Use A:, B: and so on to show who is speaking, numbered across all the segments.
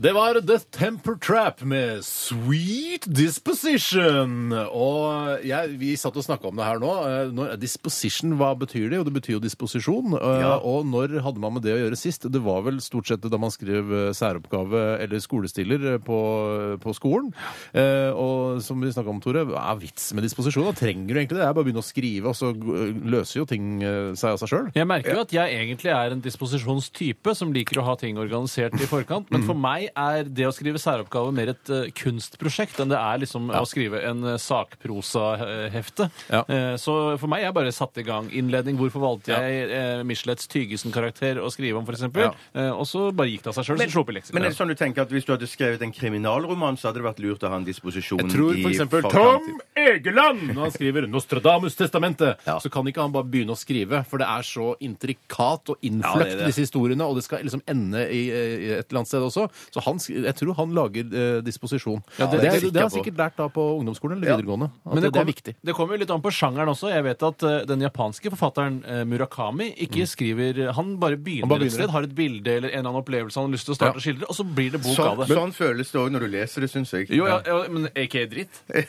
A: Det var The Temper Trap med Sweet Disposition. Og jeg, vi satt og snakka om det her nå. Eh, Når, disposition, hva betyr det? Jo, det betyr jo disposisjon. Eh, Og når hadde man med det å gjøre sist? Det var vel stort sett da man skrev eh, særoppgave eller skolestiller eh, på, på skolen. Eh, og som vi snakka om, Tore, hva er vitsen med disposisjon? Da trenger du egentlig det? Det er bare å begynne å skrive, og så eh, løser jo ting eh, seg av seg sjøl.
B: Jeg merker jo at jeg egentlig er en disposisjonstype som liker å ha ting organisert i forkant, men for meg er det å skrive særoppgave mer et eh, kunstprosjekt enn det er liksom å skrive en eh, sakprosahefte.
A: Ja.
B: Eh, Så for meg er bare satt i gang innledning. Hvorfor valgte jeg eh, Michelets Tygesen-karakter å skrive om, f.eks.?
A: Ja.
B: Eh, Og så bare gikk det av seg sjøl, så slo opp i leksikon.
C: Men er det sånn du tenker at hvis du hadde skrevet en kriminalroman, så hadde det vært lurt å ha en disposisjon
A: Jeg tror
C: i
A: for eksempel
C: forkant?
A: Tom Egeland, når han skriver Nostradamus-testamentet, så kan ikke han bare begynne å skrive, for det er så intrikat og
C: Ja,
A: innfløkt,
C: det er det.
A: disse historiene, og det skal liksom ende i, eh, i et eller annet sted også. Så han, sk- jeg tror han lager eh, disposisjon. det,
C: det
A: er-
C: sikker
A: det har han
C: på.
A: sikkert lært da på ungdomsskolen eller videregående. At det,
B: Men
A: det
B: kom-
A: er viktig.
B: Det kommer jo litt an på sjangeren også. Jeg vet at eh, den japanske forfatteren eh, Murakami ikke skriver eh, Han bare begynner,
A: Mm. Han bare
B: et
A: begynner.
B: sted, har et bilde eller en eller annen opplevelse han har lyst til å starte
A: Ja.
B: å skildre, og så blir det bok
C: Sånn,
B: av det.
C: sånn føles det òg når du leser det, syns jeg.
B: Jo, ja, ja, men aka dritt.
C: Jeg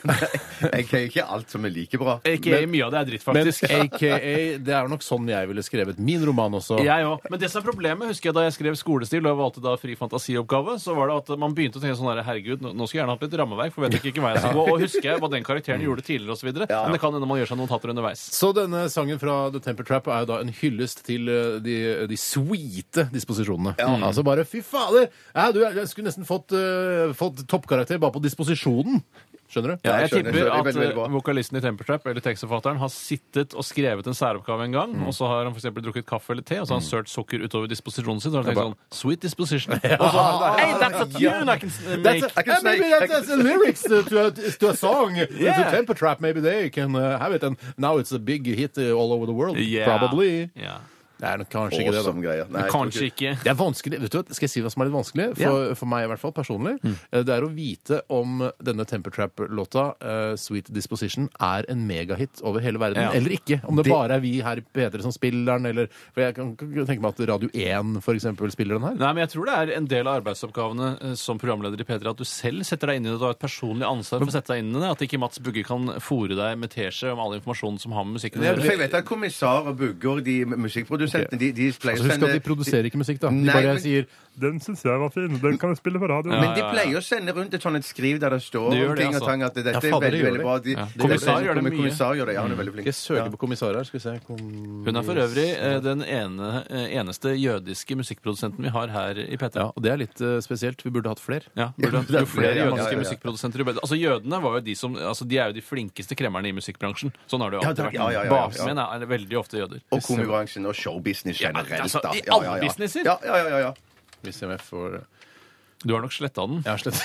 C: kan jo ikke alt som er like bra.
B: Aka mye av det er dritt,
A: Men
B: faktisk.
A: aka, det er nok sånn jeg ville skrevet min roman også.
B: Jeg òg. Men det som er problemet, husker jeg da jeg skrev skolestil og jeg valgte da fri fantasioppgave, så var det at man begynte å tenke sånn her, herregud, nå nå skulle jeg gjerne hatt litt rammeverk, for jeg vet ikke, ikke hva jeg skal gå, og husker jeg hva den karakteren gjorde tidligere osv. videre Men det kan hende man gjør seg notater underveis.
A: Så denne sangen fra The Temper Trap er jo da en hyllest til eh, de, de sweete disposisjonene. Altså bare fy fader! Ja, du jeg skulle nesten fått, eh, fått toppkarakter bare på disposisjonen. Skjønner du?
B: Ja, jeg
C: skjønner,
B: tipper
C: skjønner.
B: at
C: Veldig, veldig bra.
B: eh, vokalisten i Temper Trap eller tekstforfatteren har sittet og skrevet en særoppgave en gang, og så har han for eksempel drukket kaffe eller te, og så har han sølt sukker utover disposisjonen sin, og så har han tenkt sånn Sweet disposition. Og så har han Hey, that's a tune I can s-
A: That's
B: make.
A: a,
C: can
A: maybe
C: snake-
A: that's, that's the lyrics to to a, to a song. It's
B: Yeah.
A: a temper trap, maybe they can uh, have it. And now it's a big hit uh, all over the world.
B: Yeah.
A: Probably.
B: Ja.
A: Det er nok kanskje ikke det, da.
C: Awesome greier. Nei, jeg tror
B: Kanskje ikke.
A: Det er vanskelig, vet du hva? Skal jeg si hva som er litt vanskelig? For, for meg i hvert fall, personlig. Eh, Det er å vite om denne Temper Trap-låta, eh, Sweet Disposition, er en megahit over hele verden,
B: Ja.
A: eller ikke. Om det, bare er vi her i P3 som spiller den, eller For jeg kan kan tenke meg at Radio 1 for eksempel spiller den her.
B: Nei, men jeg tror det er en del av arbeidsoppgavene eh, som programleder i P3 at du selv setter deg inn i det. Du har et personlig ansvar for å sette deg inn i det. At ikke Mats Bugge kan fòre deg med teskje om all informasjonen som har med musikken å
C: For jeg
B: gjøre.
C: vet at kommissar og Bugger, de musikkprodusentene, de, de pleier
A: Altså,
C: å
A: husk
C: sende
A: at de produserer ikke musikk, da. De
C: Nei,
A: bare
C: men-
A: sier
D: Den syns jeg var fin. Den kan jeg spille på radioen.
C: Men de pleier å sende rundt et sånt et skriv der det står
B: De gjør
C: om
B: det,
C: ting
B: altså.
C: og tang at dette
A: Ja,
C: er
A: fader,
C: veldig,
A: de gjør
C: veldig
A: det.
C: bra. De,
B: Ja.
C: de-
B: Kommissar gjør det
C: men
B: mye.
C: Kommissar gjør det, ja, han er veldig flink.
A: Skal jeg søke på kommissar her? Skal vi se kom...
B: Hun er for øvrig eh, den ene, eh, eneste jødiske musikkprodusenten vi har her i P3.
A: Ja, og det er litt eh, spesielt. Vi burde hatt flere.
B: Ja, burde,
C: det er
B: jo
C: flere,
B: flere
C: ja, ja,
B: jødiske
C: ja, ja.
B: musikkprodusenter jo bedre. Altså Jødene var jo de som, altså, de er jo de flinkeste kremmerne i musikkbransjen. Sånn har det jo
C: Ja,
B: alltid
C: det-
B: vært.
C: ja, ja, ja, ja.
B: Bakmenn er veldig ofte jøder.
C: Og komibransjen og showbusiness
B: Ja,
C: generelt.
B: altså,
C: da.
B: i
C: Ja, ja,
B: alle
C: ja.
B: businesser.
C: Ja, ja, ja, ja.
A: Hvis jeg får
B: Du har nok sletta den.
A: Jeg har slett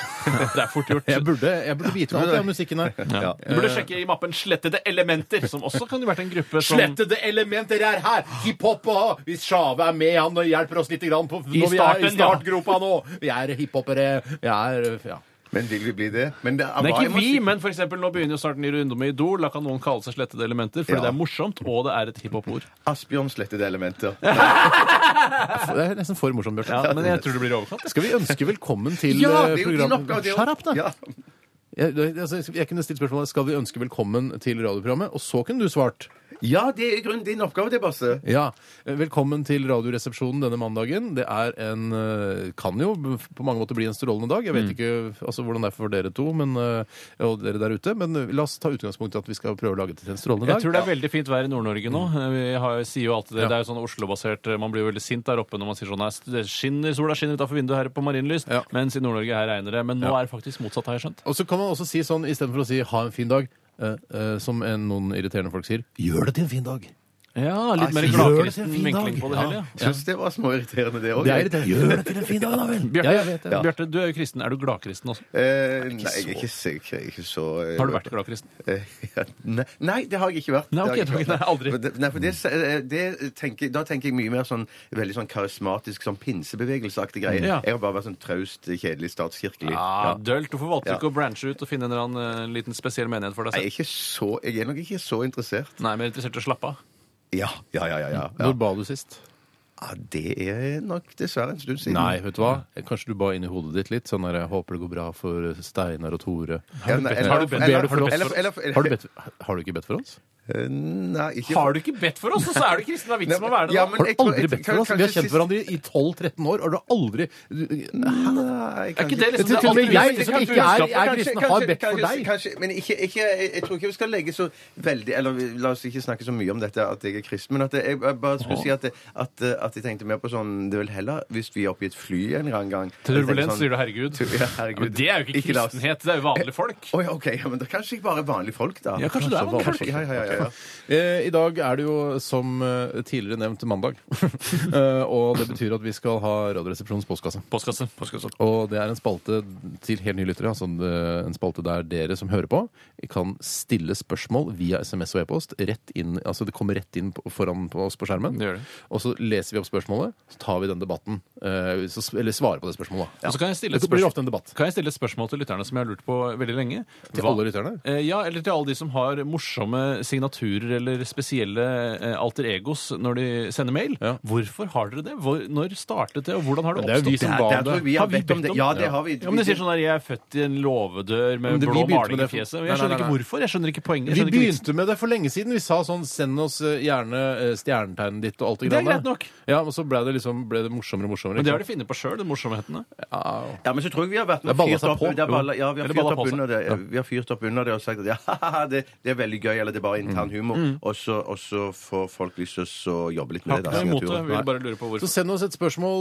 B: Det er fort gjort.
A: Jeg burde, jeg burde vite alt om musikken her.
B: Ja. Du burde sjekke i mappen 'Slettede elementer', som også kan jo vært en gruppe som
A: Slettede elementer er her! Hiphop og Hvis Sjave er med, han og hjelper oss litt grann på, når vi er i
B: starten, ja.
A: startgropa nå. Vi er hiphopere. Vi er ja.
C: Men vil vi bli det? Men det
B: Nei,
C: jeg
B: ikke
C: må
B: vi,
C: si-
B: men for eksempel, nå begynner jo snart en ny runde med Idol. Da kan noen kalle seg Slettede elementer, fordi
C: Ja.
B: det er morsomt, og det er et hiphop-ord.
C: Asbjørn slettede elementer.
A: Det er nesten for morsomt, Bjørte.
B: Ja, men jeg tror det blir overkant. jeg.
A: Skal vi ønske velkommen til
C: Ja,
A: eh,
C: det er jo din
A: programmet
C: oppgave. det er jo-
A: Shut up, da!
C: Ja.
A: Jeg, det- altså, jeg kunne stilt spørsmålet skal vi ønske velkommen til radioprogrammet, og så kunne du svart
C: ja, det er i grunnen din oppgave, det, Basse.
A: Ja, Velkommen til Radioresepsjonen denne mandagen. Det er en eh, kan jo på mange måter bli en strålende dag. Jeg vet ikke altså, hvordan det er for dere to men, eh, og dere der ute, men eh, la oss ta utgangspunkt i at vi skal prøve å lage det til en strålende dag.
B: Jeg tror det er veldig fint vær i Nord-Norge nå. Vi har, sier jo alltid det. Det er jo sånn Oslo-basert Man blir jo veldig sint der oppe når man sier sånn «Nei, det skinner, sola skinner utenfor vinduet her på Marienlyst,
A: Ja.
B: mens i Nord-Norge her regner det. Men nå er det faktisk motsatt, har jeg skjønt.
A: Og så kan man også si sånn istedenfor å si 'ha en fin dag', eh, eh, som en, noen irriterende folk sier 'gjør det til en fin dag'.
B: Ja, litt mer
C: Gjør
A: det til en
B: gladkristen
A: fin dag.
B: vinkling på det
A: Ja.
B: hele. Ja.
C: Syns det var småirriterende, det òg.
A: Det er irriterende. Gjør det til en fin dag, da vel.
B: Bjarte,
A: Ja, jeg vet det.
C: Ja.
B: Bjarte, du er jo kristen. Er du gladkristen også?
C: Eh, nei, jeg er ikke sikker. Jeg er ikke så eh,
B: Har du vært gladkristen?
C: Eh, Nei, nei, det har jeg ikke vært.
B: Nei,
C: Det har
B: ok,
C: jeg ikke
B: det har jeg
C: vært. Nei, for det, eh, det tenker, da tenker jeg mye mer sånn veldig sånn karismatisk, sånn pinsebevegelseaktig greie.
B: Mm, Ja.
C: Jeg har bare vært sånn traust, kjedelig, statskirkelig.
B: Ja,
C: Ja.
B: dølt. Hvorfor valgte
C: Ja.
B: du ikke å branche ut og finne en eller annen eh, liten spesiell menighet for deg
C: Nei, Jeg er,
B: selv?
C: ikke så, jeg er nok ikke så interessert.
B: Nei, mer interessert i å slappe av.
C: Ja, ja, ja. ja, ja. ja.
B: Mm.
A: Når ba du sist?
C: ja det er nok dessverre en stund siden.
A: Nei, vet du hva? Kanskje du ba inni hodet ditt litt sånn der, jeg håper det går bra for Steinar og Tore.
C: Ja, nei, eller-
B: Har du bedt-
C: eller-
B: ber du for oss?
C: eller- eller- eller-
A: Har du, bedt, har du ikke bedt for oss?
C: Eh, Nei, ikke
B: Har du ikke bedt for oss, og så er du kristen? Det er
C: Nei,
B: vits med å være det.
C: ja,
B: da.
C: men
A: Har
C: jeg
A: du
C: tror-
A: aldri
C: jeg-
A: bedt for oss? Vi har
C: kanskje
A: kjent hverandre i 12-13 år. Har du aldri
C: Nei,
B: Er ikke
C: kanskje-
B: det liksom
A: Til
B: det
A: og med jeg,
B: altruistiske
A: som ikke er,
B: budskapet?
A: er kristen, har bedt for
C: kanskje-
A: deg.
C: kanskje- men ikke, ikke, jeg, jeg tror ikke vi skal legge så veldig Eller vi- la oss ikke snakke så mye om dette at jeg er kristen, men at jeg, jeg bare skulle si at, det- at, eh, at jeg tenkte mer på sånn Det vil heller hvis vi er oppe i et fly en eller annen gang
B: Turbulens, sier du, herregud.
C: sånn, Ja, herregud.
B: Ja, men det er jo ikke
C: Ikke la oss-
B: kristenhet, det er jo vanlige folk.
C: Å ja, OK. Ja, men da kanskje jeg bare er vanlige folk, da.
B: Ja, kanskje det er vanlige folk.
C: Ja, ja, ja, ja, ja.
A: Eh, I dag er det jo, som eh, tidligere nevnt, mandag. Eh, og det betyr at vi skal ha Radioresepsjonens postkasse.
B: Postkasse. Postkasse.
A: Og det er en spalte til helt nye lyttere, altså en, eh, en spalte der dere som hører på, kan stille spørsmål via SMS og e-post. rett inn, altså Det kommer rett inn på- foran på oss på skjermen.
B: Det gjør det.
A: Og så leser vi opp spørsmålet, så tar vi den debatten. eh, så, s- eller svarer på det spørsmålet.
B: Og så kan jeg stille et
A: Det blir
B: spørsmål.
A: ofte en debatt.
B: Kan jeg stille et spørsmål til lytterne som jeg har lurt på veldig lenge?
A: Til
B: Hva-
A: alle lytterne?
B: Eh, Ja, eller til alle de som har morsomme signaturer eller spesielle eh, alter egos når de sender mail.
A: Ja.
B: Hvorfor har dere det? Hvor, når startet det, og hvordan har
A: Men
B: det
A: det er jo
B: oppstått?
A: vi som
C: Der,
A: ba
C: der
A: om
C: tror jeg
A: det.
C: vi har
B: Har vi
C: bedt om
B: bedt
C: det.
B: om-
C: Ja, det har vi.
B: Ja, men De sier sånn her 'Jeg er født i en låvedør med
A: Men det- vi
B: blå
A: begynte med
B: maling i
A: det for-
B: fjeset'.
A: Nei,
B: Jeg
A: nei,
B: skjønner ikke
A: nei.
B: hvorfor. Jeg skjønner ikke poenget. Jeg
A: Vi
B: skjønner ikke vitsen.
A: begynte med det for lenge siden. Vi sa sånn Send oss eh, gjerne eh, stjernetegnet ditt og alt det
B: Det er
A: greiene.
B: greit nok.
A: Ja, og så ble det liksom ble det morsommere og morsommere.
B: Men det har de funnet på sjøl, de morsomhetene.
C: Ja, men så tror jeg vi har vært med
A: Det ballet
C: fyrt
A: seg
C: opp,
A: på,
C: det er
A: jo.
C: ballet, ja, vi har
B: Eller
C: fyrt
B: ballet
C: opp
B: på seg.
C: under det Vi har fyrt opp under det og sagt at ja, haha, det, det er veldig gøy, eller det er bare intern humor. Og så- og så får folk lyst til å jobbe litt med
B: Har
C: det.
B: ikke
C: da,
B: noe imot det.
C: signaturen.
B: Vil bare lure på
A: Så
B: hvorfor.
A: send oss et spørsmål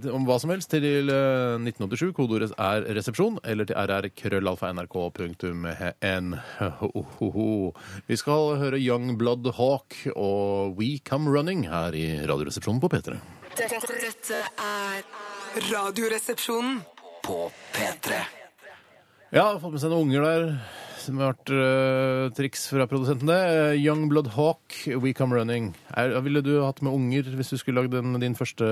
A: eh, eh, om hva som helst til eh, 1987. Kodeordet er resepsjon, eller til rrkrøllalfa.nrk.no. Vi skal høre Young Blood Hawk og We Come Running her i Radioresepsjonen på P3.
E: Dette, dette er Radioresepsjonen.
F: På P3.
A: Ja, fått med seg noen unger der. Som har vært eh, triks fra produsenten, det. Eh, Young Blood Hawk, We Come Running. Er, ville du hatt med unger hvis du skulle lagd den- din første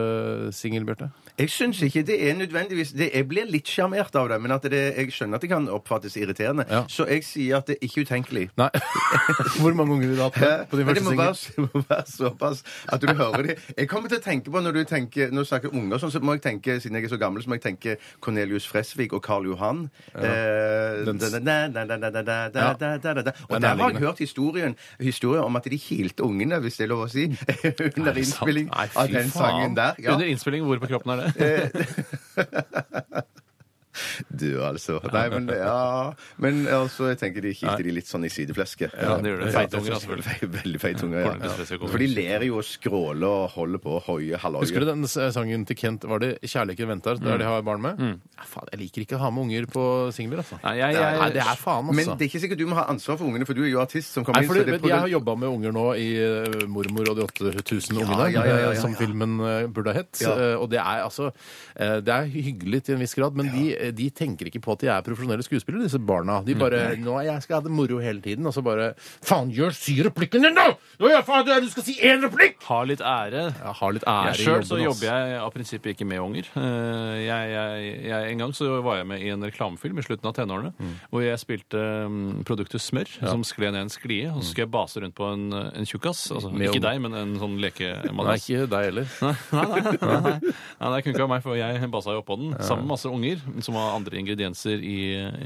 A: singel, Bjarte?
C: Jeg syns ikke det er nødvendigvis det, Jeg blir litt sjarmert av det, men at det, jeg skjønner at det kan oppfattes irriterende.
A: Ja.
C: Så jeg sier at det er ikke utenkelig.
A: Nei. Hvor mange unger ville du hatt med på din
C: Men det
A: første
C: må
A: singel?
C: være, det må være såpass at du hører det. Jeg kommer til å tenke på, når du tenker, når du snakker unger, og sånn, så må jeg tenke, siden jeg er så gammel, så må jeg tenke Cornelius Fresvig og Karl Johan. Eh,
A: Den-
C: da, da, da, da, da, da, da, da, da, da, da. Og
A: Den
C: der har jeg
A: nærliggende.
C: hørt historien, historier om at de kilte ungene, hvis det er lov å si, under innspilling
A: Nei, fy
C: av den
A: faen.
C: sangen der. Ja.
B: Under innspilling, hvor på kroppen er det?
C: Du, altså. Nei, men ja Men altså, jeg tenker de kilte de litt sånn i sideflesket.
B: Ja, det gjør det.
C: Ja,
B: Feitunger, da, selvfølgelig.
C: Fe- Veldig feitunger,
B: Hvordan det
C: ja.
B: spesielt kommer.
C: For de ler jo og skråler og holder på og hoier halvøye.
A: Husker du den s- eh, sangen til Kent? Var det 'Kjærligheten venter'? Der
C: Mm.
A: de har barn med? Ja, faen, jeg liker ikke å ha med unger på singler, altså.
B: Nei, jeg, jeg,
A: Nei, det er faen,
C: Men
A: altså.
C: det er ikke sikkert du må ha ansvar for ungene, for du er jo artist som kommer
A: Nei,
C: inn.
A: fordi,
C: så det
A: vet,
C: er
A: du, jeg har jobba med unger nå i eh, 'Mormor og de 8000 ungene',
C: ja, ja, ja,
A: eh, som
C: ja.
A: filmen eh, burde ha hett.
C: Ja.
A: Eh, Og det er altså eh, Det er hyggelig til en viss grad, men de, eh, de tenker ikke på at de er profesjonelle skuespillere, disse barna. De bare 'Nå jeg skal ha det moro hele tiden', og så bare 'Faen, gjør si replikken din, da!' 'Nå gjør faen det, du skal si én replikk!'
B: Har litt ære.
A: Jeg har litt ære
B: Ja, Sjøl så
A: i jobben. ass.
B: jobber jeg av prinsippet ikke med unger. Eh, Jeg, jeg, jeg, en gang så var jeg med i en reklamefilm i slutten av tenårene hvor jeg spilte mm, produktet smør som skled ned en sklie, og så skulle jeg base rundt på en, en tjukkas. Altså,
A: Med
B: ikke
A: unger.
B: deg, men en sånn
A: Nei,
B: lekemadrass.
A: ikke deg heller.
B: Nei, nei, nei, nei. nei, det kunne ikke være meg, for jeg basa jo oppå den sammen med masse unger som var andre ingredienser i,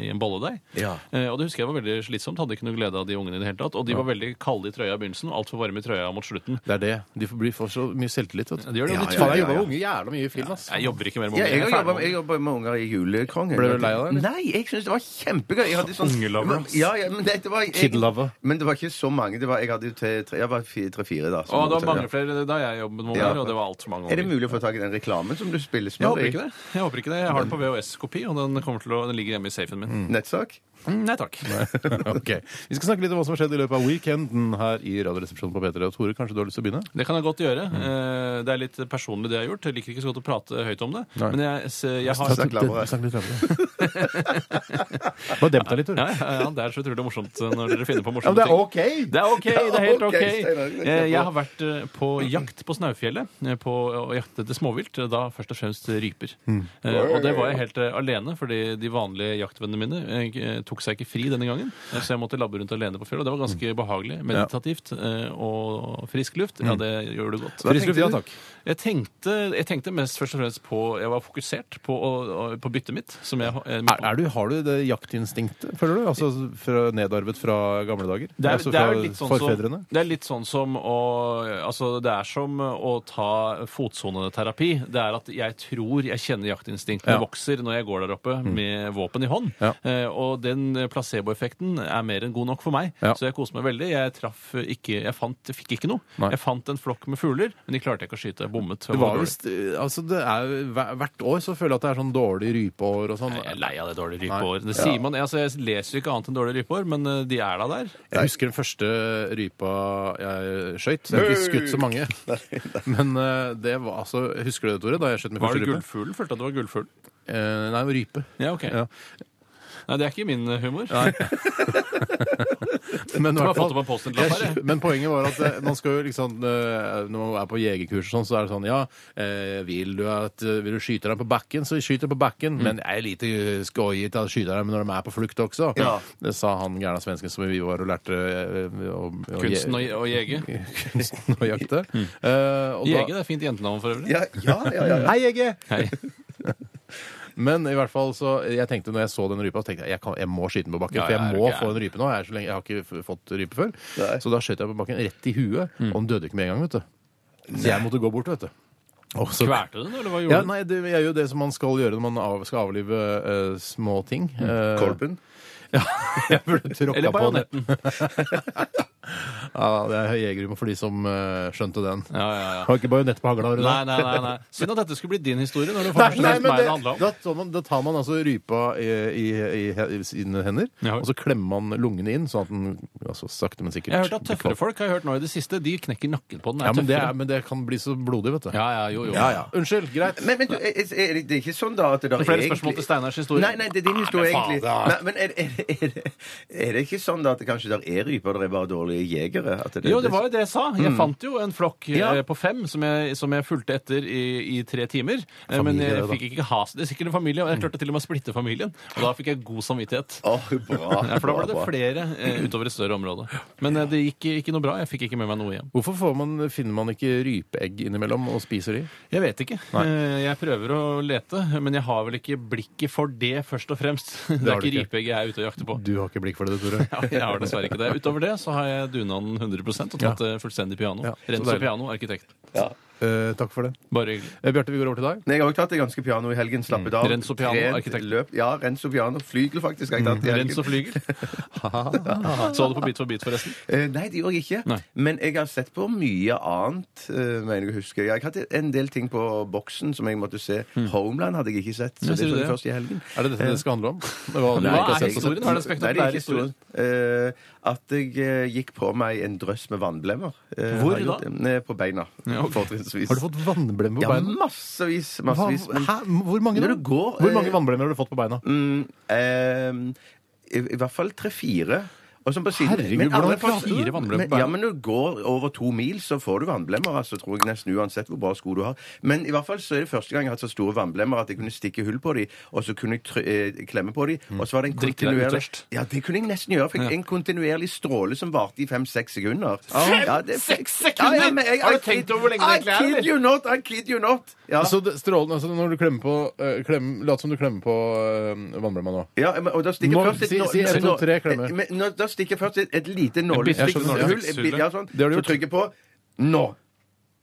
B: i en bolledeig.
A: Ja.
B: Eh, og det husker jeg var veldig slitsomt. Hadde ikke noe glede av de ungene i det hele tatt. Og de var veldig kalde i trøya i begynnelsen, og altfor varme i trøya mot slutten.
A: Det er det. De får, blir, får så mye selvtillit. Vet
B: Det gjør det, og de
A: Faen,
C: ja,
A: jeg
C: ja,
A: jobber
C: ja.
A: med unge jævla mye i film, ass.
B: Jeg jobber ikke mer med
C: Ja,
B: unger.
C: jeg har
B: er ferdig med
C: jobba med, jeg jobber med unger i Julekongen.
A: Ble du lei av det, eller?
C: Nei, jeg syns det var kjempegøy. Jeg hadde sånn,
B: Ungelover,
C: Men-
B: ass.
C: Ja, ja, men, det, det var, jeg,
A: Kid lover.
C: men det var ikke så mange. Det var, jeg hadde jo tre- tre- jeg var tre-fire, da. som
B: Å, det var
C: måtte-
B: mange flere da jeg jobbet med unger,
C: Ja.
B: og det var altfor mange
C: Er det
B: unger.
C: mulig å få tak i den reklamen som du spiller
B: Jeg
C: smør
B: håper
C: i? Mm.
B: ikke det. Jeg håper ikke det. Jeg har den på VHS-kopi, og den, kommer til å, den ligger hjemme i safen min. Mm,
C: Nettsak?
B: Nei takk.
A: ok. Vi skal snakke litt om hva som har skjedd i løpet av weekenden her i Radioresepsjonen på P3. Og Tore, kanskje du har lyst til å begynne?
B: Det kan jeg godt gjøre.
C: Mm.
B: Eh, Det er litt personlig det jeg har gjort. Jeg liker ikke så godt å prate høyt om det.
A: Nei.
B: Men jeg, s- jeg har
C: Snakk lavere.
A: Snakk litt lavere. Bare demp deg litt,
B: ja,
A: Tore.
B: ja, ja, Det er så utrolig morsomt eh, når dere finner på
A: Ja, men
B: morsomme
A: det er
B: ting.
A: OK!
B: Det er ok, det er helt
C: ok,
B: ok.
C: Steinar, det er
B: Eh, Jeg
C: bra.
B: har vært eh, på jakt på Snaufjellet, eh, på å jakte etter småvilt, eh, da først og fremst eh, ryper.
A: Hmm.
B: Eh, Og det var jeg helt eh, alene, fordi de vanlige jaktvennene mine eh, g- eh, tok seg ikke fri denne gangen, eh, så jeg måtte labbe rundt alene på fjellet, og det
A: Hmm.
B: var ganske behagelig, meditativt eh, og frisk luft.
A: Hmm.
B: Ja, det gjør det godt.
A: Frisk luft, ja takk.
B: Jeg tenkte, jeg tenkte mest først og fremst på Jeg var fokusert på, å- å- på byttet mitt. Som jeg, eh, mitt-
A: Er, er du, har du det jaktinstinktet, føler du? Altså fra, nedarvet fra gamle dager?
B: Det er,
A: altså
B: det,
A: fra
B: er jo litt sånn
A: forfedrene?
B: Som, det er litt sånn som å Altså, det er som å ta fotsoneterapi. Det er at jeg tror jeg kjenner jaktinstinktene
A: Ja.
B: vokser når jeg går der oppe med våpen i hånd.
A: Ja.
B: Eh, og den placeboeffekten er mer enn god nok for meg,
A: Ja.
B: så jeg koser meg veldig. Jeg traff ikke Jeg fant, jeg fikk ikke noe.
A: Nei.
B: Jeg fant en flokk med fugler, men de klarte jeg ikke å skyte. Jeg bommet.
A: Det var visst eh, Altså, det er hver- hvert år så føler jeg at det er sånn dårlig rypeår og sånn.
B: Jeg er lei av det dårlige
A: Nei.
B: rypeår. Det sier man, altså Jeg leser jo ikke annet enn dårlige rypeår, men eh, de er da der.
A: Jeg husker den første rypa jeg skøyt. Jeg har ikke skutt så mange. Men eh, det var altså Husker du det, Tore? Da jeg skjøt min
B: Var det
A: første rype?
B: gullfuglen? Følte at det var gullfugl.
A: Eh, nei, rype.
B: Ja, ok.
A: Ja.
B: Nei, det er ikke min eh, humor.
A: Men, i
B: har
A: hvert fall-
B: fått opp en Post-It-lapp her,
A: Jeg- men poenget var at eh, man skal jo liksom eh, Når man er på jegerkurs og sånn, så er det sånn Ja, eh, vil du, at, eh, vil du skyte dem på bakken, så skyt dem på bakken.
B: Mm.
A: Men jeg er lite skoie til å skyte dem når de er på flukt også.
C: Ja.
A: Det sa han gærne svensken som vi var og lærte eh, å- å-
B: Kunsten å, Mm. å jege.
A: Kunsten å jakte. Eh, og da-
B: Jege det er fint jentenavn for øvrig.
C: Ja, ja, ja. ja, ja.
A: Hei, Jegge!
B: Hei.
A: Men i hvert fall så jeg tenkte når jeg så den rypa, så tenkte jeg jeg, kan, jeg må skyte den på bakken.
B: Ja,
A: for jeg
B: ja, er du
A: må
B: gæren?
A: få en rype nå. Jeg, er så lenge, jeg har ikke f- fått rype før.
C: Nei.
A: Så da skjøt jeg på bakken rett i huet,
B: Mm.
A: og den døde ikke med en gang. vet du. Så jeg måtte gå bort, vet du. Og så-
B: Kvelte du den, eller hva gjorde
A: Ja,
B: du?
A: nei, det er jo det som man skal gjøre når man av, skal avlive eh, små ting. Eh,
C: Kolben.
A: jeg burde tråkka
B: Mm. Eller
A: på den.
B: bajonetten.
A: Ja, det er jegerhumor for de som eh, skjønte den.
B: Ja, ja, ja.
A: Har ikke bajonett på hagla? har du det?
B: Nei, nei, nei, nei. Synd at dette skulle bli din historie. når det
A: Nei,
B: faktisk
A: nei,
B: meg
A: men
B: det
A: det,
B: handla om.
A: da, tar man, da tar man altså rypa i, i, i, i sine hender,
B: Ja.
A: og så klemmer man lungene inn, sånn at den altså, sakte, men sikkert
B: Jeg har hørt at tøffere folk har jeg hørt nå i det siste, de knekker nakken på den.
A: ja, men, det er,
B: tøffere.
A: men det kan bli så blodig, vet du.
B: ja, ja, jo, jo.
A: Ja, ja. Unnskyld. Greit.
C: Men, men du, er, er det, det er ikke sånn da at det
B: Det er flere spørsmål til Steinars historie.
C: Nei, nei, det er din historie,
A: Ah, men
C: egentlig.
A: faen,
C: Nei, men er, er, er, det- er det ikke sånn da at det kanskje der er ryper, det er bare dårlige jegere? At det,
B: Jo, det var jo det jeg sa.
A: Mm.
B: Jeg fant jo en flokk
C: Ja.
B: eh, på fem som jeg, som jeg fulgte etter i, i tre timer. Eh,
A: Familie,
B: men jeg
A: det da.
B: fikk ikke has. Det er sikkert en familie, og jeg klarte til og med å splitte familien. Og da fikk jeg god samvittighet.
C: Åh, bra,
B: Ja, for da
C: bra,
B: ble det
C: bra.
B: flere eh, utover et større område. Men eh, det gikk ikke noe bra. Jeg fikk ikke med meg noe hjem.
A: Hvorfor får man, finner man ikke rypeegg innimellom og spiser de?
B: Jeg vet ikke. Eh, Jeg prøver å lete, men jeg har vel ikke blikket for det, først og fremst. Det
A: har
B: er ikke
A: du ikke.
B: rypeegg jeg er ute og jakter på.
A: Du har ikke blikk for det, Tore.
B: Ja, jeg har dessverre ikke det. Utover det så har jeg dunaden 100 og
A: Ja.
B: tatt eh, fullstendig piano.
A: Ja, så
B: Renzo
A: deilig.
B: Piano, arkitekt.
A: Eh, takk for det.
B: Bare hyggelig.
A: Eh, Bjarte, vi går over til deg.
C: Nei, jeg har også tatt det ganske piano i helgen. Slappet av.
B: Mm. Renzo Piano,
C: Trent,
B: arkitekt. Mm.
C: Løp, ja, Renzo Piano. Flygel, faktisk. har Jeg tatt i helgen.
B: Renzo Flygel. Så du på Bit for bit, forresten?
C: Eh, nei, det gjorde jeg ikke.
B: Nei.
C: Men jeg har sett på mye annet. eh, mener jeg å huske. Jeg hadde en del ting på boksen som jeg måtte se. Homeland hadde jeg ikke sett. Så
B: Mm. Ja,
C: det
B: sier du
C: var det
B: det?
C: først i helgen.
A: Er det dette det skal handle om? Hva du
B: Hva
A: ikke har
B: er
A: sett og sett?
B: historien? Hva er den spektakulære
C: Nei, det er ikke historien. Eh, at jeg eh, gikk på meg en drøss med vannblemmer. Eh,
B: Hvor
C: har jeg
B: da?
C: gjort det. Eh, På beina.
B: Ja, ok.
C: Fortrinnsvis.
A: Har du fått vannblemmer på
C: ja,
A: beina?
C: massevis.
A: Hva,
C: massevis men-
A: hæ? Hvor mange,
C: Når
A: da?
C: du går,
A: Hvor mange
C: eh,
A: vannblemmer har du fått på beina?
C: Mm, ehm, i, I hvert fall tre-fire. Og sånn på siden-
A: Herregud,
C: men
A: hvordan
C: alle
A: klarer du
C: får-
A: fire vannblemmer på
C: Men- Ja,
A: beina?
C: men når du går over to mil, så får du vannblemmer. Altså, tror jeg nesten uansett hvor bra sko du har. Men i hvert fall så er det første gang jeg har hatt så store vannblemmer at jeg kunne stikke hull på dem, og så kunne jeg tr eh, klemme på dem, og så var det en
B: Mm. Drikke deg
C: kontinuerlig
B: utørst.
C: Ja, det kunne jeg nesten gjøre. Fikk en kontinuerlig stråle som varte i fem-seks sekunder. Fem-seks sekunder?! Ja, ja, men jeg,
B: Har du
C: I kid-
B: tenkt over hvor lenge det egentlig er,
C: I
B: eller?
C: kid you not! I kid you not! Ja.
A: Altså, det- strålen, altså når du klemmer på eh, klem, Lat som du klemmer på uh, vannblemma nå.
C: Ja, men- og da stikker
A: Nå-
C: først et
A: si-
C: nå-
A: si en, to,
C: nå-
A: tre, klemmer.
C: eh, Men, nå, da stikker først et, et lite
B: bitte
A: liten
C: nålehull
B: nålehull.
C: Ja, sånn.
A: Det har du
C: Så
A: gjort.
C: trykker på nå.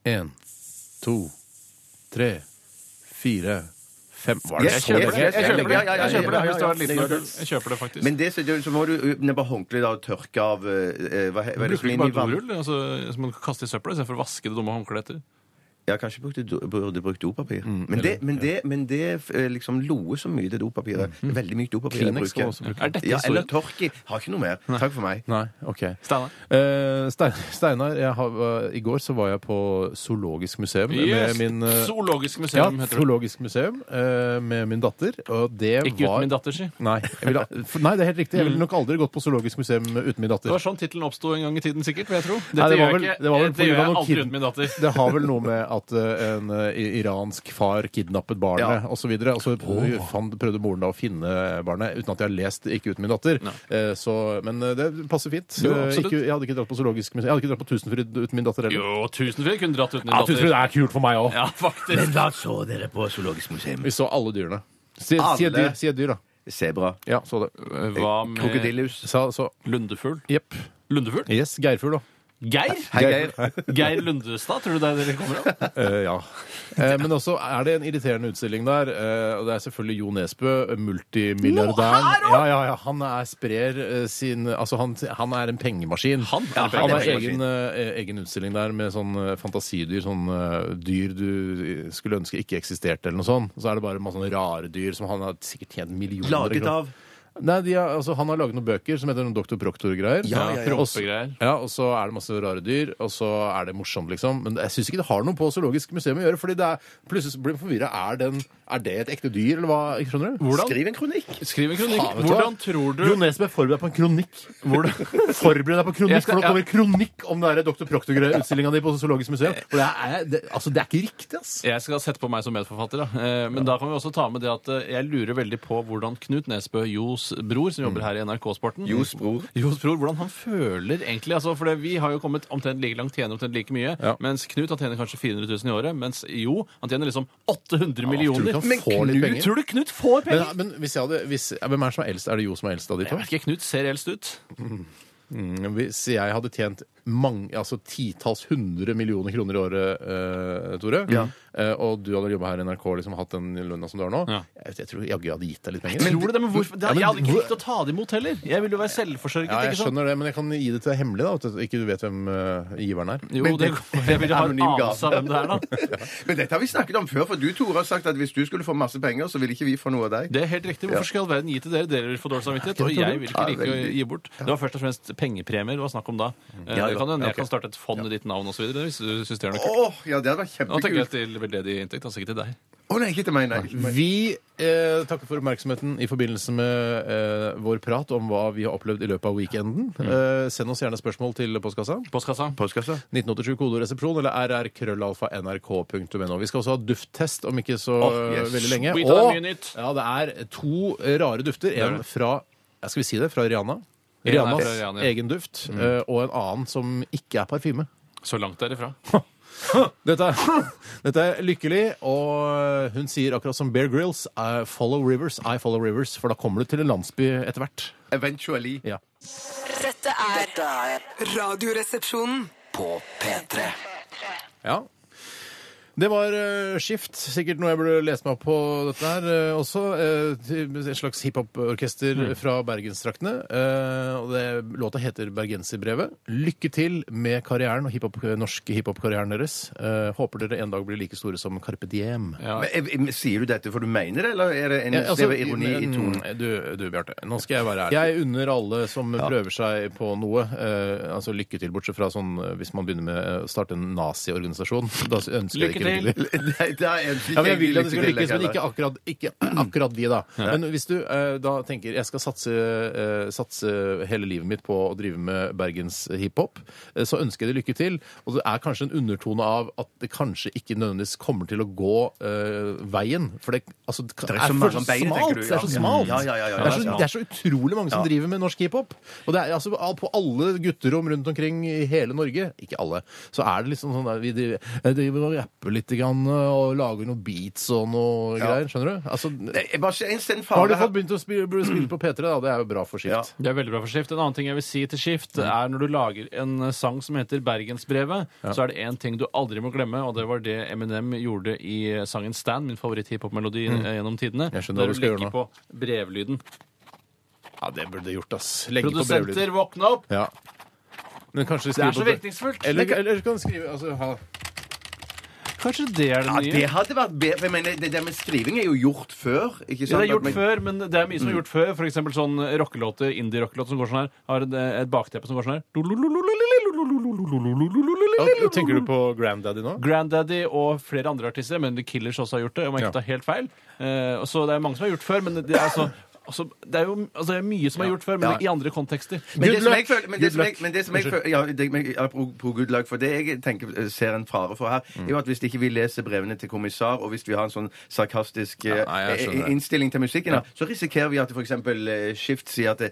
A: Én, to, tre, fire, fem Var
C: Yes, yes, yes,
B: Jeg kjøper det.
C: Ja, ja, ja,
B: Jeg kjøper
C: ja, ja, ja.
B: det hvis det var en liten
C: Det gjør
B: øl. Jeg kjøper det faktisk.
C: Men det, så, så må du ut ned på håndkleet da og tørke av eh, eh, Hva, he- hva er det
B: Bruker
C: som
B: du
C: er
B: ikke
C: inni
B: bare
C: vann?
B: dorull altså, som man kan kaste i søpla istedenfor å vaske det dumme håndkleet etter?
C: Ja, kanskje brukte, do- burde brukt dopapir.
A: Mm,
C: men, det, men, det, men det eh, liksom loer så mye, det dopapiret. Det er Veldig mye dopapir jeg
A: Mm, Kleenex kan man også
C: bruker.
A: bruke.
B: Er dette
C: Ja,
B: historien?
C: eller tørki. Har ikke noe mer. Takk for meg.
A: Nei, OK.
B: Steinar?
A: Eh, Stein- Steinar, jeg har, eh, i går så var jeg på Zoologisk museum
B: Yes.
A: med min eh,
B: Zoologisk
A: ja,
B: museum heter det.
A: Zoologisk museum eh, med min datter, og det
B: Ikke
A: var
B: uten min datter, Mm. si.
A: Nei, jeg ville, for- nei, det er helt riktig. Jeg ville nok aldri gått på zoologisk museum uten min datter.
B: Det var sånn tittelen oppsto en gang i tiden, sikkert. vil jeg tro. Dette
A: Nei, det var
B: gjør
A: vel-
B: jeg, ikke.
A: det var vel på
B: Dette gjør
A: grunn av
B: jeg
A: noen
B: aldri
A: kid-
B: uten min datter.
A: Det har vel noe med at eh, en eh, iransk far kidnappet barnet
C: Ja.
A: og osv. Og så fant, prøvde moren da å finne barnet, uten at jeg har lest 'Ikke uten min datter'. Eh, Så, men eh, det passer fint.
B: Jo,
A: Eh,
B: absolutt.
A: ikke, jeg hadde ikke dratt på zoologisk museum. Jeg hadde ikke dratt på Tusenfryd uten min datter heller.
B: Jo, Tusenfryd kunne dratt uten din
A: Ja,
B: datter.
A: Tusenfryd er kult for meg òg.
B: Ja, faktisk.
C: Hva så dere på Zoologisk museum?
A: Vi så alle dyrene. Si, si
C: Alle?
A: et dyr, si et dyr, da.
C: Sebra.
A: Ja, så det.
B: Hva med
C: Krokodillehus.
A: Sa, så,
B: lundefugl?
A: jepp.
B: Lundefugl?
A: Yes, geirfugl, da.
B: Geir?
C: Hei, Geir.
B: Geir Lundestad, tror du det er det det kommer av?
A: Eh, ja. Eh, men også er det en irriterende utstilling der. eh, og det er selvfølgelig Jo Nesbø, multimilliardæren. Ja, ja, ja, han er sprer eh, sin Altså, han, han er en pengemaskin.
B: Han er
A: har
B: en
C: pengemaskin.
A: egen, eh, egen utstilling der med sånn eh, fantasidyr, sånn eh, dyr du eh, skulle ønske ikke eksisterte, eller noe sånt. Så er det bare masse sånne rare dyr som han har sikkert tjent millioner
C: Laget
A: kroner-
C: av
A: Nei, de har, altså, Han har laget noen bøker som heter noen Dr. Proctor-greier.
C: Ja, ja, ja.
A: Og så-
B: Prompegreier.
A: ja, Og så er det masse rare dyr, og så er det morsomt, liksom. Men jeg syns ikke det har noe på zoologisk museum å gjøre. fordi det er, plutselig så blir man forvirra. Er, den- er det et ekte dyr, eller hva? Ikke Skjønner du?
B: Hvordan?
C: Skriv en kronikk!
B: Skriv en kronikk.
A: Faen, vet du
B: Hvordan
A: hva?
B: tror du
A: Jo Nesbø, forbered deg på en kronikk. Forbered deg på kronikk,
B: Jeg
A: for
B: skal-
A: nå kommer det kronikk om den der Dr. Proctor-utstillinga di på Zoologisk museum.
B: Eh.
A: For det er, det, altså, det er ikke riktig, ass.
B: Jeg skal sette på meg som medforfatter, da. Eh, Men da kan vi også ta med det at eh, jeg lurer veldig på hvordan Knut Nesbø, Jos bror, som jobber her i NRK-sporten
C: Jos bror.
B: Jos bror, Hvordan han føler egentlig. altså, For det, vi har jo kommet omtrent like langt, tjener omtrent like mye.
A: Ja.
B: Mens Knut han tjener kanskje 400 000 i året. Mens Jo, han tjener liksom
A: Tror
B: 800
A: du
B: millioner.
A: ikke han
C: Men
A: får litt
C: Knut-
A: penger?
B: Tror du Knut får penger?
A: Men, men hvis jeg hadde, hvis, ja, Hvem er det som er eldst? Er det Jo som er eldst av de to?
B: Jeg vet ikke, Knut ser eldst ut.
A: Hvis jeg hadde tjent mange, altså titalls hundre millioner kroner i året, eh, Tore, eh, og du hadde jobba her i NRK og liksom hatt den lønna som du har nå,
B: Ja.
A: jeg, jeg tror jaggu jeg hadde gitt deg litt penger.
B: Tror du det, men hvorfor? Det,
A: Ja, men
B: jeg hadde ikke
A: hvor-
B: likt å ta det imot heller. Jeg ville jo være selvforsørget.
A: ja, jeg
B: ikke sant?
A: skjønner det, men jeg kan gi det til deg hemmelig, da. At du ikke du vet hvem eh, giveren er.
B: Jo,
C: Men
B: det, jeg ville ha en
C: Anonym gave.
B: anelse av hvem det er, da.
C: Men dette har vi snakket om før, for du Tore har sagt at hvis du skulle få masse penger, så ville ikke vi få noe av deg.
B: Det er helt riktig. Hvorfor skal all verden gi til dere? Dere vil få dårlig samvittighet. Og jeg vil ikke
C: Ja,
B: like å
C: veldig.
B: gi bort. Det var først og fremst pengepremier det var snakk om da. Eh, Det kan hende jeg kan starte et fond i ditt navn osv. hvis du syns det er noe kult.
C: Åh, ja, det hadde vært
B: Nå tenker jeg
C: kjempekult.
B: til veldedig inntekt, altså ikke til deg.
C: Å nei, ikke til meg, nei. ikke til meg.
A: Vi eh, takker for oppmerksomheten i forbindelse med eh, vår prat om hva vi har opplevd i løpet av weekenden.
B: Mm.
A: Eh, send oss gjerne spørsmål til postkassa.
B: Postkassa.
C: Postkassa?
A: 1987 kodoresepsjon eller rrkrøllalfa.nrk.no. Vi skal også ha dufttest om ikke så
C: Åh, yes.
A: eh, veldig lenge.
B: Sweet, det er mye nytt.
A: ja, det er to eh, rare dufter.
B: er
A: En
B: det.
A: fra ja, skal vi si det, fra Rihanna.
B: En er fra
A: Rihannas
B: Rihanna, ja. Mm.
A: egen duft. eh, Og en annen som ikke er parfyme.
B: Så langt derifra.
A: Dette er, dette er lykkelig, og eh, hun sier akkurat som Bear Grylls, I follow rivers, I follow rivers, for da kommer du til en landsby etter hvert.
C: Eventually.
A: Ja.
E: Dette er
F: Dette er
E: Radioresepsjonen.
F: på P3.
A: Ja. Det var eh, Skift, sikkert noe jeg burde lese meg opp på dette her eh, også. eh, til- et slags hiphop-orkester fra bergensdraktene. eh, og det, låta heter 'Bergenserbrevet'. Lykke til med karrieren og hiphop, norske hiphop-karrieren deres. Eh, håper dere en dag blir like store som Carpe Diem.
B: Ja.
C: Men, eh, men, sier du dette for du mener det, eller er det en
A: Ja, altså,
C: snev av ironi i tonen?
A: mm, Du, du Bjarte, nå skal jeg være ærlig. Jeg unner alle som prøver seg på noe, eh, altså lykke til, bortsett fra sånn eh, hvis man begynner med eh, å starte en naziorganisasjon. Da ønsker jeg ikke
B: Lykke
A: lykke
B: til.
A: til.
C: Nei, det er en
A: Ja, men jeg vil
C: ikke
A: at det skal
C: til,
A: lykkes, men
C: heller.
A: ikke akkurat, ikke akkurat vi, da. Men hvis du eh, da tenker jeg skal satse, eh, satse hele livet mitt på å drive med Bergens hiphop, eh, så ønsker jeg deg lykke til. Og det er kanskje en undertone av at det kanskje ikke nødvendigvis kommer til å gå eh, veien. For det, altså, det,
C: er
A: er,
C: så mange
A: for så
C: veier, tenker
A: smalt.
C: du,
A: Det er så
C: ja.
A: smalt.
C: Ja, ja, ja, ja,
A: det, er
B: det er
A: så,
B: smalt.
A: det er så utrolig mange som
C: Ja.
A: driver med norsk hiphop. Og det er altså al- på alle gutterom rundt omkring i hele Norge, ikke alle, så er det liksom sånn der vi driver, jeg driver og rapper litt grann, og lager noen beats og noe greier. Skjønner du? Altså,
C: Nei, jeg bare ser en sted en
A: har du
C: fare
A: fått
C: her.
A: begynt å spille, spille på P3, da? Det er jo bra for skift.
C: Ja.
B: Det er veldig bra for skift. En annen ting jeg vil si til skift, er når du lager en eh, sang som heter Bergensbrevet, så er det én ting du aldri må glemme, og det var det Eminem gjorde i eh, sangen Stan, min favoritt-hiphop-melodi eh, gjennom tidene.
A: Jeg skjønner hva
B: der
A: du skal gjøre
B: legger på brevlyden.
A: Ja, det burde du gjort, ass. Legge på
B: Produsenter,
A: brevlyden.
B: våkne opp!
A: Ja. Men kanskje
B: Det
A: skrive
B: er så
A: på-
B: virkningsfullt!
A: Eller, eller kan du skrive altså, ha.
B: Kanskje det er det
C: Ja, det
B: nye?
C: hadde vært bedre. for Jeg mener, det der med skriving er jo gjort før. ikke
B: Det
C: sant?
B: er gjort
C: Men-
B: før, men det er mye som er gjort før. For eksempel sånn rockelåter, indie-rockelåter som går sånn her. Har et, et bakteppe som går sånn her.
A: Ja, Tenker du på Granddaddy nå?
B: Grandaddy og flere andre artister, men The Killers også har gjort det. om jeg ikke
A: Ja.
B: tar helt feil. Eh, så det er mange som har gjort før, men det er, så, altså, det er jo altså, det er mye som er gjort før, men
C: Ja.
B: i andre kontekster.
C: Men
A: Good
C: det som jeg
A: luck.
C: føler, men
A: Good
C: det som jeg,
A: luck.
C: men det som jeg føler ja, det, men, Apropos good luck, for det jeg tenker, eh, ser en fare for her,
A: Mm.
C: er jo at hvis ikke vi leser brevene til kommissar, og hvis vi har en sånn sarkastisk eh,
A: nei, jeg skjønner.
C: eh, innstilling til musikken, da, så risikerer vi at f.eks. Skift sier at eh,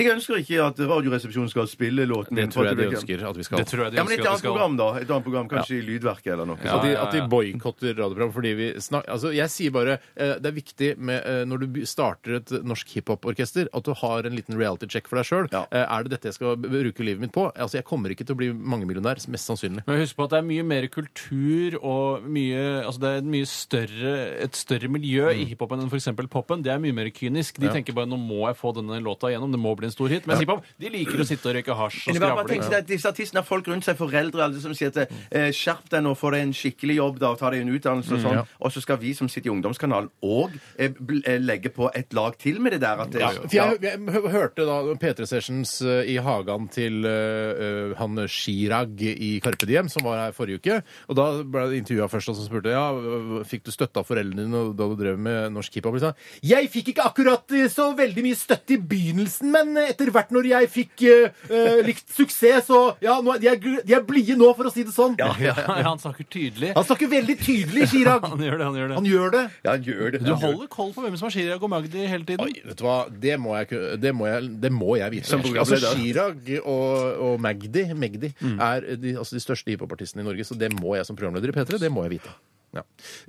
C: jeg ønsker ikke at Radioresepsjonen skal spille låten
A: Det
C: min, for
A: tror
C: at
A: jeg de
C: blir-
A: ønsker at vi skal.
B: Det tror jeg de
C: Ja, men
B: ønsker
C: et
B: at de
C: annet
B: skal
C: program, da. Et annet program, Kanskje i Lydverket eller noe.
A: At
C: sånt.
A: de,
B: ja,
A: at de
B: ja.
A: boikotter radioprogram fordi vi snakker Altså, jeg sier bare eh, det er viktig med eh, når du by- starter et norsk hiphop-orkester, at du har en liten reality-check for deg sjøl.
C: Ja.
A: er det dette jeg skal b- bruke livet mitt på? Altså, jeg kommer ikke til å bli mangemillionær, mest sannsynlig.
B: Men husk på at det er mye mer kultur og mye, altså det er et mye større, et større miljø
C: Mm.
B: i hiphopen enn f.eks. popen. Det er mye mer kynisk. De tenker bare nå må jeg få denne låta igjennom, det må bli en stor hit. Mens hiphop de liker å sitte og røyke hasj og
C: Men jeg bare tenker
B: skravle.
C: at Disse artistene har folk rundt seg, foreldre alle som sier at
B: Mm.
C: eh, skjerp deg nå, få deg en skikkelig jobb, da, og ta deg en utdannelse
B: Mm,
C: og sånn. Og så skal vi som sitter i Ungdomskanalen òg eh, bl- eh, legge på et lag til med det der. At, eh,
A: Ja, for jeg, jeg hø- hørte da P3 Sessions eh, i hagen til eh, eh, han Chirag i Carpe Diem, som var her forrige uke. Og da ble jeg intervjua først, og så spurte jeg ja, øh, fikk du støtte av foreldrene dine da du drev med norsk hiphop. Og de sa, Jeg fikk ikke akkurat eh, så veldig mye støtte i begynnelsen, men eh, etter hvert når jeg fikk eh, eh, likt suksess, så Ja, nå, er- de, er, gl- de er blide nå, for å si det sånn.
B: Han snakker tydelig.
A: Han snakker veldig tydelig, Chirag.
B: Han gjør det, han gjør det.
A: Han gjør det.
C: Ja, gjør det.
B: Du holder koll på hvem som er Chirag og Magdi hele tiden.
A: Oi, vet du hva? Det må jeg, ku- det må jeg, det må jeg vite.
C: Som
A: altså,
C: programleder.
A: Chirag og, og Magdi, Magdi
B: Mm.
A: er de, altså, de største hiphopartistene i Norge, så det må jeg som programleder i P3 det må jeg vite. Ja.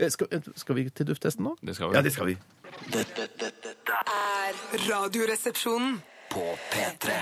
A: Eh, Skal, skal vi til dufttesten nå?
B: Det skal
C: Ja, det skal vi.
F: Dette, dette, dette
E: er Radioresepsjonen.
F: på P3.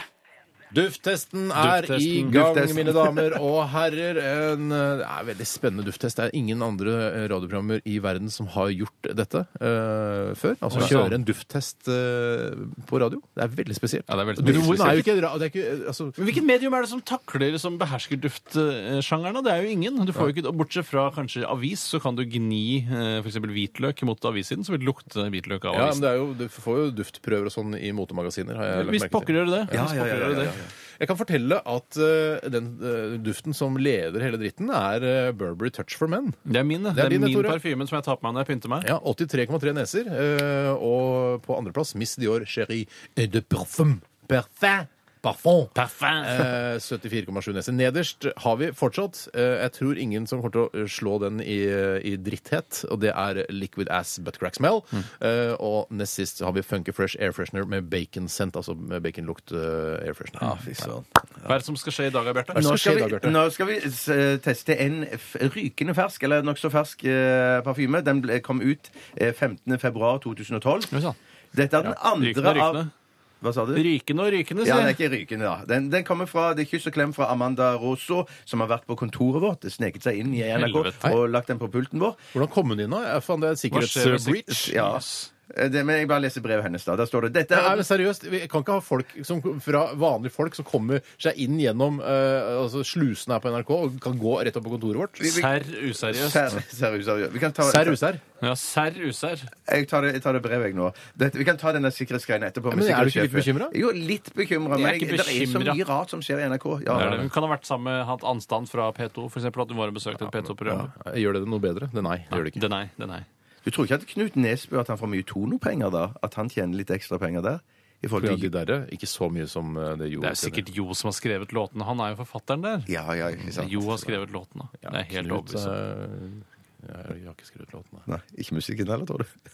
A: Dufttesten er
B: Dufttesten.
A: i gang,
C: Dufttesten.
A: mine damer og herrer. En eh, det er en veldig spennende dufttest. Det er ingen andre eh, radioprogrammer i verden som har gjort dette eh, før. Altså
B: Ja.
A: kjøre en dufttest eh, på radio. Det er veldig spesielt.
B: Ja, det er veldig
A: Og duften
B: spesielt.
A: er jo ikke, ra- det er ikke eh, altså,
B: Men hvilket medium er det som takler som behersker duftsjangeren? da? Det er jo ingen. Du får jo ikke, og bortsett fra kanskje avis, så kan du gni f.eks. hvitløk mot avissiden, så vil det lukte hvitløk
A: Ja,
B: av
A: men
B: avisen.
A: det er jo, Du får jo duftprøver og sånn i motemagasiner. har jeg lagt
B: Hvis
A: merke
B: pokker
A: til.
B: gjør det.
C: Ja,
B: Hvis
C: ja, ja,
B: pokker
C: ja,
B: gjør det.
C: ja, ja.
A: Jeg kan fortelle at eh, den eh, duften som leder hele dritten, er eh, Burberry Touch for Men.
B: Det er min, det
A: Det er
B: er
A: din,
B: min
A: Tore.
B: parfyme som jeg tar på meg når jeg pynter meg.
A: Ja, 83,3 neser. eh, og på andreplass Miss Dior Chérie de Parfum. Parfum. Parfum.
B: Parfum.
A: Eh, 74,7 neser. Nederst har vi fortsatt eh, Jeg tror ingen som kommer til å eh, slå den i, eh, i dritthet, og det er Liquid Ass Butt Crack Smell. Eh, og nest sist har vi Funky Fresh Air Freshener med bacon scent, altså med baconlukt eh, air freshener.
B: Hva er det som skal skje i dag, Bjarte?
A: Hva er det
C: Nå
A: som skjer
C: skal
A: i dag,
C: vi,
A: Bjarte?
C: nå skal vi s- eh, teste en f rykende fersk, eller nokså fersk, eh, parfyme. Den ble, kom ut eh, 15. februar 2012.
B: Oi, sann.
C: Dette er den andre
B: Rykende og
C: av
B: rykende.
C: Hva sa du?
B: Rykende og rykende,
C: Ja, den
B: sier
C: er
B: jeg.
C: ikke rykende, da. Den, den kommer fra det er kyss og klem fra Amanda Rosso, som har vært på kontoret vårt, sneket seg inn i NRK
B: Helvete.
C: og lagt den på pulten vår.
A: Hvordan kom hun inn nå? Ja, faen, det er eh,
B: Hva skjer hvis-
A: sikkerhetsbreach.
C: Ja. Eh, Det, men jeg bare leser brevet hennes, da. Der står det Dette
A: Nei,
C: er
A: men seriøst, Vi kan ikke ha folk som, fra vanlige folk som kommer seg inn gjennom eh, altså slusene her på NRK og kan gå rett opp på kontoret vårt.
B: Serr useriøst.
C: Ser- Seriøst, seriøst. Vi kan ta,
A: Serr usær?
B: Ja, serr usær.
C: Jeg tar det, jeg tar det brevet, jeg nå. Dette, vi kan ta denne sikkerhetsgreien etterpå.
A: Men
C: med
A: er du ikke litt
C: sikkerhetssjefen.
A: bekymret?
C: Jo, litt bekymra.
B: Jeg er
C: Men jeg,
B: ikke
C: det er så
B: bekymret.
C: mye rart som skjer i NRK. Ja,
B: Det er det. Hun kan ha vært sammen med hatt anstand fra P2, f.eks. At hun var og besøkte et P2-program.
A: Gjør det det noe bedre? Det nei, det gjør det ikke.
B: Det nei, det nei.
C: Du tror ikke at Knut Nesbø at han får mye tonopenger da? At han tjener litt ekstra penger der? I
A: Fordi
C: forhold
A: at de
C: til
A: derre ikke så mye som eh, det gjorde.
B: Det er sikkert Jo som har skrevet låtene. Han er jo forfatteren der.
C: Ja, ja, ikke sant.
B: Jo har skrevet låtene. Det er helt
A: Knut,
B: overbevist. om.
A: eh, Jeg har ikke skrevet låten, nei.
C: Nei, ikke musikken heller, tror du?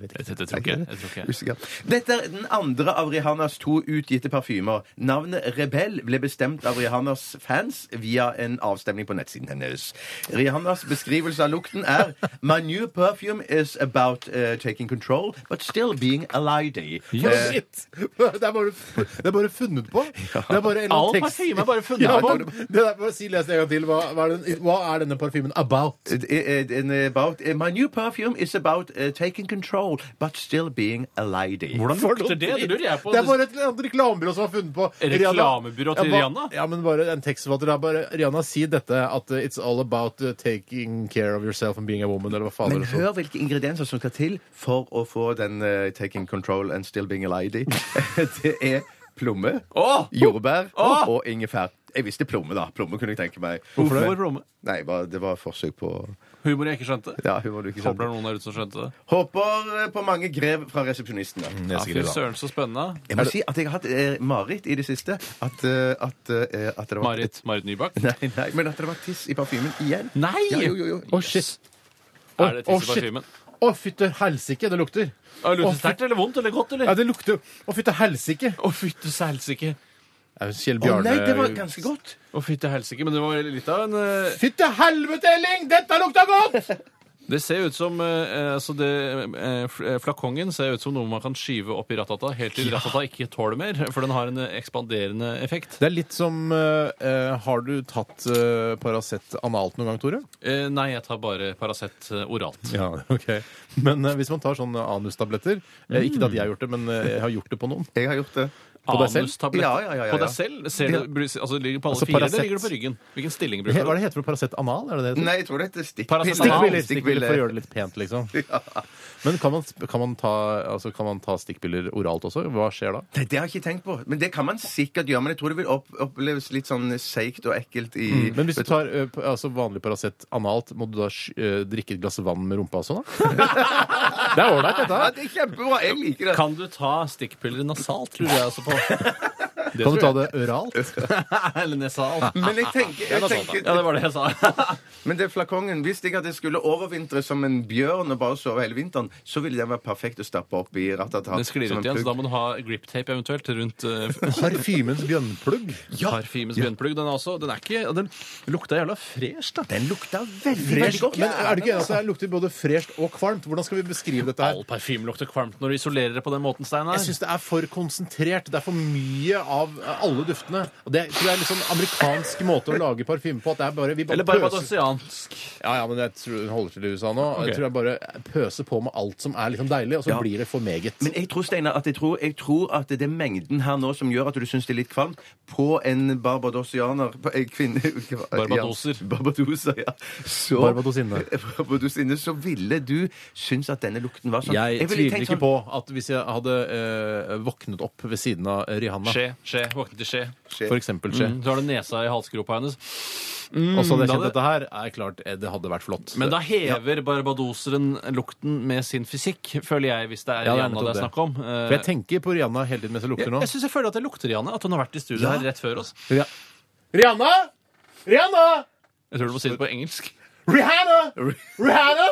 B: Det det- det tror ikke jeg. jeg. tror ikke jeg.
C: Usikker. Dette er den andre av Rihannas to utgitte parfymer. Navnet Rebell ble bestemt av Rihannas fans via en avstemning på nettsiden hennes. Rihannas beskrivelse av lukten er My new perfume is about eh, taking control, but still being a lady.
A: Ja, shit! Det er bare, det er bare funnet på. Det er bare en
B: All
A: tekst-
B: parfyme er bare funnet
A: Ja,
B: på.
A: bare- Det er, bare si les det en gang til. Hva, hva, er den, hva er denne parfymen about?
C: Eh, eh, and about, eh, my new perfume is about eh, taking control, but still being a lady.
B: Hvordan lukter det? Det lurer jeg på.
A: Det er bare et eller annet reklamebyrå som har funnet på
B: Reklamebyrå til
A: Ja, ba-
B: Rihanna?
A: Ja, men bare en tekstforfatter. har Bare Rihanna sier dette at uh, it's all about uh, taking care of yourself and being a woman, eller hva faen
C: Men
A: det er.
C: hør hvilke ingredienser som skal til for å få den eh, taking control and still being a lady. det er plomme,
B: Åh!
C: jordbær
B: Åh!
C: og ingefær. Jeg visste plomme, da. Plomme kunne jeg tenke meg.
B: Hvorfor
C: Men-
B: det? Plomme?
C: Nei, bare- det var forsøk på
B: Humor jeg ikke skjønte?
C: Ja, humor du ikke
B: Håper det er
C: skjønte.
B: noen der ute som skjønte det.
C: Håper eh, på mange grev fra resepsjonistene.
B: Ja, Fy søren, så spennende.
C: Jeg må si at jeg har hatt eh, mareritt i det siste. At, eh, at, eh, at det var
B: Marit, Marit Nybakk?
C: Nei, nei, men at det var tiss i parfymen igjen.
B: Nei!
C: Ja, jo, jo, jo.
A: Å, shit.
B: Er det
A: Å,
B: tiss i
A: shit.
B: parfymen?
A: Å, fytter helsike, det lukter.
B: Er det
A: Å,
B: lukter sterkt eller vondt eller godt,
A: Ja,
B: eller?
A: det lukter Å, fytte helsike.
B: Å, fytte selsike.
A: Det er jo Kjell
C: Å
A: Bjarne
C: nei, det var ganske godt.
B: Å, fytte helsike. Men det var litt av en eh,
A: Fytte helvete, Elling! Dette lukta godt!
B: Det ser ut som eh, altså det, eh, fl- eh, Flakongen ser ut som noe man kan skyve opp i ratata helt til ratata ikke tåler mer, for den har en eh, ekspanderende effekt.
A: Det er litt som eh, eh, Har du tatt eh, Paracet analt noen gang, Tore?
B: Eh, nei, jeg tar bare Paracet eh, oralt.
A: Ja, ok. Men eh, hvis man tar sånne anustabletter eh, Ikke at jeg har gjort det, men eh, jeg har gjort det på noen.
C: Jeg har gjort det.
A: På deg selv?
B: Anustabletter.
C: Ja, ja, ja, ja,
B: På deg
C: ja.
B: selv? Ser du, bru- altså, ligger du på alle
A: Altså,
B: fire,
A: Paracet.
B: eller ligger du på ryggen? Hvilken stilling
A: Hva
B: bruker
A: er
B: du?
A: det heter for Paracet anal? Er det det det heter?
C: Nei, jeg tror det heter stikkpiller.
B: Paracetamol.
A: Stikkpiller,
C: Stikkpiller.
A: stikkpiller for å gjøre det litt pent, liksom. Men kan man, kan man, ta, altså, kan man ta stikkpiller oralt også? Hva skjer da?
C: Nei, det har jeg ikke tenkt på. Men det kan man sikkert gjøre. Men jeg tror det vil opp oppleves litt sånn seigt og ekkelt i
B: Mm.
A: Men hvis du tar ø, p- altså vanlig Paracet analt, må du da sky- ø, drikke et glass vann med rumpa og sånn? da? det er ålreit, dette.
C: Ja,
A: her.
C: det er kjempebra! Jeg liker det.
B: Kan du ta stikkpiller nasalt, lurer jeg altså på?
A: Kan du ta det oralt?
B: eller nesalt?
C: Men jeg tenker, jeg tenker
B: Ja, det var det jeg sa.
C: Men det flakongen, hvis jeg hadde skulle overvintre som en bjørn og bare sove hele vinteren, så ville den være perfekt å stappe opp i ratata.
B: Det sklir
C: som
B: ut
C: en
B: igjen, så da
C: pugg.
B: må du ha griptape eventuelt rundt
A: Parfymens bjønnplugg?
B: ja. parfymens bjønnplugg. Den, er også- den er ikke ja, Den lukta jævla fresh, da.
C: Den lukta veldig, veldig
A: Fresh.
C: godt.
A: Men er det ikke enig at det lukter både fresht og kvalmt? Hvordan skal vi beskrive dette her?
B: All parfyme lukter kvalmt når du isolerer det på den måten, Steinar.
A: Jeg syns det er for konsentrert. Det er for mye av ø, alle duftene. Og det, så det er en litt sånn amerikansk måte å lage parfyme på. At det er bare, vi bare
B: Eller bare
A: pøser-
B: badosiansk.
A: Ja, ja, men jeg tror hun holder til i USA nå. Jeg tror jeg bare pøser på med alt som er liksom deilig, og så blir det for meget.
C: Men jeg tror, Steiner, at jeg tror, jeg tror at det er mengden her nå som gjør at du syns det er litt kvalmt. På en barbadosianer på en kvinne
B: Barbadoser.
C: Ja, barbadoser, ja. Så,
A: Barbadosinne.
C: Barbadosinne, så ville du synes at denne lukten var sånn.
A: jeg
C: ville
A: tviler
C: tenkt
A: ikke
C: sånn-
A: på at hvis jeg hadde eh, våknet opp ved siden av Rihanna,
B: Skje, skje. Våkne til skje.
A: for eksempel skje,
B: Mm, så har du nesa i halsgropa hennes.
A: og så Mm. hadde jeg
B: da
A: kjent
B: det-
A: dette her, er klart eh, det hadde vært flott.
B: Men da hever barbadoseren lukten med sin fysikk, føler jeg, hvis det er
A: Ja, det er
B: Rihanna det er
A: nettopp det.
B: snakk om. Eh,
A: For jeg tenker på Rihanna hele tiden mens jeg lukter
B: jeg,
A: nå.
B: jeg syns jeg føler at jeg lukter Rihanna. At hun har vært i studio her rett før oss.
A: Ri- Rihanna! Rihanna!
B: Jeg tror du må si det på engelsk.
A: Rihanna! Rihanna!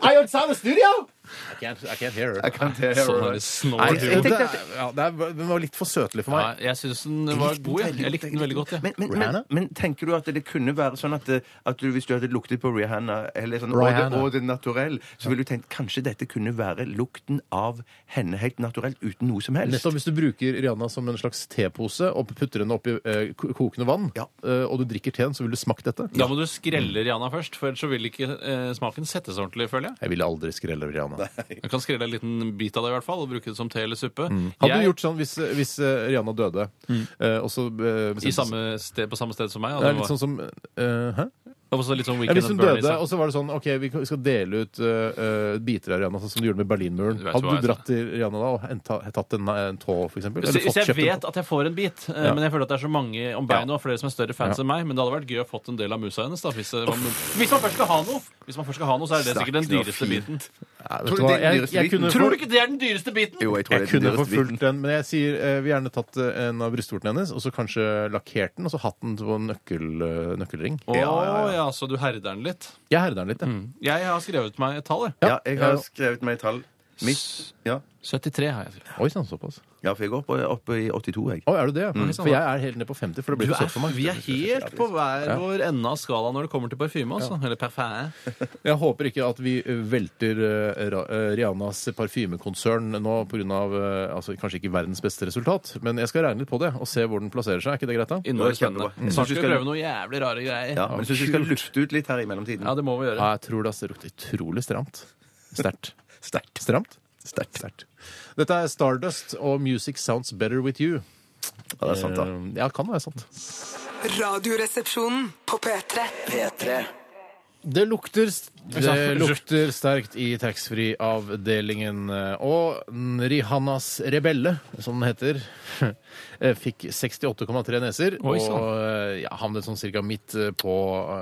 A: Are you outside the studio? I can't, I can't hear her.
C: Jeg kan det,
B: Sånn er det
A: Nei,
B: snår
A: det,
B: humor.
A: det, er- ja, det er, den var litt for søtelig for
B: Ja,
A: meg.
B: jeg syns den var
C: likte
B: god. Jeg,
C: veldig
B: jeg likte den veldig godt. jeg.
C: Men, men, men,
A: Rihanna?
C: men tenker du at det kunne være sånn at, eh, at du, hvis du hadde luktet på Rihanna eller sånn,
A: Rihanna.
C: Og, det, og det naturell, så ville du tenkt kanskje dette kunne være lukten av henne helt naturelt uten noe som helst?
A: Nettopp hvis du bruker Rihanna som en slags tepose og putter henne oppi eh, ko- kokende vann,
C: Ja.
A: eh, og du drikker teen, så vil du smake dette.
B: Da må du skrelle Rihanna først, for ellers så vil ikke eh, smaken settes ordentlig, føler jeg.
A: Jeg ville aldri skrelle Rihanna.
B: Du kan skrelle en liten bit av det i hvert fall, og bruke det som te eller suppe.
A: Hadde
B: Jeg- Mm.
A: du gjort sånn hvis, hvis eh, Rihanna døde, eh, og så eh,
B: i samme sted, på samme sted som meg. altså,
A: Det er litt sånn som eh, Hæ?
B: litt sånn
A: Ja,
B: Weekend
A: hvis hun
B: at
A: døde,
B: Bernie's.
A: og så var det sånn OK, vi kan- vi skal dele ut eh, eh, biter av Rihanna, sånn som du gjorde med Berlinmuren.
B: Du vet
A: Hadde
B: hva
A: du
B: jeg
A: dratt til Rihanna da og henta- tatt en, eh, en tå, for eksempel?
B: Hvis,
A: Eller
B: hvis
A: fått
B: jeg
A: kjøpt en
B: vet at jeg får en bit, eh, men jeg føler at det er så mange om beinet og flere som er større fans enn meg, men det hadde vært gøy å fått en del av musa hennes. da Hvis, eh, man, hvis man først skal ha noe, Hvis man først skal ha noe, så er det sikkert den
C: Snakker
B: dyreste
C: fint.
B: biten.
A: Nei, vet
C: Tror
A: du
C: du
A: hva,
C: det er den
A: jeg,
C: dyreste
A: jeg
C: biten?
A: kunne
B: Tror du ikke det er den dyreste biten?
C: Jo, jeg tror
A: Jeg
C: det
A: kunne
C: er dyrest
A: forfulgt den, men jeg sier eh, vil gjerne tatt eh, en av brystvortene hennes, og så kanskje lakkert den, og så hatt den på en nøkkel, eh, nøkkelring.
B: Å ja, så du herder den litt.
A: Jeg herder den litt, jeg.
B: Jeg har skrevet meg et tall, jeg.
C: Ja, jeg har
A: Ja.
C: skrevet meg et tall. Mitt. Ja.
B: 73 har jeg skrevet.
A: Oi sann, såpass.
C: ja, for jeg går opp, opp i 82, jeg.
A: Å, er du det?
C: Mm.
A: For jeg er helt ned på 50, for det blir
B: Du
A: for søtt for
B: er,
A: meg.
B: vi er helt på hver vår ende av skalaen når det kommer til parfyme. Altså. Eller parfait.
A: Jeg håper ikke at vi eh, velter eh, Ra- eh, Rihannas parfymekonsern nå pga. Altså, kanskje ikke verdens beste resultat, men jeg skal regne litt på det og se hvor den plasserer seg. Er ikke det greit, da?
B: Innmari
C: Det er kjempebra.
B: spennende. Mm.
C: Jeg synes
B: Snart skal
C: vi
B: vi
C: skal-
B: prøve noe jævlig rare greier.
C: Ja, men jeg syns vi skal lufte ut litt her i mellomtiden.
B: Ja, det må vi gjøre.
A: Ja, jeg tror det altså lukter utrolig stramt. Sterkt.
C: Sterkt.
A: Stramt.
C: Sterkt.
A: Dette er Stardust og Music Sounds Better With You.
C: Ja, det er sant, da.
A: Eh, Ja, kan være sant.
E: Radioresepsjonen på P3.
F: P3
A: Det lukter, s- det lukter sterkt i taxfree-avdelingen. Og Rihannas Rebelle, som den heter, eh, fikk 68,3 neser.
B: Oi, sann.
A: og ja, havnet sånn cirka midt eh, på,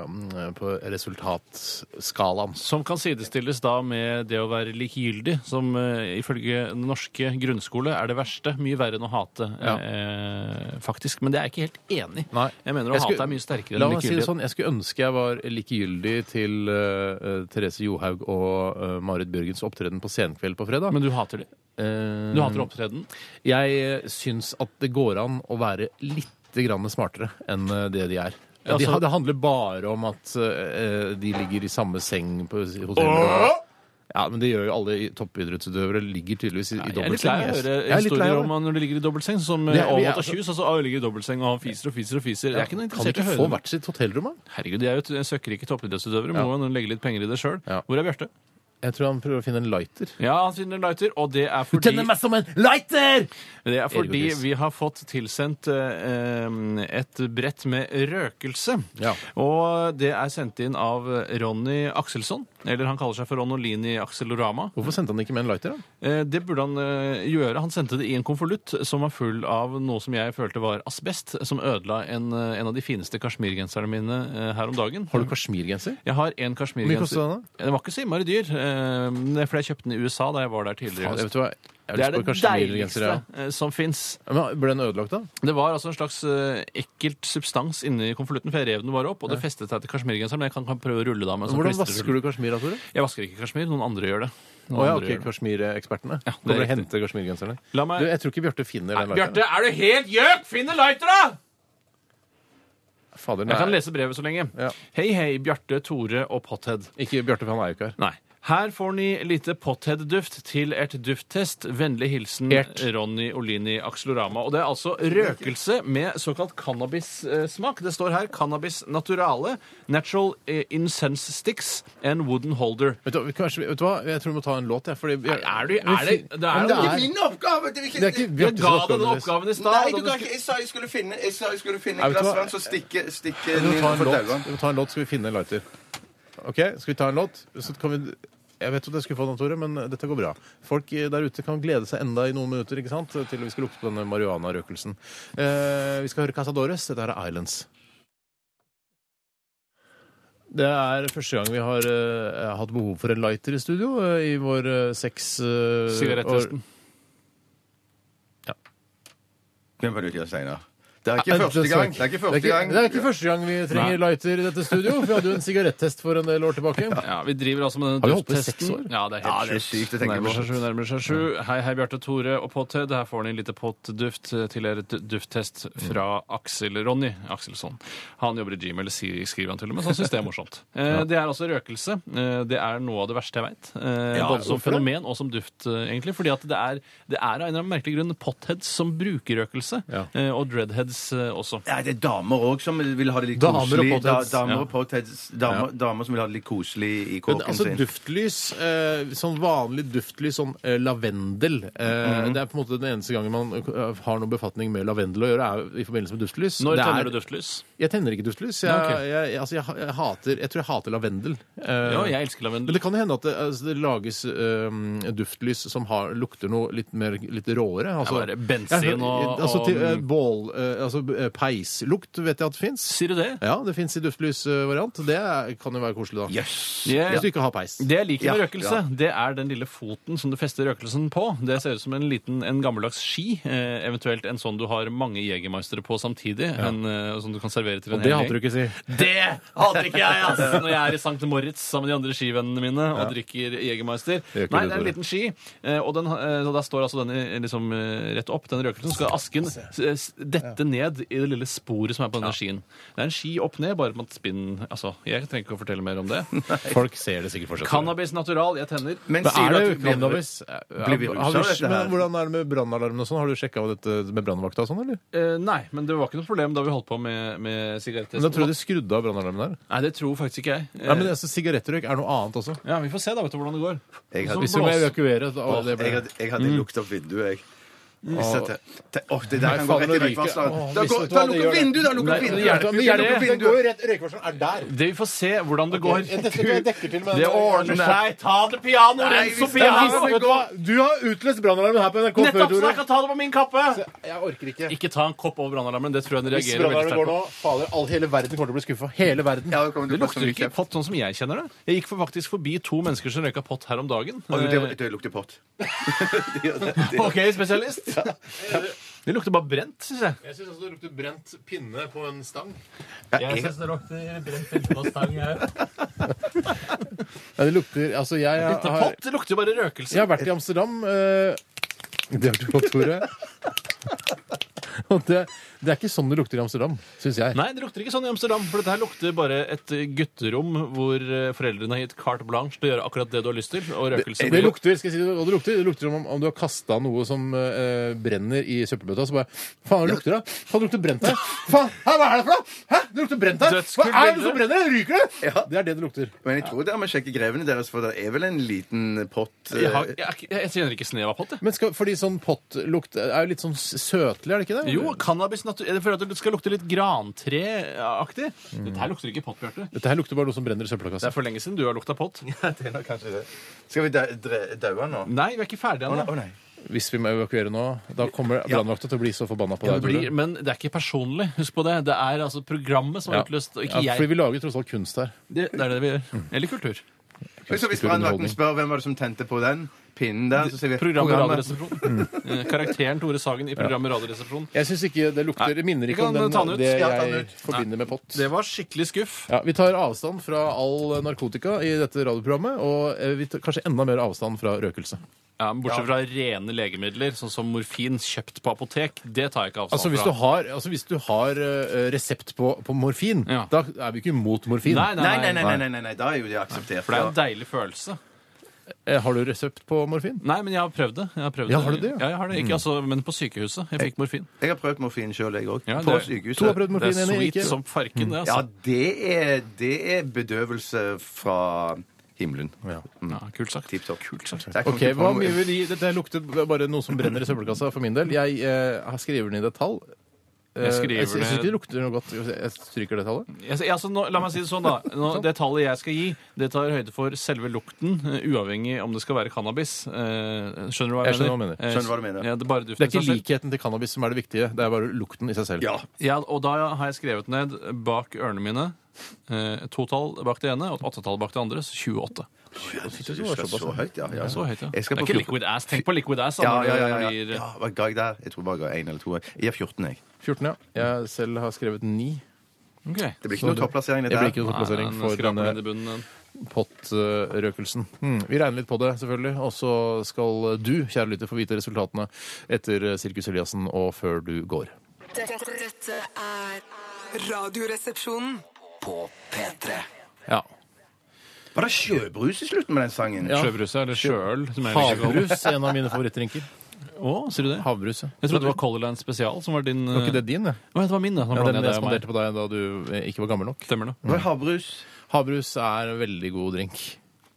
A: eh, på resultatskalaen.
B: Som kan sidestilles da med det å være likegyldig, som eh, ifølge den norske grunnskole er det verste. Mye verre enn å hate,
A: Ja.
B: eh, faktisk. Men det er jeg ikke helt enig i.
A: Nei.
B: Jeg mener å
A: Jeg skulle-
B: hate er mye sterkere
A: La
B: enn
A: meg si det
B: likegyldighet.
A: sånn, Jeg skulle ønske jeg var likegyldig til eh, eh, Therese Johaug og eh, Marit Bjørgens opptreden på Senkveld på fredag.
B: Men du hater det?
A: Eh,
B: Du hater opptreden?
A: Jeg eh, syns at det går an å være litt grann smartere enn eh, det de er.
B: Ja,
A: de,
B: så-
A: det handler bare om at eh, de ligger i samme seng på s- hotellet. Ja, men det gjør jo alle i- toppidrettsutøvere. Ligger tydeligvis i, i
B: Jeg er litt lei
A: dobbeltseng.
B: av å
A: yes. Jeg
B: høre
A: er litt lei
B: historier
A: av
B: om
A: det.
B: han når de ligger i dobbeltseng, som
A: Det er- vi er-
B: Aamodt og Kjus. Altså, «Å, jeg ligger i dobbeltseng, og han fiser og fiser og fiser. Jeg er ikke
A: Kan de
B: noe
A: ikke
B: interessert i å
A: få
B: høre det.
A: hvert sitt hotellrom? da?
B: Herregud, de er jo t- søkkrike toppidrettsutøvere. Må jo legge litt penger i det sjøl.
A: Ja.
B: Hvor er Bjarte?
A: Jeg tror han prøver å finne en lighter.
B: Ja, han finner en lighter, og det er fordi
A: meg som en lighter!
B: Det er
A: Erik
B: fordi
A: og Chris.
B: vi har fått tilsendt eh, eh, et brett med røkelse.
A: Ja.
B: Og det er sendt inn av Ronny Akselsson. Eller han kaller seg for Ronolini Akselorama.
A: Hvorfor sendte han ikke med en lighter? da?
B: Eh, det burde han eh, gjøre. Han sendte det i en konvolutt som var full av noe som jeg følte var asbest, som ødela en, eh, en av de fineste kasjmirgenserne mine eh, her om dagen.
A: Har du kasjmirgenser?
B: Jeg har en
A: Hvor mye kostet
B: kasjmirgenser.
A: den, da?
B: Den var ikke så innmari dyr, eh, men det er fordi jeg kjøpte den i USA da jeg var der tidligere. i
A: Ja,
B: høst.
A: vet du hva? Jeg har lyst
B: det er
A: på
B: det
A: kasjmirgenser,
B: deiligste
A: ja.
B: eh, som fins.
A: Men Ble den ødelagt, da?
B: Det var altså en slags eh, ekkelt substans inni konvolutten, for jeg rev den bare opp, og det festet seg til kasjmirgenseren. Men jeg kan, kan prøve å rulle det av med en sånn
A: Hvordan vasker du kasjmir, da, Tore?
B: Jeg vasker ikke kasjmir. Noen andre gjør det. Noen
A: Å ja,
B: andre
A: ok,
B: gjør det.
A: kasjmirekspertene.
B: Ja, det er
A: Kommer og
B: riktig.
A: henter kasjmirgenserne.
B: La meg-
A: Du, jeg tror ikke Bjarte finner den
B: Bjarte, er du helt gjøk?! Finn en lighter, da!
A: Fader,
B: Jeg kan
A: nei.
B: lese brevet så lenge.
A: Ja.
B: Hei, hei, Bjarte, Tore og Pothead.
A: Ikke Bjarte, for han er jo ikke her.
B: Nei. Her får ni lite Pothead-duft til ert dufttest. Vennlig hilsen
A: Ert.
B: Ronny Olini Axlorama. Og det er altså røkelse med såkalt cannabissmak. Det står her cannabis naturale, natural eh, incense sticks and wooden holder.
A: Vet du, hva, kanskje, vet du hva, jeg tror vi må ta en låt, jeg. Fordi, jeg
B: Er du- er det- det er-
A: Men
B: det
C: Det er min oppgave! Det er ikke,
A: det er ikke
B: Jeg
A: Bjarte
B: ga
A: som
B: deg den
A: skal
B: oppgaven i stad.
C: Nei,
B: da
C: du
B: du
C: kan
B: skulle-
C: ikke Jeg sa jeg skulle finne Jeg sa jeg skulle finne
A: Nei,
C: et
A: vet du
C: glass
A: hva?
C: vann, så stikke, stikke
A: Vi må ta en
C: for
A: låt.
C: tauene.
A: Vi må ta en låt, skal vi finne en lighter. OK, skal vi ta en låt? Så kan vi jeg vet at jeg skulle få den, Tore, men dette går bra. Folk der ute kan glede seg enda i noen minutter ikke sant? til vi skal lukte på denne marihuanarøkelsen. Eh, vi skal høre Casadores. Dette her er Islands. Det er første gang vi har eh, hatt behov for en lighter i studio eh, i vår eh, seks eh,
B: Sigarettesten.
C: Den var du til senere. Det er
A: år-
C: ikke første gang. Det er ikke første
A: Det er
C: gang.
A: ikke, det er ikke første gang vi trenger lighter i dette studio. for Vi hadde jo en sigarettest for en del år tilbake.
B: Ja, Vi driver altså med denne
A: Har vi holdt på i
B: dufttesten.
A: seks år?
B: Ja, det er
C: Ja,
B: helt
C: det er sykt å tenke
B: nærmer seg
C: på.
B: sju, nærmer seg sju. Hei, hei, Bjarte, Tore og Potted. Her får ni litt pottduft til dere d- dufttest fra
A: Mm.
B: Aksel Ronny Akselsson. Han jobber i Gmail, sier- skriver han til og med, så han syns det er morsomt. Eh, Det er altså røkelse. Eh, Det er noe av det verste jeg veit. Både som
A: hvorfor det?
B: fenomen og som duft, eh, egentlig. Fordi at det er, det er av en eller annen merkelig grunn potheads som bruker røkelse,
A: Ja.
B: eh, og dreadheads eh, også.
C: Nei, det er damer òg som vil ha det litt
A: Damer og
C: koselig. Da,
A: potheads.
C: damer,
B: Ja.
C: og potheads. Damer, damer som vil ha det litt koselig i
A: Men
C: kåken
A: altså
C: sin.
A: duftlys, eh, sånn vanlig duftlys, sånn eh, lavendel eh,
B: Mhm.
A: Det er på en måte den eneste gangen man eh, har noen befatning med lavendel å gjøre, er i forbindelse med duftlys.
B: Når
A: Det
B: tenner
A: er-
B: du duftlys?
A: Jeg tenner ikke duftlys. Jeg,
B: Ja, ok.
A: jeg, jeg, altså, jeg, ha- jeg, hater, jeg tror jeg hater lavendel. Eh,
B: Ja, jeg elsker lavendel.
A: Men det kan jo hende at det, altså, det lages eh, duftlys som har, lukter noe litt, mer, litt råere. Altså,
B: Ja, bare bensin
A: Jeg hører-
B: og-
A: altså, til, eh,
B: og-
A: bål, eh, altså, eh, Peislukt vet jeg at fins.
B: Sier du det?
A: Ja, det fins i duftlysvariant. Det er- kan jo være koselig, da.
C: Jøss!
B: Jeg-
A: Hvis du ikke har peis.
B: Det jeg liker med
C: Ja,
B: røkelse, det er den lille foten som du fester røkelsen på. Det ser ut som en liten, en gammeldags ski, eh, eventuelt en sånn du har mange jegermeistere på samtidig, en, eh, som du kan servere til en
A: Og det
B: hel
A: hater du
B: gjeng.
A: ikke, si.
B: Det hater ikke jeg, ass! Når jeg er i St. Moritz sammen med de andre skivennene mine og drikker Jegermeister.
A: Det gjør ikke
B: Nei,
A: du,
B: det er en
A: Tore.
B: liten ski, eh, og den, eh, og der står altså den i- liksom eh, rett opp, den røkelsen. Skal asken eh, s- dette ned i det lille sporet som er på denne skien. Det er en ski opp ned, bare med at spinnen Altså, jeg trenger ikke å fortelle mer om det.
A: Folk ser det sikkert fortsatt.
B: Cannabis natural, jeg tenner.
C: Men
A: Men
C: sier
A: er
C: du at
A: det
C: du blir-
A: cannabis?
C: Blir vi ruset
A: Har
C: av dette her?
A: men hvordan er det med brannalarmen og sånn? Har du sjekka dette med brannvakta og sånn, eller?
B: Eh, nei, men det var ikke noe problem da vi holdt på med, med sigaretter.
A: Men da tror jeg de skrudde av brannalarmen der.
B: Nei, det tror faktisk ikke jeg. Eh,
A: Nei, men altså, Sigarettrøyk er noe annet også.
B: Ja, Vi får se da, vet du hvordan det går.
C: Jeg
B: Så
C: hadde-
A: Hvis du må
B: blås.
A: evakuere da,
C: Jeg
A: det ble...
C: hadde, jeg hadde lukt opp vinduet, jeg. Hvis at det- det- Åh, det der
A: Nei,
C: kan gå rett i
A: faen, nå ryker-
C: røykvarsleren.
A: Åh,
C: Da
A: hvis
C: går-
A: vet du
C: da lukker
A: hva, det gjør det.
C: vinduet! Da
B: Nei,
C: lukker
B: det
C: vinduet!
B: hjelper
C: Da
B: ikke, det er
C: lukker
B: det.
C: vinduet!
A: rett, Røykvarsleren er der!
B: Det Vi får se hvordan det går.
A: dekker til med
B: Det ordner seg! Ta det piano,
C: Nei,
B: Renzo
C: hvis det er
B: piano!
C: hvis-
A: Vet du hva? Du har utløst brannalarmen her på NRK før,
B: Nettopp, så
A: Tore.
B: jeg kan ta det på min kappe!
A: Jeg orker ikke.
B: Ikke ta en kopp over brannalarmen. Det tror jeg den
A: Hvis
B: reagerer veldig
A: brannalarmen går nå,
B: sterkt på.
A: fader, all, hele verden kommer til å bli skuffa. Hele verden.
C: Ja, det kommer til
B: Det
C: å koste
B: lukter
C: mye
B: ikke
C: kjeft.
B: pott sånn som jeg kjenner det. Jeg gikk for- faktisk forbi to mennesker som røyka pott her om dagen.
C: Åh, det-
B: Eh,
C: det- Det lukter pott. Det gjør det. Det-
B: OK, spesialist. Det lukter bare brent, syns jeg.
A: Jeg syns også det lukter brent pinne på en stang.
C: jeg-
B: syns det lukter brent pinne på stang her.
A: Ja, det lukter Altså, jeg har,
B: Pott det lukter jo bare røkelse.
A: jeg har vært i Amsterdam. eh, det har du òg, Tore. Og det, det er ikke sånn det lukter i Amsterdam, syns jeg.
B: Nei, det lukter ikke sånn i Amsterdam. For dette her lukter bare et gutterom hvor eh, foreldrene har gitt carte blanche til å gjøre akkurat det du har lyst til. Og røkelse
A: Det lukter skal jeg si, det, og det lukter, det lukter som om, om du har kasta noe som eh, brenner i søppelbøtta. Så bare Faen, det lukter da! Faen, det lukter brent her! Faen, hæ, Hva er det for noe?! Hæ? Det lukter brent her! Hva
B: Dødskult
A: er det
B: bilde.
A: som brenner? Ryker det?!
C: Ja.
A: Det er det det lukter.
C: Men jeg tror dere må sjekke grevene deres, for det er vel en liten pott eh.
B: Jeg, har, jeg, er ikke- jeg kjenner ikke snev av pott. Jeg.
A: Men skal, fordi sånn pottlukt er jo litt sånn s- søtlig, er det ikke det?
B: Jo, cannabis natu- Jeg føler at det skal lukte litt grantreaktig. Dette her lukter ikke pott, Bjarte.
A: Dette her lukter bare noe som brenner i
B: Det er
A: søppelkassa.
B: for lenge siden du har lukta pott.
C: Skal vi dø- dre- daue nå?
B: Nei, vi er ikke ferdige
C: Å nei,
B: ennå.
C: å nei.
A: Hvis vi må evakuere nå, da kommer brannvakta til å bli så forbanna på
B: Det
A: deg.
B: blir,
A: Tore.
B: men det er ikke personlig. Husk på det. Det er altså programmet som har
A: Ja.
B: utløst, og
A: Ja,
B: ikke
A: fordi
B: jeg.
A: vi lager tross alt kunst her.
B: Det, det er det vi gjør. Eller kultur.
C: Men så hvis brannvakten spør hvem var det som tente på den pinnen der, så sier vi
B: Programmet Radioresepsjonen.
A: Mm.
B: Eh, Karakteren Tore Sagen i programmet Radioresepsjonen.
A: Jeg syns ikke det lukter Det minner ikke
B: Vi
A: om
B: kan
A: den,
B: ta den ut.
A: det
B: Ja, ta den
A: jeg
B: ut.
A: forbinder med pott.
B: Det var skikkelig skuff.
A: Ja, Vi tar avstand fra all narkotika i dette radioprogrammet, og eh, vi tar kanskje enda mer avstand fra røkelse.
B: Ja, men Bortsett fra rene legemidler, sånn som morfin kjøpt på apotek. Det tar jeg ikke avstand
A: Altså Hvis du
B: fra.
A: har, altså, hvis du har eh, resept på, på morfin,
B: Ja.
A: da er vi ikke imot morfin.
B: Nei, nei,
C: Nei, nei,
B: nei.
C: nei, nei, nei, nei, nei, da er jo det akseptert.
B: For det er
C: ja.
B: en deilig følelse.
A: Eh, Har du resept på morfin?
B: Nei, men jeg har prøvd det. Jeg har prøvd
A: Ja, har du det, ja? Mm.
B: Ja, jeg har det. Ikke altså, men på sykehuset. Jeg fikk morfin.
C: Jeg har prøvd morfin sjøl, jeg òg.
B: Ja, det
C: På
B: er-
C: sykehuset.
A: To har prøvd
B: Det
A: morfin,
B: er
A: en
B: sweet
A: ikke.
B: som farken, det.
C: Ja,
B: altså.
C: det er, det er bedøvelse fra himmelen.
A: Ja.
B: Ja, kult sagt.
C: Tipp topp.
B: Kult sagt.
C: Der kom
A: Ok,
C: det på
A: hva
C: noe-
A: mye vil de- Dette lukter bare noe som brenner i søppelkassa for min del. Jeg eh, skriver den i detalj. Eh,
B: Jeg skriver
A: jeg sy- jeg syns
B: ned-
A: ikke det lukter noe godt. Jeg stryker det tallet.
B: Jeg- jeg- altså, nå, la meg si det sånn, da. Nå, det tallet jeg skal gi, det tar høyde for selve lukten, eh, uavhengig om det skal være cannabis. Eh, skjønner du hva jeg,
A: Jeg skjønner hva du mener.
B: mener? Eh,
C: Skjønner hva du mener.
B: Ja, det er bare duften
A: Det er
B: i seg
A: ikke
B: selv.
A: likheten til cannabis som er det viktige. Det er bare lukten i seg selv.
C: Ja.
B: Ja, og da har jeg skrevet ned bak ørene mine eh, to tall bak det ene og et åttetall bak det andre, så 28.
C: Jeg synes det var så høyt, ja. ja.
B: Så høyt, altså. ja.
C: Jeg
B: Det
C: skal
B: er
C: på
B: ikke
C: 14.
B: liquid ass. Tenk på liquid ass. da,
C: Ja,
B: når
C: ja,
B: det
C: ja, ja.
B: blir-
C: ja. Hva ga jeg der? Jeg tror bare jeg ga én eller to. Jeg gir 14, jeg.
A: 14, ja. Jeg selv har skrevet 9.
B: eh, Ok.
C: Det blir ikke noe topplassering,
A: Det
C: dette
A: blir ikke
C: her.
A: noen plassering
B: Nei, den
A: for
B: skraper
A: denne
B: ned i bunnen, den.
A: pottrøkelsen. Hmm, vi regner litt på det, selvfølgelig. Og så skal du, kjære lytter, få vite resultatene etter Sirkus Eliassen og før du går.
E: Dette, dette er Radioresepsjonen.
F: På P3
A: Ja.
C: Var det sjøbrus i slutten med den sangen?
A: Ja.
B: Sjøbruset, eller sjøøl, som jeg liker å kalle det.
A: Havbrus, en av mine favorittdrinker.
B: Å, sier du det?
A: Havbrus, ja.
B: Jeg trodde det var Color Line Spesial som var din eh,
A: Var ikke det din, det?
B: Å, det var min, det. Nå
A: Ja,
B: blander
A: den
B: jeg
A: jeg
B: deg og meg.
A: spanderte på deg da du eh, ikke var gammel nok.
B: Stemmer det.
C: Var det havbrus?
A: Havbrus er en veldig god drink.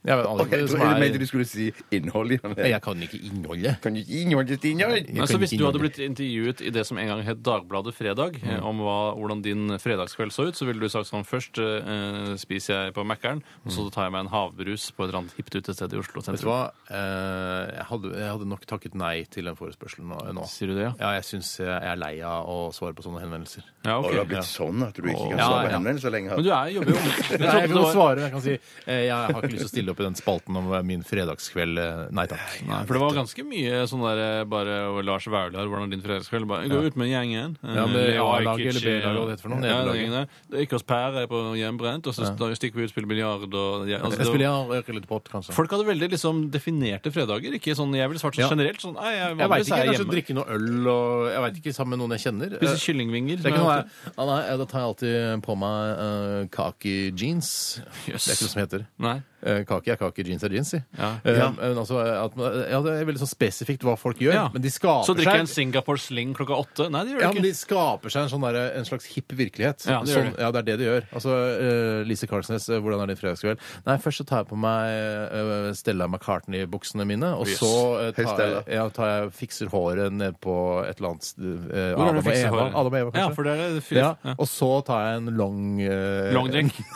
A: Jeg vet aldri
C: Ok, jeg
A: hva
C: tror- jeg
A: som
C: mente du
A: er
C: skulle si innholdet. i den.
A: Jeg kan ikke innholdet.
C: Kan du ikke innholdet til innhold?
B: Altså,
A: kan
B: hvis
A: ikke
B: du hadde
A: innrømme
B: blitt intervjuet i det som en gang het Dagbladet Fredag, eh, om hva, hvordan din fredagskveld så ut, så ville du sagt sånn Først eh, spiser jeg på Mækkern, og så tar jeg meg en havbrus på et eller annet hipt utested i Oslo
A: Mm. Vet du
B: sentrum.
A: hva? Eh, Jeg hadde, jeg hadde nok takket nei til den forespørselen nå- nå.
B: Sier du det, ja?
A: Ja, jeg syns jeg er lei av å svare på sånne henvendelser.
B: Ja,
C: Å,
B: ok.
C: det har blitt sånn at du ikke kan
B: Ja,
C: svare
B: ja.
C: på henvendelser lenger.
B: Men du er, jobber jo Jeg
A: Nei, jeg
B: trodde
A: kan
B: det var
A: svare, men jeg kan si eh, jeg har ikke lyst til å stille stille opp i den spalten om eh, min fredagskveld. eh, Nei takk.
B: Nei, for det var ganske mye sånn der eh, bare og Lars Vaular, hvordan din fredagskveld bare, Gå ut med gjengen.
A: Ja, med
B: Eh,
A: A-laget
B: Ajkic,
A: eller B-laget, hva det heter for noe,
B: Ja, den
A: nederlaget.
B: gjengen der. Det gikk oss pære på hjemmebrent, og så st- stikker vi ut og spiller biljard og ja, altså,
A: Jeg
B: det
A: spiller
B: var-
A: ja, røyker litt pott, kanskje.
B: Folk hadde veldig liksom definerte fredager. Ikke sånn, Jeg ville svart sånn
A: Ja.
B: generelt. sånn, nei, jeg,
A: Jeg veit
B: vanligvis
A: ikke.
B: er jeg
A: Kanskje
B: hjemme.
A: drikke noe øl og Jeg veit ikke, sammen med noen jeg kjenner.
B: Spise
A: Eh,
B: kyllingvinger.
A: Det er ikke noe
B: som jeg
A: jeg, ja, nei, da tar jeg alltid på meg eh, kaki jeans.
B: Jøss.
A: Det er ikke noe som heter.
B: Nei.
A: Eh, kaki er kake, jeans er jeans, si.
B: Ja.
A: Eh,
C: Ja.
A: men altså, at, man- ja, det er veldig sånn spesifikt hva folk gjør,
B: Ja.
A: men de skaper
B: Så drikker jeg en
A: seg
B: Singapore Sling klokka åtte. Nei, det gjør
A: ja,
B: jeg
A: men
B: ikke.
A: De skaper seg en, sånn derre- en slags hipp virkelighet.
B: Ja, det gjør
A: sånn,
B: de.
A: ja, det er det de gjør. Altså, eh, Lise Karlsnes, eh, hvordan er din fredagskveld? Nei, Først så tar jeg på meg eh, Stella McCartney-buksene mine, og
B: Yes.
A: så eh,
C: Hei,
A: tar,
C: Stella.
A: jeg, ja, tar jeg fikser håret ned på et eller annet sted, eh,
B: Hvordan
A: Adam, og
B: fikser
A: Eva,
B: håret?
A: Adam og Eva,
B: Ja,
A: kanskje.
B: for det er det fyr.
A: Ja,
B: Ja.
A: og så tar jeg en long eh,
B: Longdrink.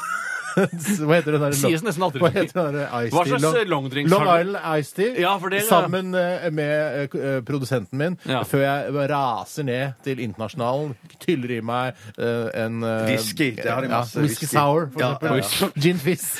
A: Hva heter den der?
B: Sies nesten aldri.
A: Hva heter den der ice
B: Hva
A: tea?
B: slags longdrinks
A: Long
B: har du?
A: Island Ice Tea.
B: Ja, for det, ja.
A: Sammen eh, med eh, k- eh, produsenten min.
B: Ja.
A: Før jeg raser ned til Internasjonalen, tyller i meg eh, en eh,
C: Whisky, det har de masse
A: Ja, whisky
C: whisky.
A: sour, for
C: Ja, ja,
A: eksempel. Gin fizz.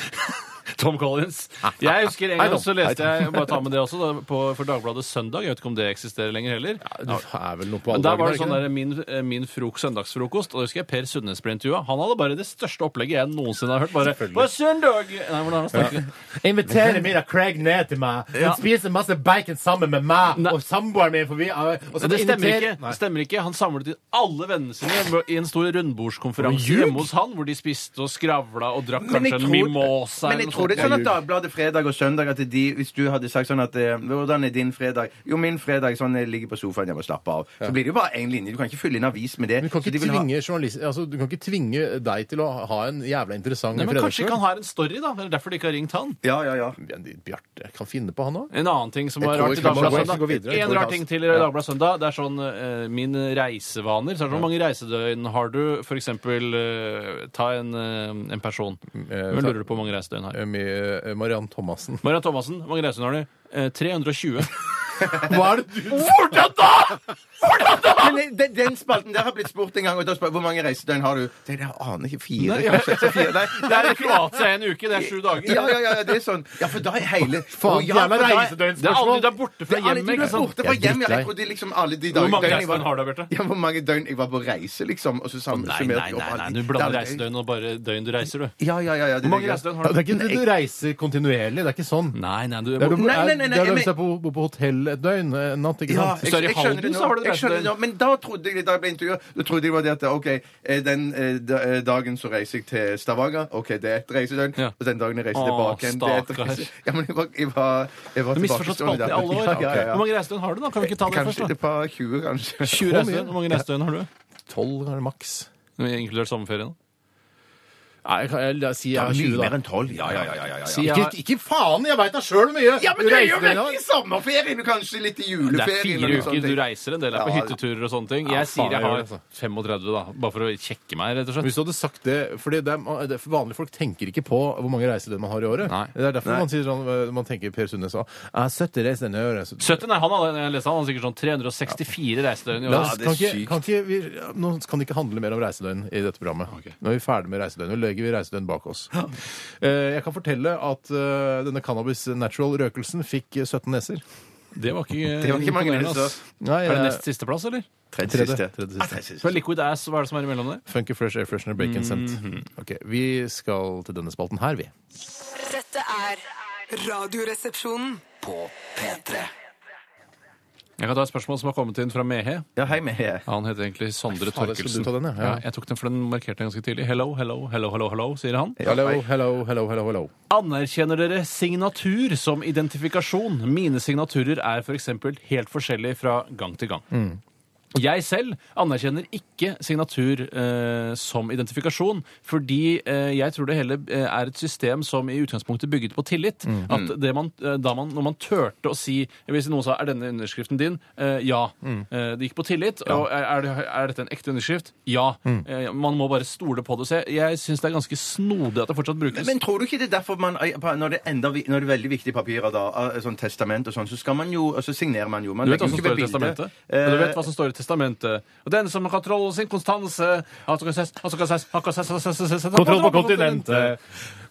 B: Tom Collins. Jeg husker en
A: Ah, I
B: gang
A: don't-
B: så
A: I
B: leste
A: don't-
B: jeg bare ta med det også, da, på, for Dagbladet Søndag. Jeg vet ikke om det eksisterer lenger heller.
A: Det er vel noe på
B: Men der var det sånn
A: dager, er
B: der, min, eh, min frok, søndagsfrokost, og da husker jeg Per Sundnes ble intervjua. Han hadde bare det største opplegget jeg noensinne har hørt. Bare på søndag! Nei, hvordan er det han snakker?
A: ikke det? Inviterer middag Craig ned til meg. Hun
B: Ja.
A: spiser masse bacon sammen med meg
B: Nei.
A: og samboeren min. For vi, er- og så
B: Det stemmer
A: inviterer-
B: ikke.
A: Nei.
B: Det stemmer ikke. Han samlet inn alle vennene sine i en stor rundbordskonferanse
A: Ljug!
B: hjemme hos han, hvor de spiste og skravla og drakk
C: Men jeg
B: kanskje en
C: tror-
B: mimosa
C: Men jeg tror det er sånn at Dagbladet fredag og søndag at de, Hvis du hadde sagt sånn at eh, Hvordan er din fredag? Jo, min fredag sånn jeg ligger på sofaen hjemme og slapper av. Så blir det jo bare én linje. Du kan ikke fylle inn avis med det.
A: Men Du kan,
C: Så de
A: ikke
C: vil ha-
A: tvinge journalist- altså, du kan ikke tvinge deg til å ha en jævla interessant
B: Nei, men kanskje ikke
A: fredagskveld.
B: han har en story, da. Det er derfor de ikke har ringt han.
C: Ja, ja, ja.
A: Ja, de- Bjarte kan finne på, han òg.
B: En annen ting som var
A: tror
B: rart i
A: ikke man
B: Dagbladet
A: må gå- gå
B: Søndag.
A: videre. Jeg
B: En
A: tror
B: rar
A: ikke
B: ting
A: han-
B: til i Dagbladet Søndag. Det er sånn eh, min reisevaner. Så er det sånn, hvor mange reisedøgn har du? For eksempel eh, ta en, eh, en person.
A: Mm,
B: Hvem lurer du på hvor mange reisedøgn har?
A: eh, Med Mariann Thomassen.
B: Maria Thomassen, hvor mange reisedøgn har du? Eh, 320.
A: Hva er det du
B: Hvordan da?!
C: Men eh, den, den spalten der har blitt spurt en gang. Og da spør, hvor mange reisedøgn har du? Det, det aner ikke. Fire?
B: Nei,
C: Nei,
B: ja.
C: kanskje, fire? Nei,
B: Det er i Kroatia en uke. Det er sju dager.
C: Ja, ja, ja, ja, det er sånn. Ja, for da er hele
A: Faen,
C: Å, ja,
A: jævla
C: for da er-
A: reisedøgn.
B: Det er alle de der borte
C: Det
B: fra
C: er alle
B: hjemmet.
C: de du
B: ikke
C: er
B: sant?
C: borte
A: Jeg
C: fra
A: er
C: hjem. Jeg
A: drittlei.
C: trodde liksom alle de
B: Hvor
C: dagene
B: mange
C: jeg var-
B: reisedøgn har du, Bjarte?
C: Ja, hvor mange døgn jeg var på reise, liksom. Og så sammen
B: Nei,
C: summerte
B: nei,
C: jeg opp
B: nei,
C: alle de-
B: nei, du blander
C: Ja, det-
B: reisedøgn og bare døgn du reiser, du.
C: Ja, ja, ja, ja. det er
B: Hvor mange
C: det.
A: Ja,
B: reisedøgn har
A: Det
B: du?
A: er ikke det du reiser kontinuerlig. Det er ikke sånn.
B: Nei, nei, du
A: Det er du,
C: Nei, nei, nei,
A: er-
C: nei,
A: det er du
C: jeg
A: hvis du er på, bor på hotell et døgn, eh, en natt, ikke
C: Ja, jeg,
A: sant?
B: Så er det
C: jeg
B: i
C: skjønner det
B: Halden, så
C: nå.
B: har du det
C: Jeg skjønner det nå.
B: reisedøgn.
C: Men da trodde jeg da jeg ble intervjuet, da trodde jeg det var det at OK, eh, den eh, da- eh, dagen så reiser jeg til Stavanger. OK, det er et reisedøgn.
B: Ja.
C: Og den dagen jeg reiser
B: Åh,
C: tilbake igjen, det er et
B: stakkar.
C: reise... Ja, men jeg var, jeg var, jeg var
B: Du har misforstått
C: tilbakestående
B: spalten i
C: der.
B: alle
C: Ja,
B: år.
C: ja, ja.
B: Hvor mange reisedøgn har du, da? Kan vi ikke ta det
C: Kanskje
B: først,
C: et
B: da?
C: par 20, kanskje.
B: 20 reisedøgn. Hvor mange reisedøgn har du?
A: Tolv ganger maks.
B: Inkludert sommerferien.
A: Nei, jeg, kan- jeg, jeg sier jeg har 20, da.
C: 12. Ja, ja, ja. ja, ja, ja.
B: jeg har-
A: Ikke, ikke faen, jeg veit da sjøl hvor mye!
C: Ja, men du er jo
A: reisedøgn jeg
C: vekk
A: har.
C: i sommerferien, og kanskje litt i
B: Det er
C: juleferien.
B: fire
C: eller noe
B: uker,
C: sånt.
B: du reiser en del. Det er på
C: Ja,
B: hytteturer og sånne ting.
A: Ja,
B: Jeg
A: faen,
B: sier
A: jeg
B: jeg
A: gjør
B: har
A: det, altså.
B: 35, da. Bare for å kjekke meg, rett og
A: Hvis
B: slett.
A: du hadde sagt det, fordi det er, det er- Vanlige folk tenker ikke på hvor mange reisedøgn man har i året.
B: Nei.
A: Det er derfor man sier sånn eh, Man tenker Per Sundnes sa 70 reisedøgn i året. så-
B: 70, nei, han hadde, jeg leste han, han hadde sikkert sånn 364 reisedøgn i
A: La
B: året.
A: oss,
C: det er
A: kan ikke,
C: sykt.
A: kan ikke, vi, nå kan det ikke handle mer om reisedøgn i dette programmet.
B: Ok.
A: Nå er vi ferdig med reisedøgn. Nå legger vi reisedøgn bak oss. Eh, Jeg kan fortelle at eh, denne Cannabis Natural-røkelsen fikk eh, 17 neser.
B: Det var ikke,
C: Det var ikke mange
B: imponerende,
C: reiser.
B: ass.
A: Nei,
B: Er det
A: jeg-
B: nest siste plass, eller?
C: Tredje
A: Tredje,
C: siste.
A: tredje
C: Ja,
A: siste.
C: tredje
B: For
C: siste.
B: liquid ass, hva er det som er imellom der?
A: Funky Fresh Air Freshener
C: Mhm.
A: Bacon Scent. Ok, Vi skal til denne spalten her, vi.
E: Dette er Radioresepsjonen.
F: På P3
B: Jeg kan ta et spørsmål som har kommet inn fra Mehe.
C: Ja, hei med her.
B: Han heter egentlig Sondre
A: Faen, skulle
B: Torkelsen.
A: du ta den, ja? Ja.
B: ja. jeg tok den, for den markerte jeg ganske tidlig. Hello, hello, hello, hello, hello, sier han.
A: Hello,
C: hei.
A: hello, hello, hello, hello.
B: Anerkjenner dere signatur som identifikasjon? Mine signaturer er f.eks. For helt forskjellige fra gang til gang. Jeg selv anerkjenner ikke signatur eh, som identifikasjon, fordi eh, jeg tror det hele eh, er et system som i utgangspunktet bygget på tillit. At det man, eh, da man, når man turte å si Hvis noen sa 'er denne underskriften din', eh, ja. Eh, det gikk på tillit. Og er, er, det, er dette en ekte underskrift? Ja. Eh, man må bare stole på det. Så jeg, jeg syns det er ganske snodig at det fortsatt brukes.
C: Men, men tror du ikke det er derfor man eh, Når det, er enda, vi- når det er veldig viktige eh, papirer, da, sånn testament og sånn, så skal man jo Og så signerer man jo. Man
B: Du vet
C: legger
B: hva
C: jo ikke
B: som står i
C: bildet.
B: testamentet?
C: Eh,
B: Du vet hva som står i testamentet. Og den som har troll sin konstanse har skal ses- har skal ses- har skal ses- ses- ses- ses-
A: Kontroll på kontinentet.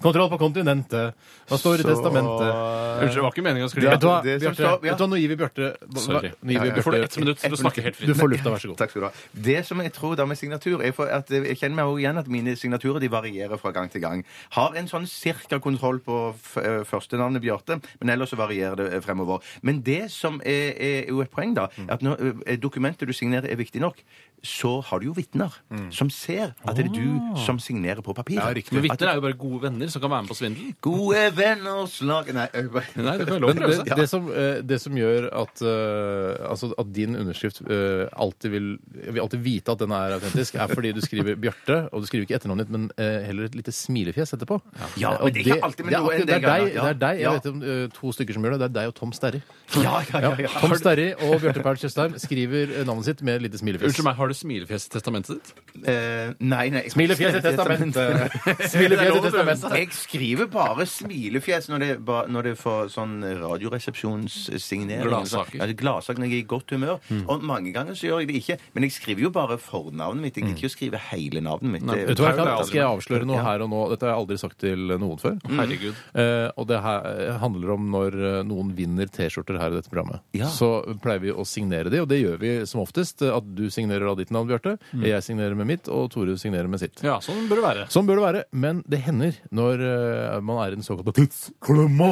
A: Kontroll på kontinentet. Hva står i testamentet?
B: Unnskyld, det var ikke meningen å
A: Vet du
B: skrive.
A: hva,
C: det som
A: Bjarte,
C: står- ja.
A: vet du hva, nå gir vi Bjarte hva-
B: Sorry.
A: nå gir vi
B: Du får
A: Bjarte-
B: ett minutt til å snakke helt
A: Du
B: fritt.
A: får lufta, vær så god.
C: Takk skal du ha. Det som jeg tror da med signatur er for at eh, Jeg kjenner meg jo igjen at mine signaturer de varierer fra gang til gang. Har en sånn cirka kontroll på f- eh, førstenavnet Bjarte, men ellers så varierer det eh, fremover. Men det som er, er jo et poeng, da,
A: Mm.
C: er at når eh, dokumentet du signerer, er viktig nok, så har du jo vitner som ser at det er du som signerer på papiret.
A: Mm. Ah. Ja, riktig.
B: Men vitner er jo bare gode venner som kan være med på svindel.
C: Gode venner slag Nei, eh, jeg bare-
B: Nei, det kan være lov å
A: Men
B: prøve
A: det,
B: seg.
A: det, som, eh, det som gjør at, eh, altså at din underskrift eh, alltid vil, jeg vil alltid vite at den er autentisk, er fordi du skriver Bjarte, og du skriver ikke etternavnet ditt, men eh, heller et lite smilefjes etterpå.
C: Ja,
A: Eh,
C: men
A: og
C: det er ikke alltid med
A: det er
C: noe
A: akkurat-
C: enn det,
A: det er deg,
C: Geir, ja.
A: det er deg, jeg
C: Ja.
A: vet om eh, to stykker som gjør det, det er deg og Tom Sterry.
C: Ja, ja, ja, ja.
A: Tom Sterry og Bjarte Perl Tjøstheim skriver eh, navnet sitt med et lite smilefjes.
B: Unnskyld meg, har du smilefjes i testamentet ditt?
C: Eh, nei, nei.
A: Smilefjes i testamentet! Smilefjes i testamentet.
C: Jeg skriver bare smilefjes når det, er ba, når det er for sånn radioresepsjonssignering.
B: Gladsaker. Mm.
C: Ja, gladsaker når jeg er i godt humør. Og mange ganger så gjør jeg det ikke. Men jeg skriver jo bare fornavnet mitt.
B: Mm.
C: Jeg gidder ikke å skrive hele navnet mitt. Det- altså.
A: Vet du hva,
B: Det er jo
A: Kat?
B: det
A: skal jeg avsløre noe her og nå? Dette har jeg aldri sagt til noen før.
B: Herregud.
A: Eh, og det her eh, handler om når eh, noen vinner T-skjorter her i dette programmet.
C: Ja.
A: Så pleier vi å signere de, og det gjør vi som oftest. eh, At du signerer av ditt navn, Bjarte. Jeg signerer med mitt, og Tore signerer med sitt.
B: Mm. Ja, sånn bør det være.
A: Sånn bør det være, men det hender når eh, man er i den såkalte tidsklemma,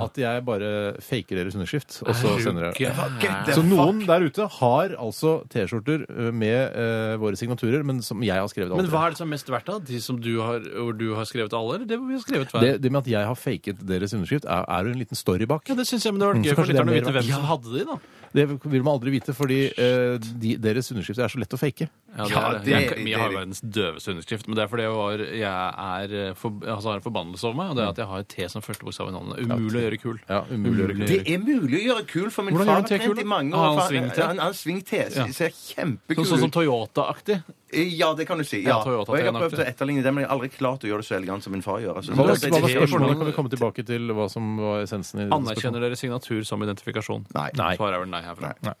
A: at jeg bare faker deres underskrift, og så sender jeg
C: Get the
A: så noen
C: fuck.
A: der ute har altså T-skjorter eh, med eh, våre signaturer, men som jeg har skrevet
B: Men
A: aldri.
B: hva er det som er mest verdt, da? De som du har, hvor du har skrevet alle, eller det hvor vi har skrevet hver?
A: Det, det med at jeg har faket deres underskrift, er, er jo en liten story bak.
B: Ja, det syns jeg, men det var
A: Mm,
B: gøy
A: så
B: for
A: kanskje det er
B: lytterne å
A: mer
B: vite hvem som hadde de, da.
A: Det vil man aldri vite, fordi eh, de, deres underskrift er så lett å fake.
B: Ja, det
C: Ja,
B: er,
C: det-
B: jeg,
C: det-
B: jeg har verdens døveste underskrift, men det er fordi jeg, var, jeg er eh, for, altså har en forbannelse over meg, og det er at jeg har et T som første bokstav i navnet. Umulig å gjøre kul.
A: Ja, umulig å gjøre kul.
C: Det er mulig å gjøre kul, for min
B: Hvordan gjør
C: far
B: han
C: har trent
B: T-kul,
C: i
B: da?
C: mange
B: Har
C: år.
B: han
C: for
B: sving-T?
C: Han har sving-T.
B: Ja.
C: Ser kjempekul
B: Sånn,
C: ut.
B: sånn som Toyota-aktig.
C: Ja, det kan du si. Ja.
B: Ja, Toyota
C: og jeg har prøvd å
B: T-en-aktig.
C: etterligne det, men jeg har aldri klart å gjøre det så elegant som min far gjør. Altså,
A: Hva var,
C: Så-
A: hva var
B: det er
A: spørsmålet?
B: spørsmålet.
A: Kan vi komme tilbake til hva som var essensen? i dette
B: Anerkjenner dere signatur som identifikasjon?
C: Nei.
B: Svaret er vel nei herfra.
A: spørsmålet? Nei.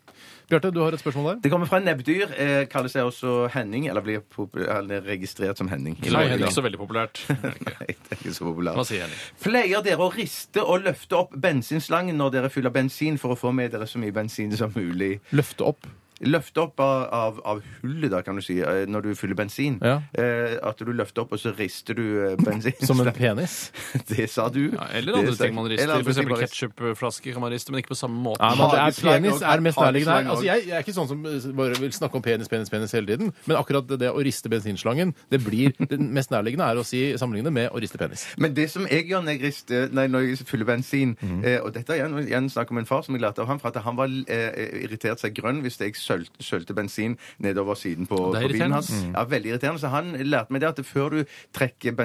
A: Bjarte, du har et spørsmål der?
C: Det kommer fra nebbdyr. Eh, kaller seg også Henning, eller blir popul- eller registrert som Henning.
B: Så det er ikke så veldig populært. Er det ikke?
C: Nei, det er ikke så populært.
B: Hva sier Henning?
C: Pleier dere å riste og løfte opp bensinslangen når dere fyller bensin, for å få med dere så mye bensin som mulig?
A: Løfte opp.
C: Løfte opp av, av, av hullet, da, kan du si, eh, når du fyller bensin.
A: Ja.
C: Eh, at du løfter opp, og så rister du eh, bensin.
A: Som en penis.
C: Det sa du.
B: Ja, eller andre
C: Det sa-
B: ting man
C: eller
B: rister.
C: andre
B: For
C: ting
B: eksempel
C: man rister.
B: ketsjupflasker kan man riste, men ikke på samme måte.
A: Nei, men det er
C: Hageslag
A: penis
C: og-
A: er mest nærliggende
C: hageslag
A: her.
C: og-
A: Altså, jeg, jeg er ikke sånn som eh, bare vil snakke om penis, penis, penis hele tiden. Men akkurat det- det å riste bensinslangen, det blir det mest nærliggende er å si sammenligne med å riste penis.
C: Men det som jeg gjør når jeg, rister, nei, når jeg fyller bensin eh, Og dette er igjen, igjen snakk om en far som jeg lærte av ham, for at han var eh, irritert seg grønn hvis jeg søl- sølte bensin nedover siden på,
B: Det er
C: på bilen
B: irriterende.
C: hans. Ja, Veldig irriterende. Så han lærte meg det at før du trekker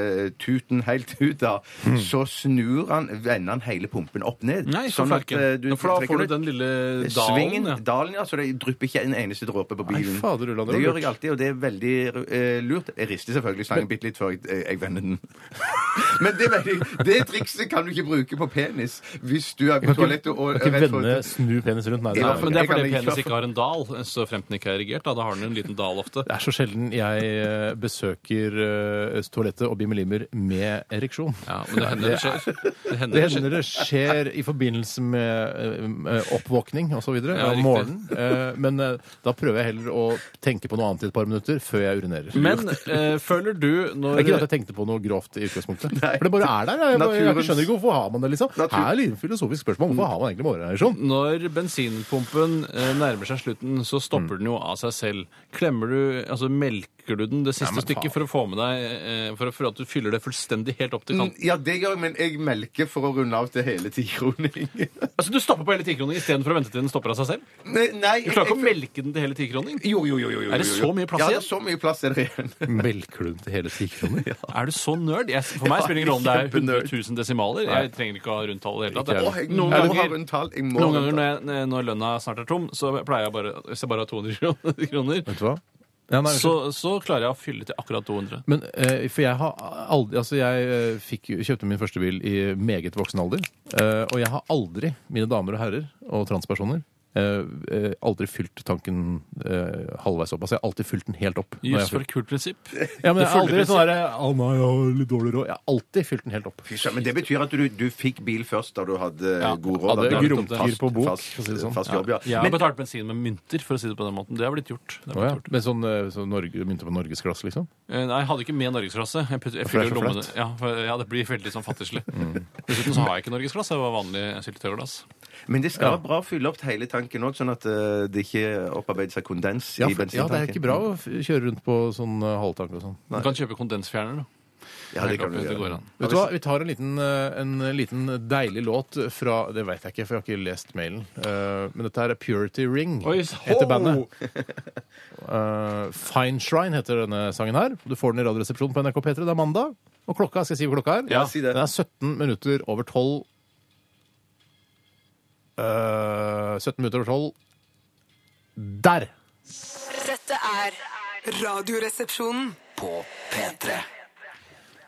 C: bensintuten helt ut, da, så snur han, vender han hele pumpen opp ned.
B: Nei, så flaken.
C: eh,
B: Ja, for da
C: trekker
B: får du
C: ut-
B: den lille dalen.
C: Svingen,
B: ja.
C: dalen, ja, så det drypper ikke en eneste dråpe på bilen.
A: fader, Ulland, det
C: det gjør
A: var
C: jeg alltid, og det er veldig eh, lurt. Jeg rister selvfølgelig slangen bitte litt før jeg, eh, jeg vender den. Men det, er veldig, det trikset kan du ikke bruke på penis hvis du er på toalettet og
A: Du kan
C: rett
A: ikke
C: for- Mm,
A: vende, snu penis rundt. Nei, det
C: Ja,
B: Ja,
A: er
B: men det er
C: Jeg kan
B: fordi
C: ikke-
B: penis ikke har en dal, eh, så fremt den ikke er erigert. Da, da har den en liten dal ofte.
A: Det er så sjelden jeg eh, besøker eh, toalettet og bimmelimmer med ereksjon.
B: Ja, men det hender det skjer. Det
A: Det
B: hender det skjer.
A: hender det skjer i forbindelse med eh, eh, oppvåkning osv.
B: Ja,
A: om
B: riktig.
A: morgenen. Eh, Men eh, da prøver jeg heller å tenke på noe annet i et par minutter før jeg urinerer.
B: Men eh, føler du
A: det er ikke det
B: når
A: at jeg tenkte på noe grovt i utgangspunktet. For det bare er der. Jeg, bare, jeg
C: Naturens-
A: skjønner ikke hvorfor har man det, liksom.
C: Natur-
A: Her er et lite filosofisk spørsmål. Hvorfor har man egentlig morgenereksjon?
B: når bensinpumpen eh, nærmer seg slutten, så
C: Mm.
B: stopper den jo av seg selv. Klemmer du, altså Melker du den det siste stykket for å få med deg eh, for, å- for at du fyller det fullstendig helt opp til kanten?
C: Ja, det gjør jeg, men jeg melker for å runde av til hele tikroning.
B: Altså, Du stopper på hele tikroningen istedenfor å vente til den stopper av seg selv?
C: Nei, nei
B: Du klarer ikke å melke den til hele tikroning?
C: Jo, jo, jo, jo, jo.
B: Er det
C: jo,
B: så
C: jo.
B: mye plass
C: Ja,
B: igjen?
C: det er så mye plass er det igjen.
A: Melker du den til hele ti kroner?
B: Er du så nerd? Jeg, for meg spiller det ingen rolle om det er
C: Kjempenerd.
B: 100 000 desimaler. Jeg trenger ikke å ha rundt tall i det hele
C: Å,
B: tatt.
C: jeg må
B: Noen
C: ha
B: ganger
C: rundt tall. Jeg må rundt
B: Noen ganger
C: tall.
B: når, jeg, når lønna snart er tom, så pleier jeg bare Hvis jeg bare har 200 kroner,
A: Vet du hva? Ja, nei,
B: så, så klarer jeg å fylle til akkurat 200.
A: Men eh, For jeg har aldri Altså, jeg eh, fikk, jo- kjøpte min første bil i meget voksen alder. eh, og jeg har aldri, mine damer og herrer og transpersoner eh, eh, aldri fylt tanken eh, halvveis opp. Altså, jeg har alltid fylt den helt opp. når jeg har
B: Jus for
A: fylt-
B: et kult prinsipp.
A: ja, men jeg har aldri
B: Det
A: sånn derre Å nei, jeg har litt dårlig råd. Jeg har alltid fylt den helt opp.
C: Fy søren, Men det betyr at du, du fikk bil først da du hadde
B: Ja,
C: god råd.
A: hadde
C: da du
A: grunker
C: fast-
A: på bok,
C: Fast,
A: for å si det sånn.
C: fast jobb, ja.
B: Jeg har
C: Men,
B: betalt bensin med mynter, for å si det på den måten. Det har blitt gjort. Det har blitt
A: Å, ja.
B: gjort.
A: Men sånn, eh, sånn Norge, mynte på norgesglass, liksom?
B: Eh, Nei, jeg hadde ikke med norgesklasse. Jeg, putter- jeg
A: For det er så
B: fyller
A: Mm.
B: lommene
A: flaut.
B: ja, for, ja, det blir veldig sånn fattigslig. Dessuten så har jeg ikke norgesklasse. Jeg var vanlig syltetøyglass.
C: men det skal være bra å fylle opp hele tanken òg, sånn at eh, det ikke opparbeider seg kondens
A: Ja,
C: i
A: for, ja,
C: bensintanken.
A: det er ikke bra å f- kjøre rundt på sånn eh, halvtank og sånn.
B: Du kan kjøpe kondensfjerner, da.
C: Ja, det kan du
B: Helt klart, det går
C: gjøre.
B: an.
A: Vet du hva, Vi tar en liten, eh, en liten deilig låt fra Det veit jeg ikke, for jeg har ikke lest mailen. Eh, Men dette her er Purity Ring,
B: Oi,
A: heter bandet. Eh, Fine Shrine heter denne sangen her. Du får den i Radioresepsjonen på NRK P3. Det er mandag. Og klokka, skal jeg si hvor klokka er?
B: Ja,
C: si det.
A: Den er 17 minutter over 12 Eh, 17 minutter over 12 Der!
E: Dette er Radioresepsjonen.
F: På P3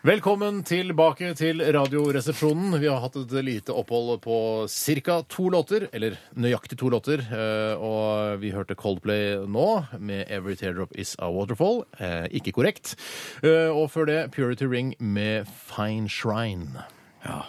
A: Velkommen tilbake til Radioresepsjonen. Vi har hatt et lite opphold på ca. to låter, eller nøyaktig to låter. eh, Og vi hørte Coldplay nå med 'Every Teardrop Is A Waterfall'. Eh, Ikke korrekt. Eh, Og før det Purity Ring med 'Fine Shrine'.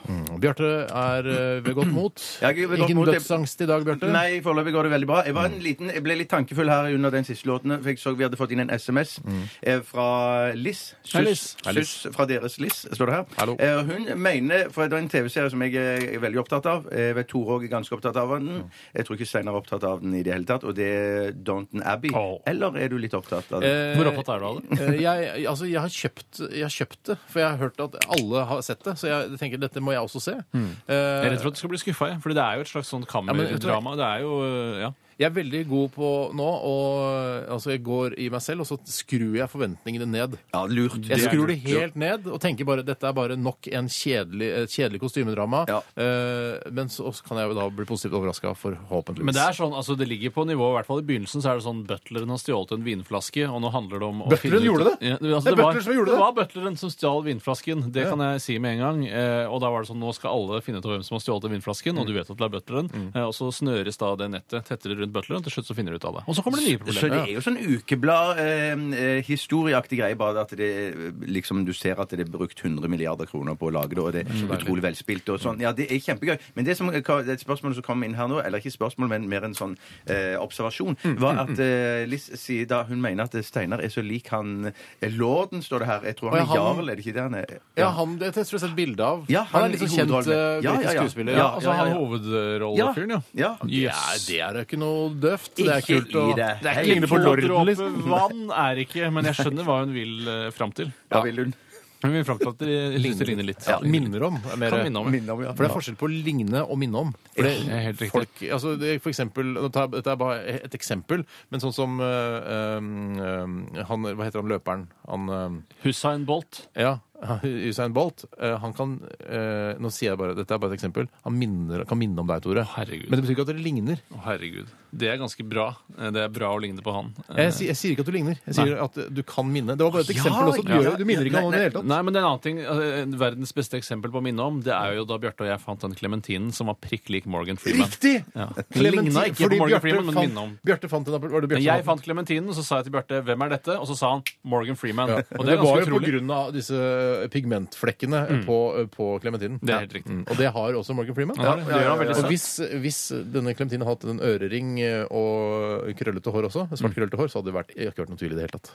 A: Mm. Bjarte er eh, ved godt mot.
C: Jeg er ved godt
A: Ingen
C: mot.
A: dødsangst i dag, Bjarte?
C: Nei, foreløpig går det veldig bra. Jeg, var
A: Mm.
C: en liten, jeg ble litt tankefull her under den siste låten, for jeg så vi hadde fått inn en SMS eh, fra Liss.
A: Mm. Hei, Liss. Hei,
C: Sus fra deres Liss, står det her.
A: Hallo.
C: Eh, hun mener, for det var en TV-serie som jeg er er veldig opptatt av, eh, jeg vet Tore også er ganske opptatt av
A: Mm.
C: den, jeg tror ikke Steinar er opptatt av den i det hele tatt, og det er Downton Abbey.
B: Åh.
C: Eller er du litt opptatt av den?
A: Eh,
B: Hvor opptatt er du av det?
A: Eh, jeg, altså, jeg, har kjøpt, jeg har kjøpt det, for jeg har hørt at alle har sett det. Så jeg tenker dette må jeg også se. Eh,
B: Jeg er redd for at du skal bli skuffa, jeg. Fordi det er jo et slags sånn
A: men vet du hva?
B: kammerdrama. Det er jo eh, ja.
A: jeg er veldig god på nå, og altså, jeg går i meg selv, og så skrur jeg forventningene ned.
C: ja, lurt.
A: Jeg
C: Det er
A: skrur det
C: lurt.
A: helt ned og tenker bare dette er bare nok en kjedelig, et kjedelig kostymedrama.
C: Ja.
A: Eh, men så så kan jeg jo da bli positivt overraska, forhåpentligvis.
B: Men det er sånn, altså det ligger på nivå, i hvert fall i begynnelsen, så er det sånn butleren har stjålet en vinflaske, og nå handler det om å
A: Butleren
B: finne ut-
A: gjorde det?
B: Ja,
A: Det
B: altså,
A: er
B: det, var,
A: butleren som gjorde det.
B: det var butleren som stjal vinflasken, det kan jeg si med en gang. Eh, og da var det sånn, nå skal alle finne ut av hvem som har stjålet den vinflasken,
A: Mm.
B: og du vet at det er butleren. Eh, og så snøres da det nettet tettere rundt butleren, og til slutt så finner du ut av det. Og så kommer det nye
C: Så det
B: problemer.
C: er jo sånn ukeblad-historieaktig greie, bare at det eh, liksom du ser at det er brukt 100 milliarder kroner på å lage det, og det er utrolig velspilt og sånn. Ja, det er kjempegøy. Men det, som, eh, det er et spørsmål som kom inn her nå, eller ikke spørsmål, men mer en sånn eh, observasjon, var at eh, Liss sier da hun mener at Steinar er så lik han eh, Lorden, står det her. Jeg tror
A: Og
C: han er
A: han-
C: jarl, er det ikke det han er?
A: ja, han, det tror jeg jeg har sett bilde av.
C: Ja,
A: han,
C: han
A: er litt sånn
C: i
A: kjent
C: hovedrollen.
A: eh, britisk
C: Ja, ja, ja.
A: skuespiller.
B: Ja,
C: Ja,
B: altså
C: ja, ja,
B: han
C: ja.
B: hovedrollefyren, ja.
C: Ja.
A: Nei, det er jo ikke noe døvt. Det er
C: Ikke
A: kult å
C: i det
A: Det er
C: hele
A: ikke lignende på
C: tatt.
A: Lorden,
B: Dråpe
A: liksom.
B: eh, Vann er ikke, men jeg skjønner hva hun vil eh, fram til.
C: Ja, vil hun?
B: Hun vil fram til at det ligner litt.
A: Ja, minner om. Er mer,
B: Kan minne om, ja.
C: Minne om, ja.
A: For det er forskjell på ligne og minne om. For det,
B: Ja, helt riktig.
A: folk, altså det, er for eksempel, nå tar jeg- dette er bare et eksempel, men sånn som eh, eh, han, Hva heter han løperen? Han eh,
B: Hussein Bolt.
A: Ja, Usain Bolt. eh, han kan eh, Nå sier jeg bare, dette er bare et eksempel. Han minner, kan minne om deg, Tore.
B: herregud.
A: Men det betyr ikke at dere ligner.
B: Å, herregud. Det er ganske bra. Eh, Det er bra å ligne på han. Eh,
A: Jeg, sier- jeg sier ikke at du ligner. Jeg sier
B: Nei.
A: at du kan minne. Det var bare
C: Ja,
A: et eksempel også. Du,
C: ja,
A: gjør, du minner
C: ja,
A: ikke om det i det hele tatt.
B: Nei, men det er en annen ting. eh, Verdens beste eksempel på å minne om, det er jo da Bjarte og jeg fant den klementinen som var prikk lik Morgan Freeman.
A: Riktig!
B: Ja.
A: Clementine-
B: Ligna ikke
A: fordi
B: på Morgan
A: Bjarte
B: Freeman, men
A: fant-
B: minne om.
A: Bjarte fant en appel. Var det Bjarte
B: Men
A: som
B: jeg fant klementinen, og så sa jeg til Bjarte 'Hvem er dette?' Og så sa han 'Morgan Freeman'. Og
A: Men det,
B: det er
A: var jo
B: ganske
A: på
B: utrolig. Mm.
A: grunn av disse eh, pigmentflekkene eh, på, på klementinen.
B: Det er helt riktig.
A: Og det har også Morgan Freeman.
B: Ja, det gjør han veldig
A: Og
B: søtt.
A: hvis, hvis denne klementinen hadde hatt en ørering eh, og krøllete hår også,
B: Mm.
A: svart krøllete hår, så hadde det vært, jeg har ikke vært noen tvil i det hele tatt.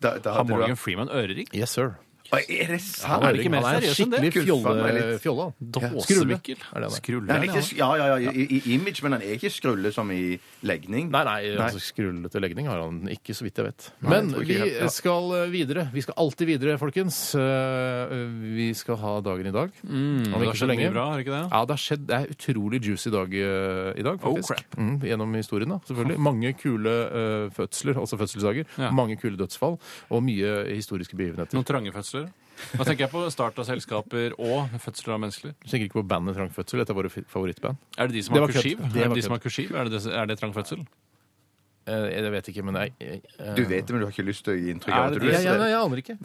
C: Da, da
B: Har
C: hadde du
B: Morgan Freeman ørering?
A: Yes, sir.
C: Oi, Er det sant?
B: er ikke mer
A: han er
B: seriøs enn det.
A: skikkelig
C: Guffa meg
A: fjolle,
C: litt.
A: fjolle.
B: Dåsemikkel? Skrulle?
C: Han er
B: ja.
C: ikke, ja, ja, ja, i, i image, men han er ikke skrulle som i legning.
A: Nei, nei, altså skrullete legning har han ikke, så vidt jeg vet.
C: Nei,
A: Men
C: jeg tror ikke
A: vi
C: helt, ja.
A: skal eh, videre. Vi skal alltid videre, folkens. Eh, Vi skal ha dagen i dag. Mm,
B: Det har skjedd mye bra, har det ikke det?
A: Ja, det har skjedd. Det er utrolig juicy dag eh, i dag, faktisk.
B: Oh, crap.
A: Mm, gjennom historien, da, selvfølgelig. Mange kule eh, fødsler, altså fødselsdager.
B: Ja.
A: Mange kule dødsfall, og mye historiske begivenheter.
B: Noen trange fødsler? Da tenker jeg på start av selskaper og fødsler av mennesker.
A: Du tenker ikke på bandet Trang Fødsel? Dette er våre fi- favorittband.
B: Er det de som
A: Det
B: har
A: var
B: kursiv?
A: kødd. Det
B: Er det
A: var
B: de som
A: kødd.
B: har kursiv? Er det, er det trang fødsel?
A: Eh, Jeg vet ikke, men jeg, jeg, eh,
C: Du vet det, men du har ikke lyst til å gi inntrykk
B: Er
C: av at
B: det
A: jeg,
C: du
A: jeg,
C: vet
A: nei,
C: det.
A: jeg aner ikke.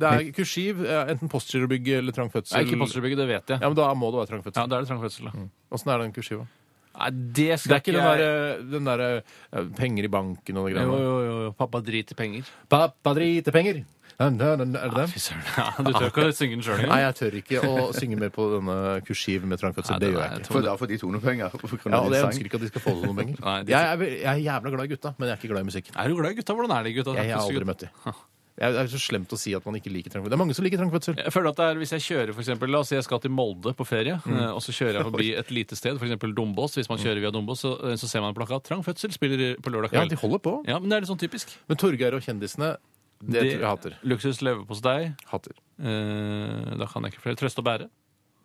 A: Det er kursiv, eh, enten Postgirobygget eller Trang Fødsel.
B: Nei, ikke Postgirobygget, det vet jeg.
A: Ja, men Da må det være Trang
B: Ja,
A: Fødsel.
B: da er det trang fødsel. da.
A: Åssen er den kursiva?
B: Nei, det
A: Det
B: skal
A: er ikke den derre den der, eh, penger i banken og de
B: Jo,
A: greiene.
B: jo, jo, jo. Pappa driter penger.
A: Pappa driter penger! Er det den?
B: Fy søren. Ja, du tør ikke å synge den sjøl
A: Nei, jeg tør ikke å synge mer på denne kursiv med trang fødsel.
B: Nei,
A: Det
B: den
A: gjør
B: er
A: jeg ikke.
C: For da får de to noen penger. på grunn
A: Ja,
C: av
A: og
C: din
A: Jeg
C: sang.
A: ønsker ikke at de skal få noen penger.
B: Nei, det-
A: Jeg er, ve- jeg er jævla glad i gutta, men jeg er ikke glad i musikk.
B: Er du glad i gutta? Hvordan er de gutta?
A: Jeg har aldri møtt de. Jeg- Det er så slemt å si at man ikke liker trang fødsel. Det er mange som liker trang fødsel.
B: Jeg føler at det er, Hvis jeg kjører for eksempel, La oss si jeg skal til Molde på ferie, eh, og så kjører jeg forbi et lite sted, f.eks. Dombås. Hvis man kjører via Dombås, så, eh, så ser man en plakat 'Trang fødsel' spiller i- på lørdag
A: Ja,
B: kveld.
A: de holder på.
B: Ja, men det er litt sånn typisk.
A: Men Torgeir og kjendisene, det tror jeg jeg hater.
B: Luksus leverpostei.
A: Hater.
B: Eh, da kan jeg ikke flere. Trøst og bære.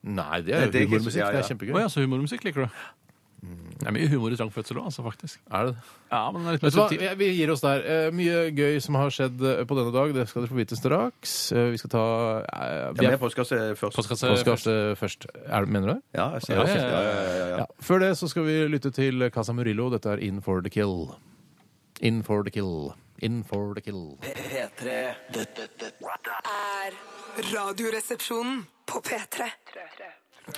A: Nei, det er
C: Nei, det er ikke-
A: humormusikk. Det
C: ja, ja.
A: er kjempegøy.
B: Å ja, så humormusikk liker du. Det er mye humor i trang fødsel òg, altså, faktisk.
A: Er det det?
B: Ja, men den er litt
A: Vet du hva?
B: mer subtil.
A: Vi- Vi gir oss der. Eh, Mye gøy som har skjedd eh, på denne dag. Det skal dere få vite straks. Eh, Vi skal ta eh,
C: Ja,
A: vi
C: men
A: er-
C: jeg påskasse først.
B: Postkasse
A: Postkasse først. Er, det- mener du det?
C: Ja, jeg sier det.
B: Ja, ja, ja,
C: ja, ja, ja, ja.
A: Ja. Før det så skal vi lytte til Casa Murillo. Dette er In for the Kill. In for the Kill. In for the Kill.
F: P3 Dette, dette,
E: er Radioresepsjonen på P3.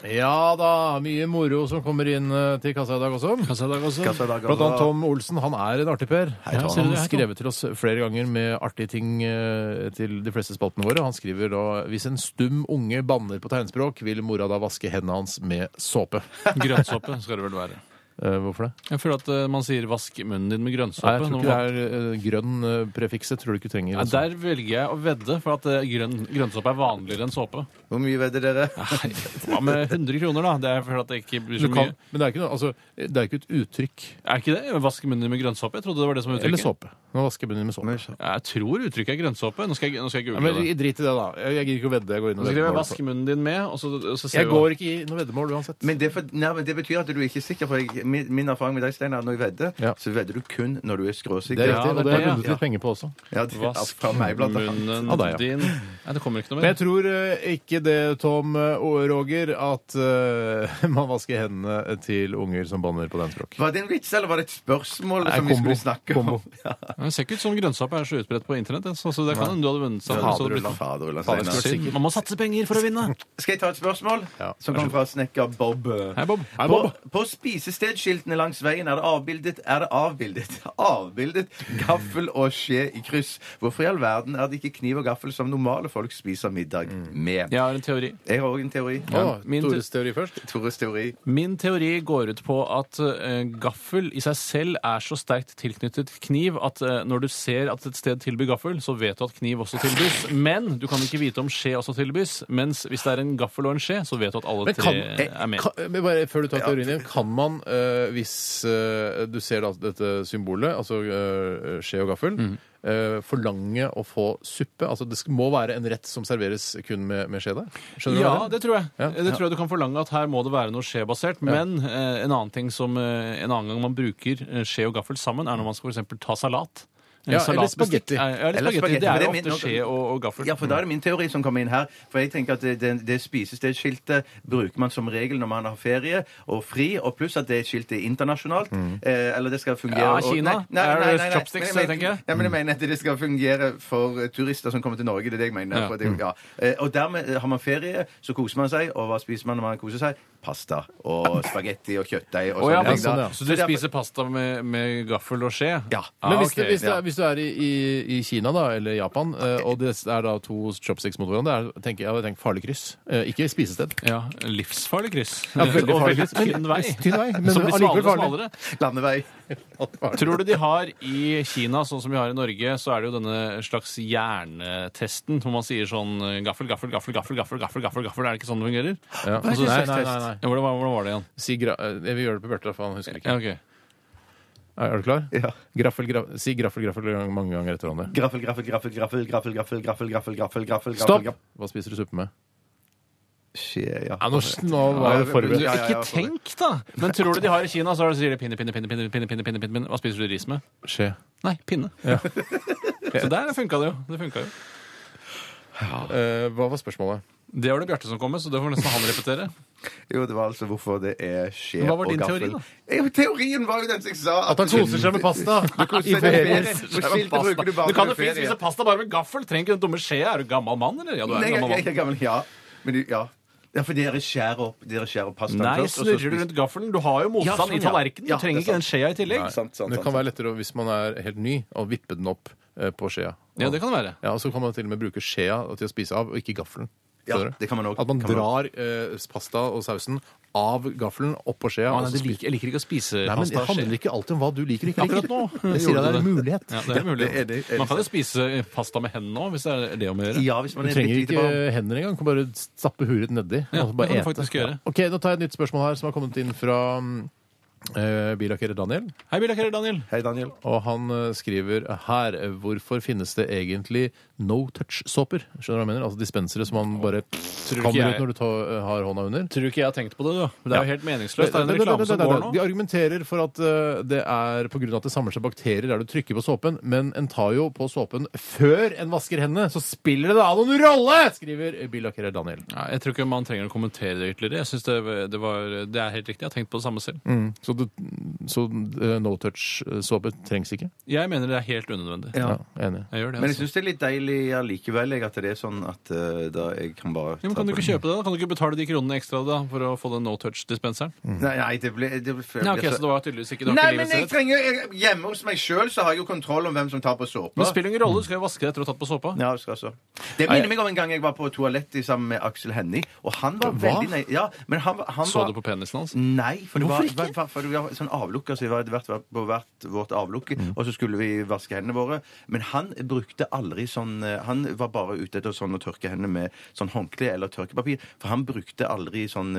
A: Ja da, mye moro som kommer inn eh, til kassa i dag også.
B: Kassa i dag også.
C: Kassa i dag
A: Blant annet
C: også.
A: Tom Olsen. Han er en artig per.
B: Tom.
A: han
B: Hei,
A: har
B: Tom.
A: skrevet til oss flere ganger med artige ting eh, til de fleste spaltene våre. Han skriver da hvis en stum unge banner på tegnspråk, vil mora da vaske hendene hans med såpe.
B: Grønnsåpe skal det vel være.
A: Eh, hvorfor det?
B: Jeg føler at eh, man sier 'vask munnen din med grønnsåpe'.
A: Nei, jeg tror
B: når
A: ikke
B: man-
A: det er eh, grønn eh, prefikset. Tror du ikke du trenger
B: Ja,
A: det.
B: der velger jeg å vedde, for at eh, grønn, grønnsåpe er vanligere enn såpe.
C: Hvor mye vedder dere?
B: Hva med 100 kroner, da? Det er for at det ikke blir
A: Du
B: så
A: kan,
B: mye.
A: men det er ikke noe altså, Det er ikke et uttrykk.
B: Er ikke det? Vask munnen din med grønnsåpe? Jeg trodde det var det som var
A: Eller
B: uttrykket.
A: såpe. Nå vasker jeg munnen med såpe.
B: Jeg tror uttrykket er grønnsåpe. Nå skal jeg, nå skal jeg
A: Ja,
B: google
A: men
B: det.
A: Drit i det, da. Jeg jeg gidder ikke å vedde. Jeg går inn
B: Nå
A: og
B: skriver jeg
A: veddemål.
B: 'vask munnen din med', og så, og så ser
A: Jeg
B: vi hva-
A: går ikke i noe veddemål uansett.
C: Men det, er for, nei, men det betyr at du er ikke sikker, for jeg, min, min erfaring med deg, Steinar, når jeg vedder,
A: Ja.
C: så vedder du kun når du er skråsikker.
A: Det er
B: Ja,
A: riktig,
B: det
A: og det
B: er
A: har jeg
B: det,
A: vunnet
C: ja.
A: litt penger på også.
C: Ja, det, ja,
B: Vask
C: fra meg, blant annet.
B: munnen
A: Ja, da, ja.
B: din Nei, det kommer ikke noe
A: Men
B: mer.
A: jeg tror eh, ikke det, Tom eh, og Roger, at eh, man vasker hendene til unger som banner på den språk.
C: Var det en vits, eller var det et spørsmål
A: Nei,
C: som vi
A: kombo.
C: skulle snakke om?
A: Kombo.
C: Ja.
B: Det ser ikke ut som grønnsåpe er så utbredt på internett. eh, Så så det kan hende du hadde vunnet. Sånn, så det blir-
C: Faderullan,
A: Fader,
C: Steinar.
A: skulle vært sikker.
B: Man må satse penger for å vinne!
C: Skal jeg ta et spørsmål?
A: Ja,
C: Som kommer fra snekker Bob. eh,
B: Hei, Bob.
A: Hei,
C: På,
A: Bob.
C: på spisestedskiltene langs veien er det avbildet er det avbildet, avbildet gaffel og skje i kryss. Hvorfor i all verden er det ikke kniv og gaffel som normale folk spiser middag med?
B: Jeg har en teori.
C: Jeg har òg en teori.
A: Å,
B: min-
A: Tores teori først.
C: Tores teori.
B: Min teori går ut på at eh, gaffel i seg selv er så sterkt tilknyttet kniv at eh, når du ser at et sted tilbyr gaffel, så vet du at kniv også tilbys. Men du kan ikke vite om skje også tilbys. Mens hvis det er en gaffel og en skje, så vet du at alle
A: Men kan, Eh,
B: tre er med.
A: kan, men bare før du tar teorien din, kan man, eh, hvis eh, du ser da, dette symbolet, altså eh, skje og gaffel,
B: Mhm.
A: eh, forlange å få suppe? Altså det sk- må være en rett som serveres kun med, med skje der? Skjønner du hva jeg
B: Ja,
A: mener?
B: det tror jeg.
A: Ja.
B: Det tror jeg du kan forlange at her må det være noe skjebasert. Men eh, en annen ting som eh, en annen gang man bruker eh, skje og gaffel sammen, er når man skal for eksempel ta salat. Eh,
A: Ja, eller
B: salatbestikk
A: spagetti.
B: er- Ja, eller
C: Eller
B: spagetti.
C: spagetti,
B: Det
C: for
B: er
C: det
B: jo
C: er min-
B: ofte skje og, og gaffel.
C: Ja, for da er det min teori som kommer inn her. For jeg tenker at det, det, det spisestedskiltet bruker man som regel når man har ferie og fri, og pluss at det skiltet er internasjonalt. Eh, eller det skal fungere
B: Mm. Ja,
C: og-
B: Kina.
C: Nei, nei,
B: Er
C: nei, nei,
B: det
C: nei,
B: chopsticks,
C: Men-
B: jeg Mm. tenker?
C: Ja, men jeg mener at det skal fungere for turister som kommer til Norge. Det er det jeg mener.
B: Ja. Mm.
C: For det, ja. Eh, Og dermed har man ferie, så koser man seg, og hva spiser man når man koser seg? Pasta og spagetti og kjøttdeig og
B: Å, ja,
C: sånne
B: men
C: ting. da.
A: sånn, ja.
B: Så du
C: derfor-
B: spiser pasta med, med gaffel og skje? Ah,
C: Ja.
A: Men hvis,
B: ok.
A: det, Ah, hvis, det,
C: ja.
A: er- hvis du er i, i, i Kina da, eller Japan, eh, og det er da to chopsticks mot hverandre, er, tenker, jeg hadde tenkt farlig kryss. Eh, ikke spisested.
B: Ja, livsfarlig kryss.
A: Ja, veldig
B: og
A: farlig kryss.
B: veldig tynn vei.
A: Tynn vei, men
B: Som blir
A: allikevel
B: smalere og
A: farlig.
B: smalere.
C: Landevei.
B: Tror du de har i Kina, sånn som vi har i Norge, så er det jo denne slags hjernetesten hvor man sier sånn gaffel, gaffel, gaffel, gaffel, gaffel, gaffel, gaffel, gaffel. Er det ikke sånn det fungerer?
C: Hva
A: Ja.
C: er
A: Altså,
C: det
A: nei,
C: slags
A: nei,
C: test?
A: nei, nei.
B: Ja, hvordan, var- hvordan var det igjen?
A: Si gra eh, jeg vil gjøre det på Bjarte, da, for han husker ikke.
B: Ja, ok.
A: Er, er du klar?
C: Ja.
A: Graffel, graf si graffel, graffel gang- mange ganger etter hverandre.
C: Graffel, graffel, graffel, graffel, graffel, graffel, graffel, graffel, graffel, graffel,
A: Stopp!
C: graffel,
A: Hva spiser du suppe med?
C: Skje, ja.
A: Ja, nå, s- nå var jeg forberedt.
C: Ja, ja, ja,
B: Ikke tenk, da! Men tror du de har i Kina, så er det- sier de pinne, pinne, pinne, pinne, pinne, pinne, pinne, pinne, pinne. Hva spiser du ris med?
A: Skje.
B: Nei, pinne. Så der funka det jo. Det funket jo.
A: Eh, hva var spørsmålet?
B: Det var det Bjarte som kom med, så det får nesten han repetere.
C: Jo, det var altså hvorfor det er skje
B: Hva
C: og
B: var
C: gaffel.
B: din teori,
C: da? Jo, teorien var jo den som jeg sa.
A: At han koser seg med pasta! I ferien.
C: Skiltet bruker du bare
B: Du kan
C: under
B: jo fint
C: ferie.
B: spise pasta bare med gaffel. Trenger ikke den dumme skjea. Er du gammel mann, eller? Ja, du er
C: Nei, jeg,
B: en gammel
C: jeg
B: mann.
C: er gammel, ja. Men du, ja. Ja, for dere skjærer opp, dere skjærer opp pastaen
B: Nei,
C: først. og så
B: snurrer du
C: spiser-
B: rundt gaffelen? Du har jo
C: Ja,
B: motstand
C: sånn,
B: i
C: ja.
B: tallerkenen. Du
C: Ja, det er
B: trenger ikke
C: sant.
B: den skjea i tillegg.
C: Sant, sant, sant,
A: Men det kan være lettere hvis man er helt ny, å vippe den opp eh, på skjea.
B: Ja, det kan det være.
A: Ja, og Så kan man til og med bruke skjea til å spise av, og ikke gaffelen.
C: Ja,
A: Skjønner du?
C: det kan man også.
A: At man
C: Kan man
A: drar eh, pasta og sausen av gaffelen opp på skjea.
B: Å,
A: og
B: nei,
A: så
B: det
A: spiser-
B: liker, jeg liker ikke å spise
A: Nei, men Det
B: pasta. og
A: handler
B: skje.
A: ikke alltid om hva du liker og ikke liker.
B: Akkurat nå
A: Jeg sier at
B: gjorde
A: det er
B: du
A: en mulighet.
B: Ja, det er en mulighet.
C: det er det- er det
B: Man kan jo spise pasta med hendene òg, hvis det er det om å gjøre.
C: Ja, hvis man
A: Du
C: er
A: trenger
C: bitte lite
A: ikke
C: barn.
A: hender engang. Du kan bare stappe huet ditt nedi.
B: Ja,
A: og bare
B: det kan du
A: ete.
B: faktisk gjøre.
A: Ok, Da tar jeg et nytt spørsmål her, som har kommet inn fra uh, bilakerer Daniel.
B: Hei, Billakerer Daniel.
C: Hei, Daniel.
A: Og han eh, skriver her hvorfor finnes det egentlig no touch-såper? Skjønner du hva jeg mener? Altså dispensere som man bare
B: ikke
A: kommer
B: jeg.
A: ut når du tar, eh, har hånda under.
B: Tror du ikke jeg har tenkt på det, du? Det er jo helt meningsløst. Det er en
A: Nei, nei, nei,
B: reklame
A: nei,
B: som
A: nei,
B: går
A: nei.
B: nå.
A: De argumenterer for at eh, det er på grunn av at det samler seg bakterier der du trykker på såpen, men en tar jo på såpen før en vasker hendene, så spiller det da noen rolle! skriver billakkerer Daniel.
B: Nei, jeg tror ikke man trenger å kommentere det ytterligere. Jeg synes det, det, var, det er helt riktig. Jeg har tenkt på det samme selv.
A: Så, du- så eh, no touch-såpe trengs ikke?
B: Jeg mener det er helt unødvendig.
A: Ja, enig.
B: Jeg gjør det,
C: Men jeg
B: altså.
C: syns det er litt deilig allikevel, jeg, at det er sånn at eh, da jeg kan bare
B: Ja, men kan du ikke kjøpe det? da? Kan du ikke betale de kronene ekstra da, for å få den no touch-dispenseren?
C: Nei, nei, det ble, det ble,
B: Nei, ok, så det var tydeligvis ikke det var
C: Nei,
B: ikke
C: men
B: livets
C: jeg
B: rett.
C: trenger jeg, Hjemme hos meg sjøl så har jeg jo kontroll om hvem som tar på såpa.
B: Men det spiller ingen rolle, du skal jo vaske det etter å ha tatt på såpa.
C: Ja, jeg skal så. Det minner meg om en gang jeg var på toalettet sammen med Aksel Hennie, og han var veldig nei, ja, men han, var- han
B: Så
C: var,
B: du på penisen hans?
C: Nei, for det var,
B: Hvorfor ikke?
C: var, for det var sånn avlukker, så vi var hvert, på hvert vårt avlukke,
B: Mm.
C: og så skulle vi vaske hendene våre. Men han brukte aldri sånn eh, Han var bare ute etter sånn å tørke hendene med sånn håndkle eller tørkepapir, for han brukte aldri sånn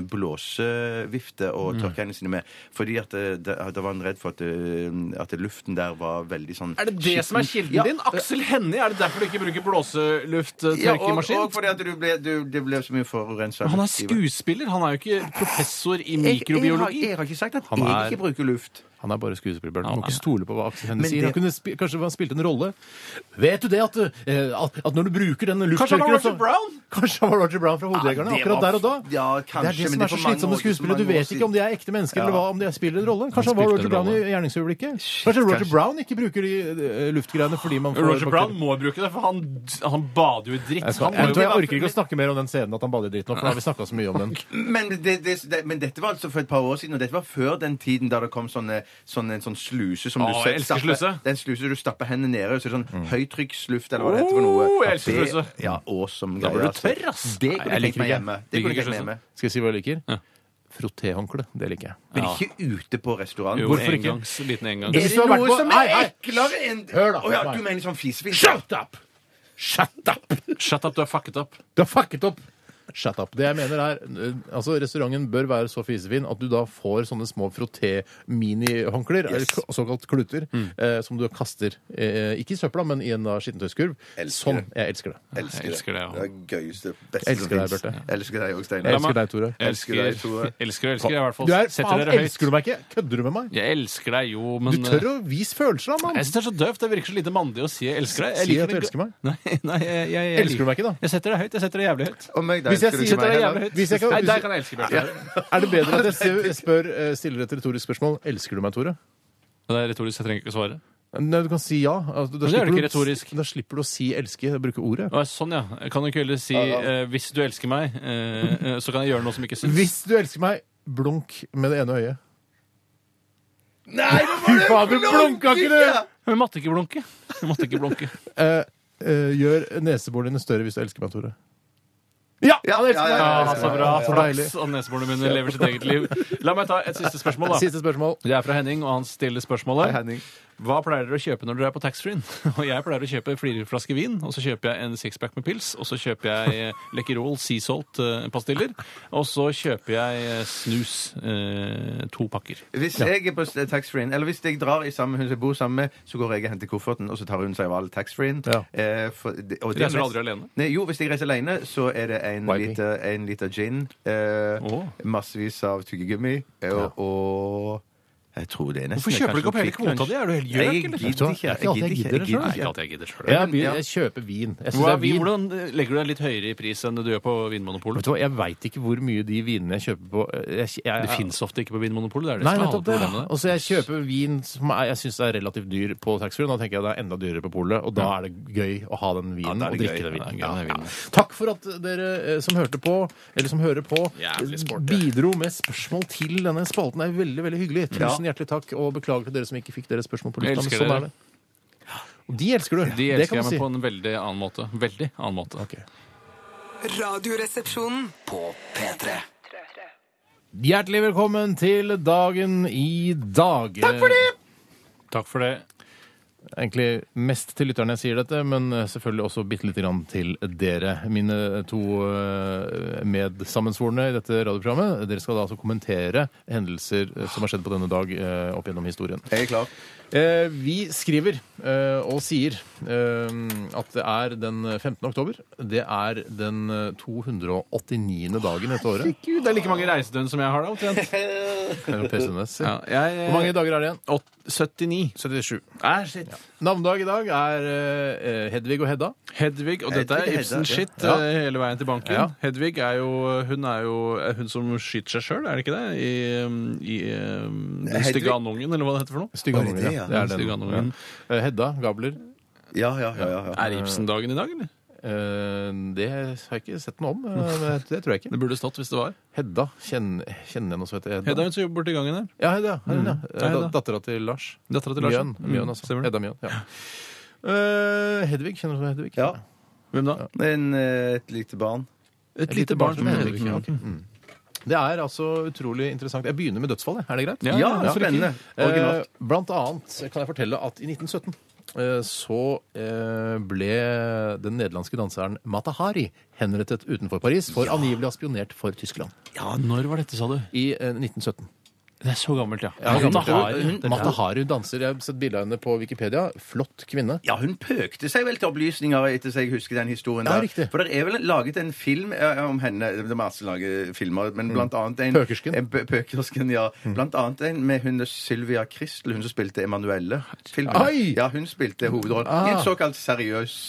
C: blåsevifte
B: Mm.
C: å tørke hendene sine med, fordi at eh, da da var han redd for at, eh, at luften der var veldig sånn
B: Er det det som er kilden
C: Ja.
B: din? Aksel Hennie? Er det derfor du ikke bruker eh,
C: Ja, og,
B: blåselufttørkemaskin?
C: og fordi at du ble, du, det ble så mye forurensa.
B: han er skuespiller, han er jo ikke professor i
C: Jeg, jeg, har,
B: mikrobiologi.
C: jeg har ikke sagt at
A: Han
C: jeg
A: er-
C: ikke bruker luft.
A: Han er bare skuespiller, Bjørn. Du
B: Han
A: må
B: er-
A: ikke stole på hva Aksel
C: Men
A: Hennie sier. Han
C: det-
A: kunne spi kanskje han spilte en rolle. Vet du det at, eh, at, at når du bruker den
B: Kanskje han var
A: lufttørkeren
B: Roger Brown?
A: Kanskje han var Roger Brown fra
C: Ja, det
A: Hodejegerne
C: var-
A: akkurat der og da?
C: Ja, kanskje,
A: det er det
C: men
A: som
C: det er
A: er så
C: for mange
A: slitsomt
C: år-
A: med skuespillere.
C: for mange
A: Du
C: år
A: vet ikke om de er ekte mennesker
C: Ja.
A: eller hva, om de spiller en rolle. Kanskje han var
B: spilte
A: Roger
B: en
A: Brown i
B: rolle.
A: gjerningsøyeblikket? Kanskje Roger
C: kanskje.
A: Brown ikke bruker de eh, luftgreiene fordi man får
B: Roger Brown
A: bakterier.
B: må bruke det, for han, han bader jo i dritt.
A: Jeg,
B: Han
A: skal,
B: må
A: jeg,
B: jo
A: tror jeg orker ikke å snakke mer om den scenen at han bader i dritt nå, for da har vi snakka så mye om den.
C: Men, det, det, det, men dette var altså for et par år siden, og dette var før den tiden da det kom sånne, sånn- en sånn sluse som du
B: Å, jeg elsker
C: stapper-
B: sluse. Mm.
C: Den sluse du stapper hendene nede i, så er det sånn høytrykksluft eller hva det heter for noe.
B: Oh, jeg elsker
C: Det-
B: sluse.
C: Ja, awesome
B: Da blir
C: greier,
B: du tørr, ass.
C: Det kunne jeg
B: Nei, jeg
C: tenkt
B: liker
C: meg
B: ikke.
C: hjemme. Det
B: Liker
C: kunne jeg
B: ikke
C: tenkt meg
B: sluse.
C: hjemme.
A: Skal jeg si hva jeg liker?
B: Ja.
A: Frottéhåndkle. Det liker jeg.
C: Men ikke ute på restaurant.
B: Jo,
C: Hvorfor
B: en
C: ikke?
B: engangs, liten engangs.
C: Er
A: Hvis
C: det
A: du har vært
C: noe
A: på-
C: som
A: Hei,
C: er
A: hei.
C: eklere enn
A: Hør da.
C: Å ja, du mener sånn fisefis?
A: Shut up! Shut up!
B: Shut up, du er fucket up.
A: Du har fucket opp! Shut up. Det jeg mener er, eh, altså Restauranten bør være så fisefin at du da får sånne små frotté-minihåndklær, eller k- såkalt kluter, eh, som du kaster eh, ikke i søpla, men i en da skittentøyskurv.
C: Elsker
A: Sånn.
C: det.
A: Jeg elsker det.
C: Elsker
B: Jeg elsker det, ja.
C: Det er gøyeste, beste
A: Jeg elsker
C: som
A: deg,
C: finnes.
A: Bjørte.
C: Elsker deg òg,
A: Jeg
C: Steinar.
A: elsker deg, Tore.
B: Jeg
C: Elsker deg, Tore.
B: Elsker, elsker, elsker. Jeg i hvert fall
A: Du er,
B: setter
A: faen,
B: dere høyt.
A: elsker du meg ikke? Kødder du med meg?
B: Jeg elsker deg jo,
A: Du
B: men eh,
A: tør å vise følelser, da,
B: Jeg
A: mann!
B: synes det er så døvt. Det virker så lite mandig å si 'jeg elsker deg'.
A: Si at
B: liker
A: du
B: det
A: elsker meg.
B: go- Nei, nei jeg, jeg, jeg,
A: Elsker du meg ikke, da?
B: Jeg setter det høyt. Jeg setter det jævlig høyt.
C: Og meg, da
A: Hvis jeg
C: elsker du
A: sier-
C: ikke meg
B: Setter det
C: heller.
B: jævlig høyt.
A: Hvis jeg kan-
B: nei,
A: hvis-
B: der kan jeg elske Bjørte.
A: Er det bedre at jeg ser- jeg spør, eh, stiller et retorisk spørsmål Elsker du meg, Tore?
B: Det er retorisk, jeg trenger ikke å svare.
A: Nei, du kan si ja. Altså, da,
B: Men det er
A: slipper
B: jo ikke
A: du-
B: retorisk.
A: da slipper du å si 'elske', bruke ordet.
B: Å, sånn, ja. Jeg kan jo ikke heller si eh, 'hvis du elsker meg', eh, eh, så kan jeg gjøre noe som ikke syns.
A: Hvis du elsker meg, blunk med det ene øyet.
C: Nei, det var det!
A: Faen, du blunka ikke, du!
B: Men måtte ikke blunke. Jeg måtte ikke blunke.
A: Eh, eh, gjør neseborene dine større hvis du elsker meg, Tore. Ja!
C: Ja,
A: han elsker
C: ja,
A: meg!
C: ja,
B: Ah, så bra.
A: Så deilig.
B: Flaks at neseborene mine lever sitt eget liv. La meg ta et siste spørsmål, da.
A: Siste spørsmål.
B: Det er fra Henning, og han stiller spørsmålet. Hva pleier dere å kjøpe når dere er på taxfree-en? Og jeg pleier å kjøpe flere flasker vin, og så kjøper jeg en sixpack med pils, og så kjøper jeg eh, Läkerol Sea Salt-pastiller, og så kjøper jeg eh, snus. Eh, to pakker.
C: Hvis jeg er på s- taxfree-en, eller hvis jeg drar i samme hus jeg bor sammen med, så går jeg og henter kofferten, og så tar hun seg av all taxfree-en.
A: Ja.
C: Eh, for det- og det-
B: Reiser du aldri alene?
C: Nei, jo, hvis jeg reiser alene, så er det en,
A: Why me?
C: liter, en liter gin, eh,
B: Åh.
C: massevis av tyggegummi eh, og, og Jeg tror det er nesten
B: Hvorfor kjøper du ikke opp hele kvota di? Er du helt gjøk,
C: Jeg gidder
B: eller?
C: ikke.
A: Det er ikke alltid jeg gidder det
C: jeg
A: selv.
B: Ikke at jeg gidder selv.
A: Jeg,
C: men- ja.
A: begynner, jeg kjøper vin. Jeg synes det
B: Hva-
A: er vin.
B: Hvordan legger du deg litt høyere i pris enn du gjør på Vinmonopolet?
A: Vet du hva, Jeg veit ikke hvor mye de vinene jeg kjøper på jeg, jeg, jeg,
B: Det fins ofte ikke på Vinmonopolet. Det er det
A: Nei,
B: som er halve
A: nettopp det.
B: problemet.
A: Altså, jeg kjøper vin som er, jeg syns er relativt dyr på taxfree. Da tenker jeg det er enda dyrere på polet, og da er det gøy å ha den vinen
C: da er
A: og
C: det gøy.
A: drikke den vinen.
B: Ja, det er gøy med vinen.
A: Takk for at dere eh, som hørte på, eller som hører på,
B: Jævlig sporty.
A: bidro med spørsmål til denne spalten. Det er veldig veldig hyggelig. Tusen hjertelig takk, og beklager til dere som ikke fikk deres spørsmål på
B: Jeg
A: lufta. men
B: elsker
A: Sånn er
B: dere.
A: det. Og de elsker du.
B: De
A: det
B: elsker
A: kan
B: jeg
A: man
B: meg
A: si.
B: på en veldig annen måte. Veldig annen måte.
E: Radioresepsjonen.
F: På P3
A: Hjertelig velkommen til dagen i dag. Takk for det!
B: Takk for det.
A: egentlig mest til lytterne jeg sier dette, men eh, selvfølgelig også bitte lite grann til dere. Mine to eh, medsammensvorne i dette radioprogrammet. Dere skal da altså kommentere hendelser eh, som har skjedd på denne dag eh, opp gjennom historien.
C: Jeg er klar.
A: Eh, Vi skriver eh, og sier eh, at det er den 15. oktober. Det er den eh, 289. dagen dette året.
B: Gud, det er like mange reisedøgn som jeg har, da, omtrent.
A: Eller PCNS.
B: Ja, jeg,
A: Hvor mange dager er det igjen?
B: Åt- 79.
A: 77.
B: Æ, shit.
A: Navnedag i dag er eh, Hedvig og Hedda.
B: Hedvig, og dette
C: Hedvig Hedda,
B: er
C: ja.
B: Ibsen-shit
A: Ja.
B: eh, hele veien til banken.
A: Ja.
B: Hedvig er jo Hun er jo er hun som skyter seg sjøl, er det ikke det? I, um, i um, Den
C: Hedvig-
B: stygge andungen, eller hva det heter for noe?
A: Stygge
C: Var det
A: andungen,
C: det,
A: ja.
C: ja?
A: Det er
B: Stygge
A: den.
B: andungen.
A: Ja. Eh, Hedda Gabler.
C: Ja, ja, ja. ja, ja.
B: Er Ibsen-dagen i dag, eller?
A: eh, Det har jeg ikke sett noe om. eh, men Det tror jeg ikke.
B: Det burde stått hvis det var.
A: Hedda. Kjenner, kjenner jeg noe som heter Hedda?
B: Hedda, hun som jobber borti gangen her.
A: Ja, Hedda. Hedda. ja.
B: Hedda.
A: Da- Dattera til Lars.
B: Dattera til Lars. ja.
A: Mjøen. Mjøen, altså.
B: Stemmer det.
A: Hedda Mjøen. Ja. Eh, Hedvig. Kjenner du til Hedvig?
C: ja.
B: Hvem da?
C: Men eh, et lite barn.
B: Et, lite barn som Hedvig.
A: ja,
B: Ja,
A: ok. Mm. Det er altså utrolig interessant. Jeg begynner med dødsfallet. Er det greit?
B: Ah, Ja,
C: Ja,
B: hvorfor ikke?
C: spennende.
A: Eh,
C: Originalt.
A: blant annet kan jeg fortelle at i 1917 eh, så eh, ble den nederlandske danseren Matahari henrettet utenfor Paris for angivelig å ha spionert for Tyskland.
B: Ja, når var dette, sa du?
A: I eh, 1917.
B: Det er så gammelt, ja.
A: Ja,
B: Hanna
A: Matahari-
B: Hare.
A: Matahari danser. Jeg har sett bilde av henne på Wikipedia. Flott kvinne.
C: Ja, hun pøkte seg vel til opplysninger etter seg, jeg husker den historien
A: Ja,
C: der.
A: riktig.
C: For det er vel laget en film eh, om henne, det er masse lage filmer, men blant annet en...
A: Mm. Pøkersken. Mm.
C: En pø- pøkersken, ja. Blant annet en med hun Sylvia Kristel, hun som spilte Emanuelle. Filmen.
A: Oi!
C: Ja,
A: Ah.
C: hun spilte hovedrollen i en såkalt seriøs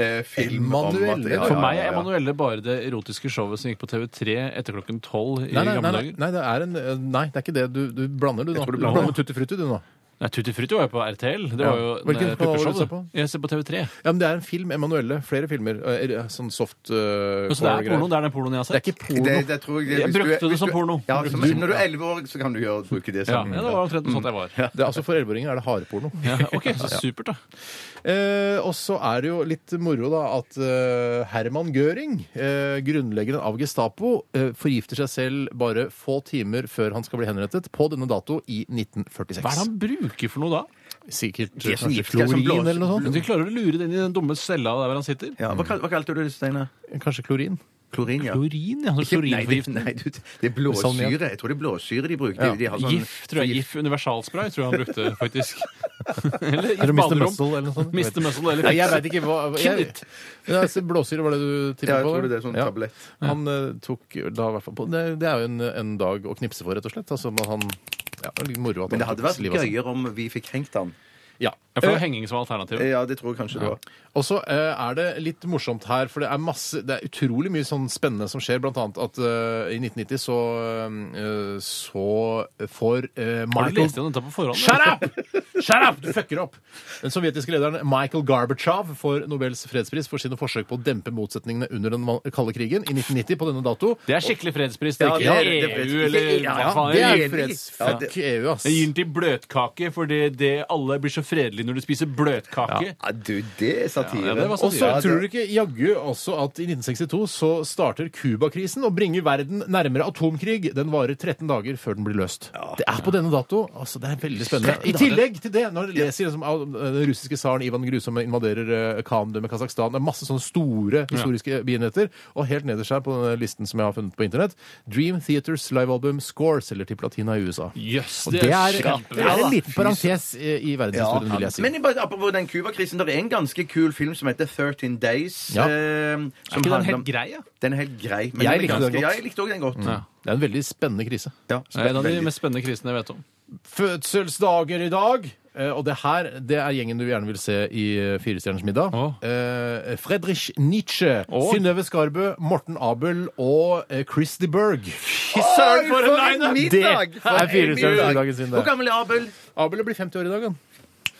C: eh, film.
A: Emanuelle?
C: om at- ja, ja, ja,
B: For meg
C: ja.
B: er Emanuelle bare det erotiske showet som gikk på TV3 etter klokken tolv i
A: Nei, nei,
B: gamle
A: nei, nei,
B: dager.
A: nei, det er en, eh, nei, det er ikke det. Du, du blander, du. nå.
B: tror du
A: Du
B: blander.
A: blander Tutti Frutti, du nå.
B: Nei, Tutti Frutti var jo på RTL. Det var jo
A: Ja. Hvilken kanal var
B: eh,
A: det du
B: puppeshow,
A: så
B: det.
A: på?
B: Jeg ser på TV3.
A: Ja, men det er en film. Emanuelle. Flere filmer. eh, er- Sånn soft eh,
B: Så
A: core-greier.
B: det er porno. Det er den pornoen jeg har
A: Det er
B: sett.
A: ikke porno.
C: Det, det tror jeg, hvis
B: Jeg
C: du er-
B: brukte det
C: hvis
B: som
C: du-
B: porno.
C: Ja,
B: Brukte
C: som,
B: det som
C: når du er 11 år, så kan du gjøre, bruke det
B: Ja,
C: som
B: ja, det var omtrent sånn jeg var.
A: Det er altså for 11-åringer er det hardeporno.
B: Ja, ok, så supert, da.
A: Eh, og så er det jo litt moro da at eh, Herman Göring, eh, grunnleggeren av Gestapo, eh, forgifter seg selv bare få timer før han skal bli henrettet, på denne dato i 1946.
B: Hva er det han bruker for noe da?
A: Sikkert
C: er som
A: kanskje
C: gift, det er som
A: klorin
C: blås-
A: eller noe sånt?
B: Du klarer å lure den i den dumme cella der hvor han sitter.
C: Ja, hva, kal- hva kalte du det, Steinar?
A: Kanskje klorin?
C: Klorin, ja.
B: Klorin, ja. Sånn
C: Ikke- nei, det,
B: Klorinforgiftning.
C: nei, du, det er
B: Sånn,
A: Salmiakk.
C: blåsyre. Jeg tror det er blåsyre de bruker. De, de har sånn,
B: Gif, tror jeg. Gif universalspray tror jeg han brukte, faktisk. Eller i
A: Eller Mr.
B: baderom.
A: Muscle eller noe sånt?
B: Mr. Muscle
A: Nei, jeg
B: eller
A: vet ikke hva jeg,
B: Kill it.
A: Ja, altså, Blåsyre var det du tippet
C: Ja,
A: på?
C: jeg tror det
A: da?
C: er sånn
A: Ja.
C: tablett.
A: Han eh, tok da i hvert fall på Det, det er jo en, en dag å knipse for, rett og slett. Altså, men han, ja, det er litt moro at
C: Men det
A: han
C: hadde
A: tok
C: vært
B: liksom.
A: livet av seg.
C: gøyere om vi fikk hengt han.
A: Ja.
B: Ja, for det var henging som var
A: Eh,
B: alternativet.
C: Ja, det tror jeg kanskje det var.
A: Og så eh, er det litt morsomt her, for det er, masse, det er utrolig mye sånn spennende som skjer. Blant annet at eh, i 1990 så, eh, så får eh,
B: Har du
A: Michael
B: lest gjennom dette på forhånd?
A: Shut up! Shut up! Du fucker opp. Den sovjetiske lederen Michael Gorbatsjov får Nobels fredspris for sine forsøk på å dempe motsetningene under den van- kalde krigen i 1990 på denne dato.
B: Det er skikkelig fredspris. Det er
C: Ja,
B: ikke
C: det er- det er-
B: EU eller
C: Ja,
B: hva faen.
A: det er
C: enig.
A: freds...
C: Ja, det-
A: Fuck EU, ass.
B: Jeg gir den til bløtkake, fordi det alle blir så fredelige når de spiser bløtkake.
C: Ja, du, det er satire.
B: Ja, ja, det var
A: Og
B: satire.
A: så
C: Ja, det-
A: tror du ikke jaggu også at i 1962 så starter Cuba-krisen og bringer verden nærmere atomkrig. Den varer 13 dager før den blir løst. Det er på denne dato. altså Det er veldig spennende. I tillegg til det, når du leser liksom, av den russiske tsaren Ivan Grusomme invaderer eh, Kandø med Kasakhstan, det er masse sånne store historiske bienheter, og helt nederst her på denne listen som jeg har funnet på internett, Dream Theaters livealbum Score selger til platina i USA.
B: Jøss,
A: Og det er,
B: kjapt.
A: det er en liten parentes eh, i verdenshistorien, vil jeg si.
C: Men bare apropos den Cuba-krisen, det er en ganske kul film som heter 13 Days.
A: Ja.
C: eh,
B: Er
C: som
B: ikke den
C: handler om-
B: helt grei, ja?
C: Den er helt grei. Men
A: Jeg
C: den er
A: likte den
C: ganske-
A: godt.
C: Ja, jeg likte også den godt.
A: Det er en veldig spennende krise.
C: Ja,
B: Det er en av de
C: veldig.
B: mest spennende krisene jeg vet om.
A: fødselsdager i dag. Eh, og det her det er gjengen du gjerne vil se i eh, Firestjerners middag.
B: Å.
A: Eh, Fredrich Nietzsche,
B: Å.
A: Synnøve Skarbø, Morten Abel og eh, Chris de Berg.
B: Fy søren, for en line!
A: Det
C: middag! For
A: er
C: en
A: Firestjerners
C: middag!
A: middag sin,
C: Hvor
A: det.
C: gammel er Abel?
A: Abel blir 50 år i dag, han.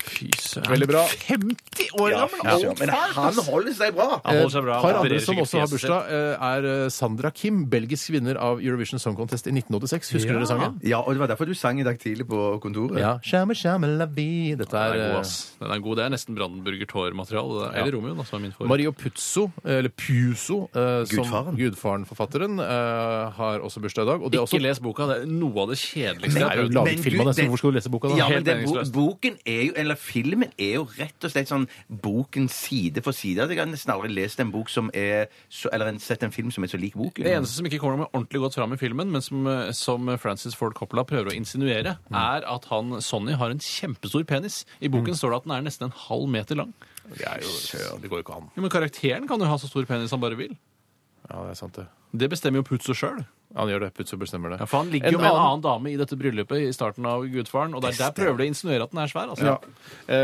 B: Fy søren.
A: Veldig bra.
B: 50 år gammel! altså!
C: Ja, men han holder seg bra.
B: Han holder seg bra.
A: Et Eh, par
B: han
A: andre
B: opererer
A: som
B: sikkert
A: også har
B: fjeset sitt.
A: bursdag, eh, er eh, Sandra Kim, belgisk vinner av Eurovision Song Contest i 1986. Husker
B: Ja.
A: dere sangen?
C: Ja, og det var derfor du sang i dag tidlig på kontoret.
A: Ja. Shama, shama, la bi. Dette
B: Den er
A: er
B: god,
A: eh,
B: ass. Den er god. Det er nesten Brandenburger Tor-materiale. det der. Eller Romeo, da, som er min favoritt.
A: Mario Puzzo, eller Puso, eh, som
C: Gudfaren.
A: Gudfaren-forfatteren, eh, har også bursdag i dag. Og det er også
B: Ikke les boka. Det er noe av det kjedeligste
A: Det er jo
B: jeg har prøvd.
A: laget
C: Men
A: film
C: du,
A: av det, så
C: den-
A: hvorfor skal du lese boka da?
C: Ja, men
B: Helt
C: det, bo,
B: meningsløst.
C: boken er jo, eller filmen er jo rett og slett sånn boken side for side. Jeg har nesten aldri lest en bok som er så, Eller en, sett en film som er så lik boken.
B: Det eneste som ikke kommer med ordentlig godt fram i filmen, men som, eh, som Francis Ford Coppola prøver å insinuere, er at han, Sonny har en kjempestor penis. I boken står det at den er nesten en halv meter lang.
A: Det er jo Det går jo ikke an.
B: Jo, men karakteren kan jo ha så stor penis han bare vil.
A: Ja, det er sant, det.
B: Det bestemmer jo Puzzo sjøl.
A: Han gjør det. Puzzo bestemmer det.
B: Ja, for han ligger jo med en annen dame i dette bryllupet i starten av Gudfaren, og der, der prøver de å insinuere at den er svær. altså.
A: Ja.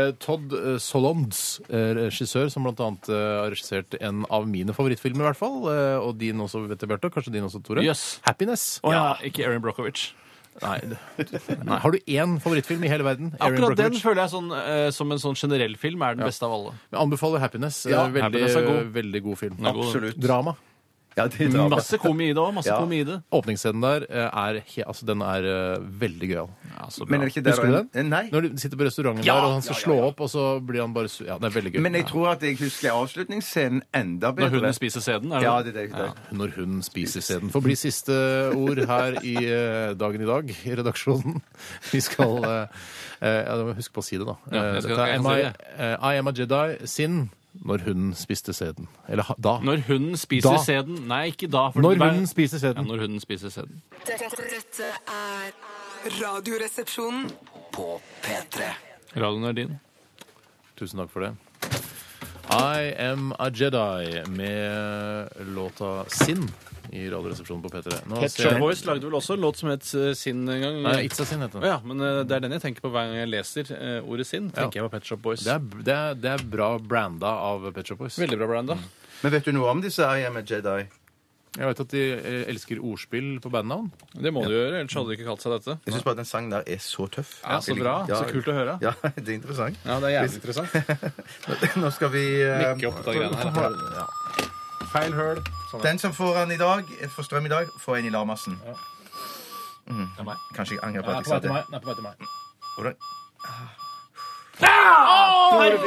A: Eh, Todd eh, Solondz, eh, regissør, som blant annet eh, har regissert en av mine favorittfilmer, i hvert fall. Eh, og din også, vet jeg, Bjarte. Kanskje din også, Tore.
B: Yes.
A: 'Happiness'.
B: Å ja, ikke Erin Brockovich.
A: Nei. det- Nei. Har du én favorittfilm i hele verden? Erin
B: Akkurat den
A: Brockovich?
B: føler jeg sånn, eh, som en sånn generell film er den beste av alle.
A: Jeg anbefaler 'Happiness'. Eh,
C: Ja,
A: veldig,
B: Happiness er god.
A: veldig god film.
B: er god, den.
C: Absolutt.
A: Drama.
C: Ja, det er drama.
B: Masse komi i det òg. Masse
C: Ja.
B: komi i det.
A: Åpningsscenen der eh, er, he- altså, den er eh, veldig gøyal.
B: Ja, altså, så bra.
C: Men er det ikke der Eh,
A: Husker du den?
C: Nei.
A: Når du sitter på restauranten
C: Ja,
A: der, og han skal
C: ja, ja,
A: slå
C: ja.
A: opp, og så blir han bare su... Ja, det er veldig gøy.
C: Men jeg tror at jeg husker avslutningsscenen enda bedre.
B: Når hunden spiser sæden? er det
C: Ja,
B: det?
C: det er det. det.
A: Når hun spiser sæden. Får bli siste ord her i eh, Dagen i dag i redaksjonen. Vi skal eh, eh, ja, Husk på å si det, da.
B: Ja, jeg skal-
A: Dette er
B: jeg
A: Am
B: kan
A: I,
B: si det.
A: eh, I am a Jedi sin når hun spiste sæden. Eller ha- da.
B: Når hunden spiser
A: Da.
B: sæden Nei, ikke da. for
A: Når
B: den-
A: hunden spiser
B: ja,
A: sæden.
B: når hunden spiser sæden.
E: Dette, dette er Radioresepsjonen.
F: På P3
B: Radioen er din.
A: Tusen takk for det. I am a Jedi med låta Sin i Radioresepsjonen på P3. Nå ser
B: Pet
A: jeg-
B: Boys lagde vel også en låt som het eh, Sinn en gang.
A: Nei, Itza Sin heter
B: Å
A: den.
B: ja, men eh, det er den jeg tenker på hver gang jeg leser eh, ordet Sinn. tenker jeg på Pet Shop Boys.
A: Det er, det, er, det er bra branda av Pet Shop Boys.
B: Veldig bra, Branda.
C: Men vet du noe om disse I am a Jedi?
A: Jeg vet at de eh, elsker ordspill på bandnavn.
B: Det må du gjøre, ellers hadde du ikke kalt seg dette.
C: Jeg syns bare den sangen der er så tøff.
B: Ja, så bra.
C: Ja.
B: Så kult å høre.
C: Ja, det er interessant.
B: Ja, det er jævlig interessant.
C: Nå skal vi eh,
B: Mikke opp de greiene her.
C: Ja.
B: Feil høl. Sånn
C: Den som får den i dag, får strøm i dag, får en i Larmassen. Mhm.
B: er meg.
C: Kanskje jeg angrer på at jeg sa det.
A: Nei, på vei til meg.
C: Hvordan? Tore,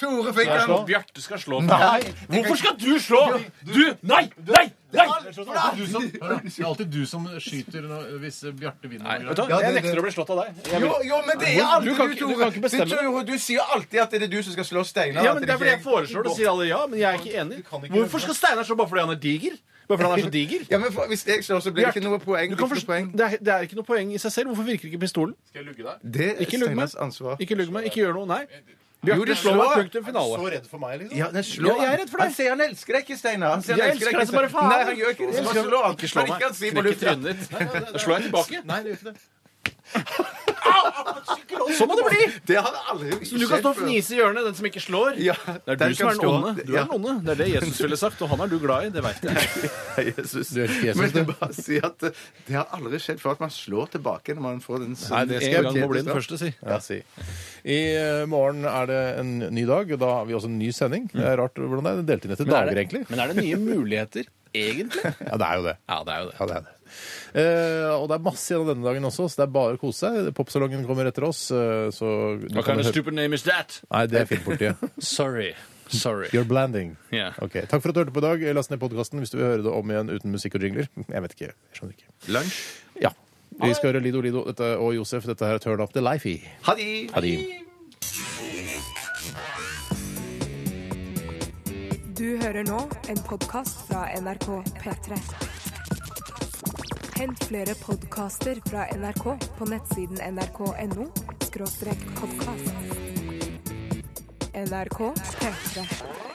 C: Tore fikk den!
B: Bjarte skal slå.
C: Nei,
B: Hvorfor skal du slå? Du! Nei! Nei!
A: Det er
B: Nei!
A: alltid du som skyter når- hvis Bjarte
B: Nei,
A: vinner.
B: vet du, hva?
C: Ja, det-
B: jeg nekter å bli slått av deg. Jeg
C: Jo,
B: vil-
C: jo, men det er alltid
B: Du
C: du,
B: kan ikke- du
C: Tore.
B: kan ikke bestemme.
C: Du, Tore, du sier alltid at det er du som skal slå Steinar.
B: Ja,
C: at
B: men
C: det
B: det er fordi jeg foreslår det, sier alle ja, men jeg er ikke enig. Hvorfor skal Steinar slå bare fordi han er diger? Bare fordi han er så diger?
C: Ja, men for, Hvis jeg slår, så blir det ikke noe poeng.
B: Du kan
C: Ikke noe
B: forstå,
C: poeng.
B: det, er, det er ikke noe poeng i seg selv. Hvorfor virker ikke pistolen?
C: Det er
B: Ikke lugg meg.
C: Steinars ansvar.
B: Ikke lugg meg. Ikke gjør noe. Nei.
C: Jo,
B: Bjarte
C: det
B: slår meg.
C: slår.
B: Punktum finale.
A: redd for meg, liksom?
C: Ja, nei, slå.
B: Ja, jeg er redd for deg.
C: Han sier han elsker deg ikke, Steinar. Han sier han
B: Jeg
C: elsker
B: elsker
C: deg
B: deg som bare faen.
C: Nei, han gjør ikke det. Så bare slå han.
B: Ikke slå
C: Men
B: meg.
C: ikke han si på
B: Knekk i
C: lufta.
B: trynet ditt. Da slår jeg tilbake.
A: Nei, det gjør ikke det.
B: Sånn må det bli.
C: Det har jeg aldri
B: Du kan stå og fnise i hjørnet, den som ikke slår.
C: Ja,
B: Det er du som er den onde. Du er
C: Ja.
B: den onde. Det er det Jesus ville sagt, og han er du glad i. Det veit jeg.
C: Jesus.
A: Du elsker Jesus,
C: Men jeg bare sier at eh, det har aldri skjedd før at man slår tilbake når man får den
A: Nei, det skal
B: En
A: jeg
B: gang må bli den første, si.
A: Ja, si. I eh, morgen er det en ny dag, og da har vi også en ny sending. Det er rart hvordan det Mm. er delt inn etter dager, egentlig.
B: Men er det nye muligheter, egentlig?
A: Ja, det er jo det.
B: Ja, det er jo det.
A: Ja, det er det. Eh, og det er masse igjen av denne dagen også, så det er bare å kose seg. Popsalongen kommer etter oss, eh, så du
B: Hva
A: kan
B: kind of
A: høre-
B: stupid name is that?
A: Nei, det er filmpolitiet.
B: Sorry. Sorry.
A: You're blanding.
B: Ja.
A: Ok, Takk for at du hørte på i dag. Last ned podkasten hvis du vil høre det om igjen uten musikk og jingler. Jeg vet ikke. Jeg skjønner ikke.
C: Lunsj.
A: Ja. Vi skal høre Lido Lido dette, og Josef. Dette her er Turn Up The Lifey.
C: Ha det.
A: Ha det.
G: Du hører nå en podkast fra NRK P3. Hent flere podkaster fra NRK på nettsiden nrk.no podkast. NRK P3.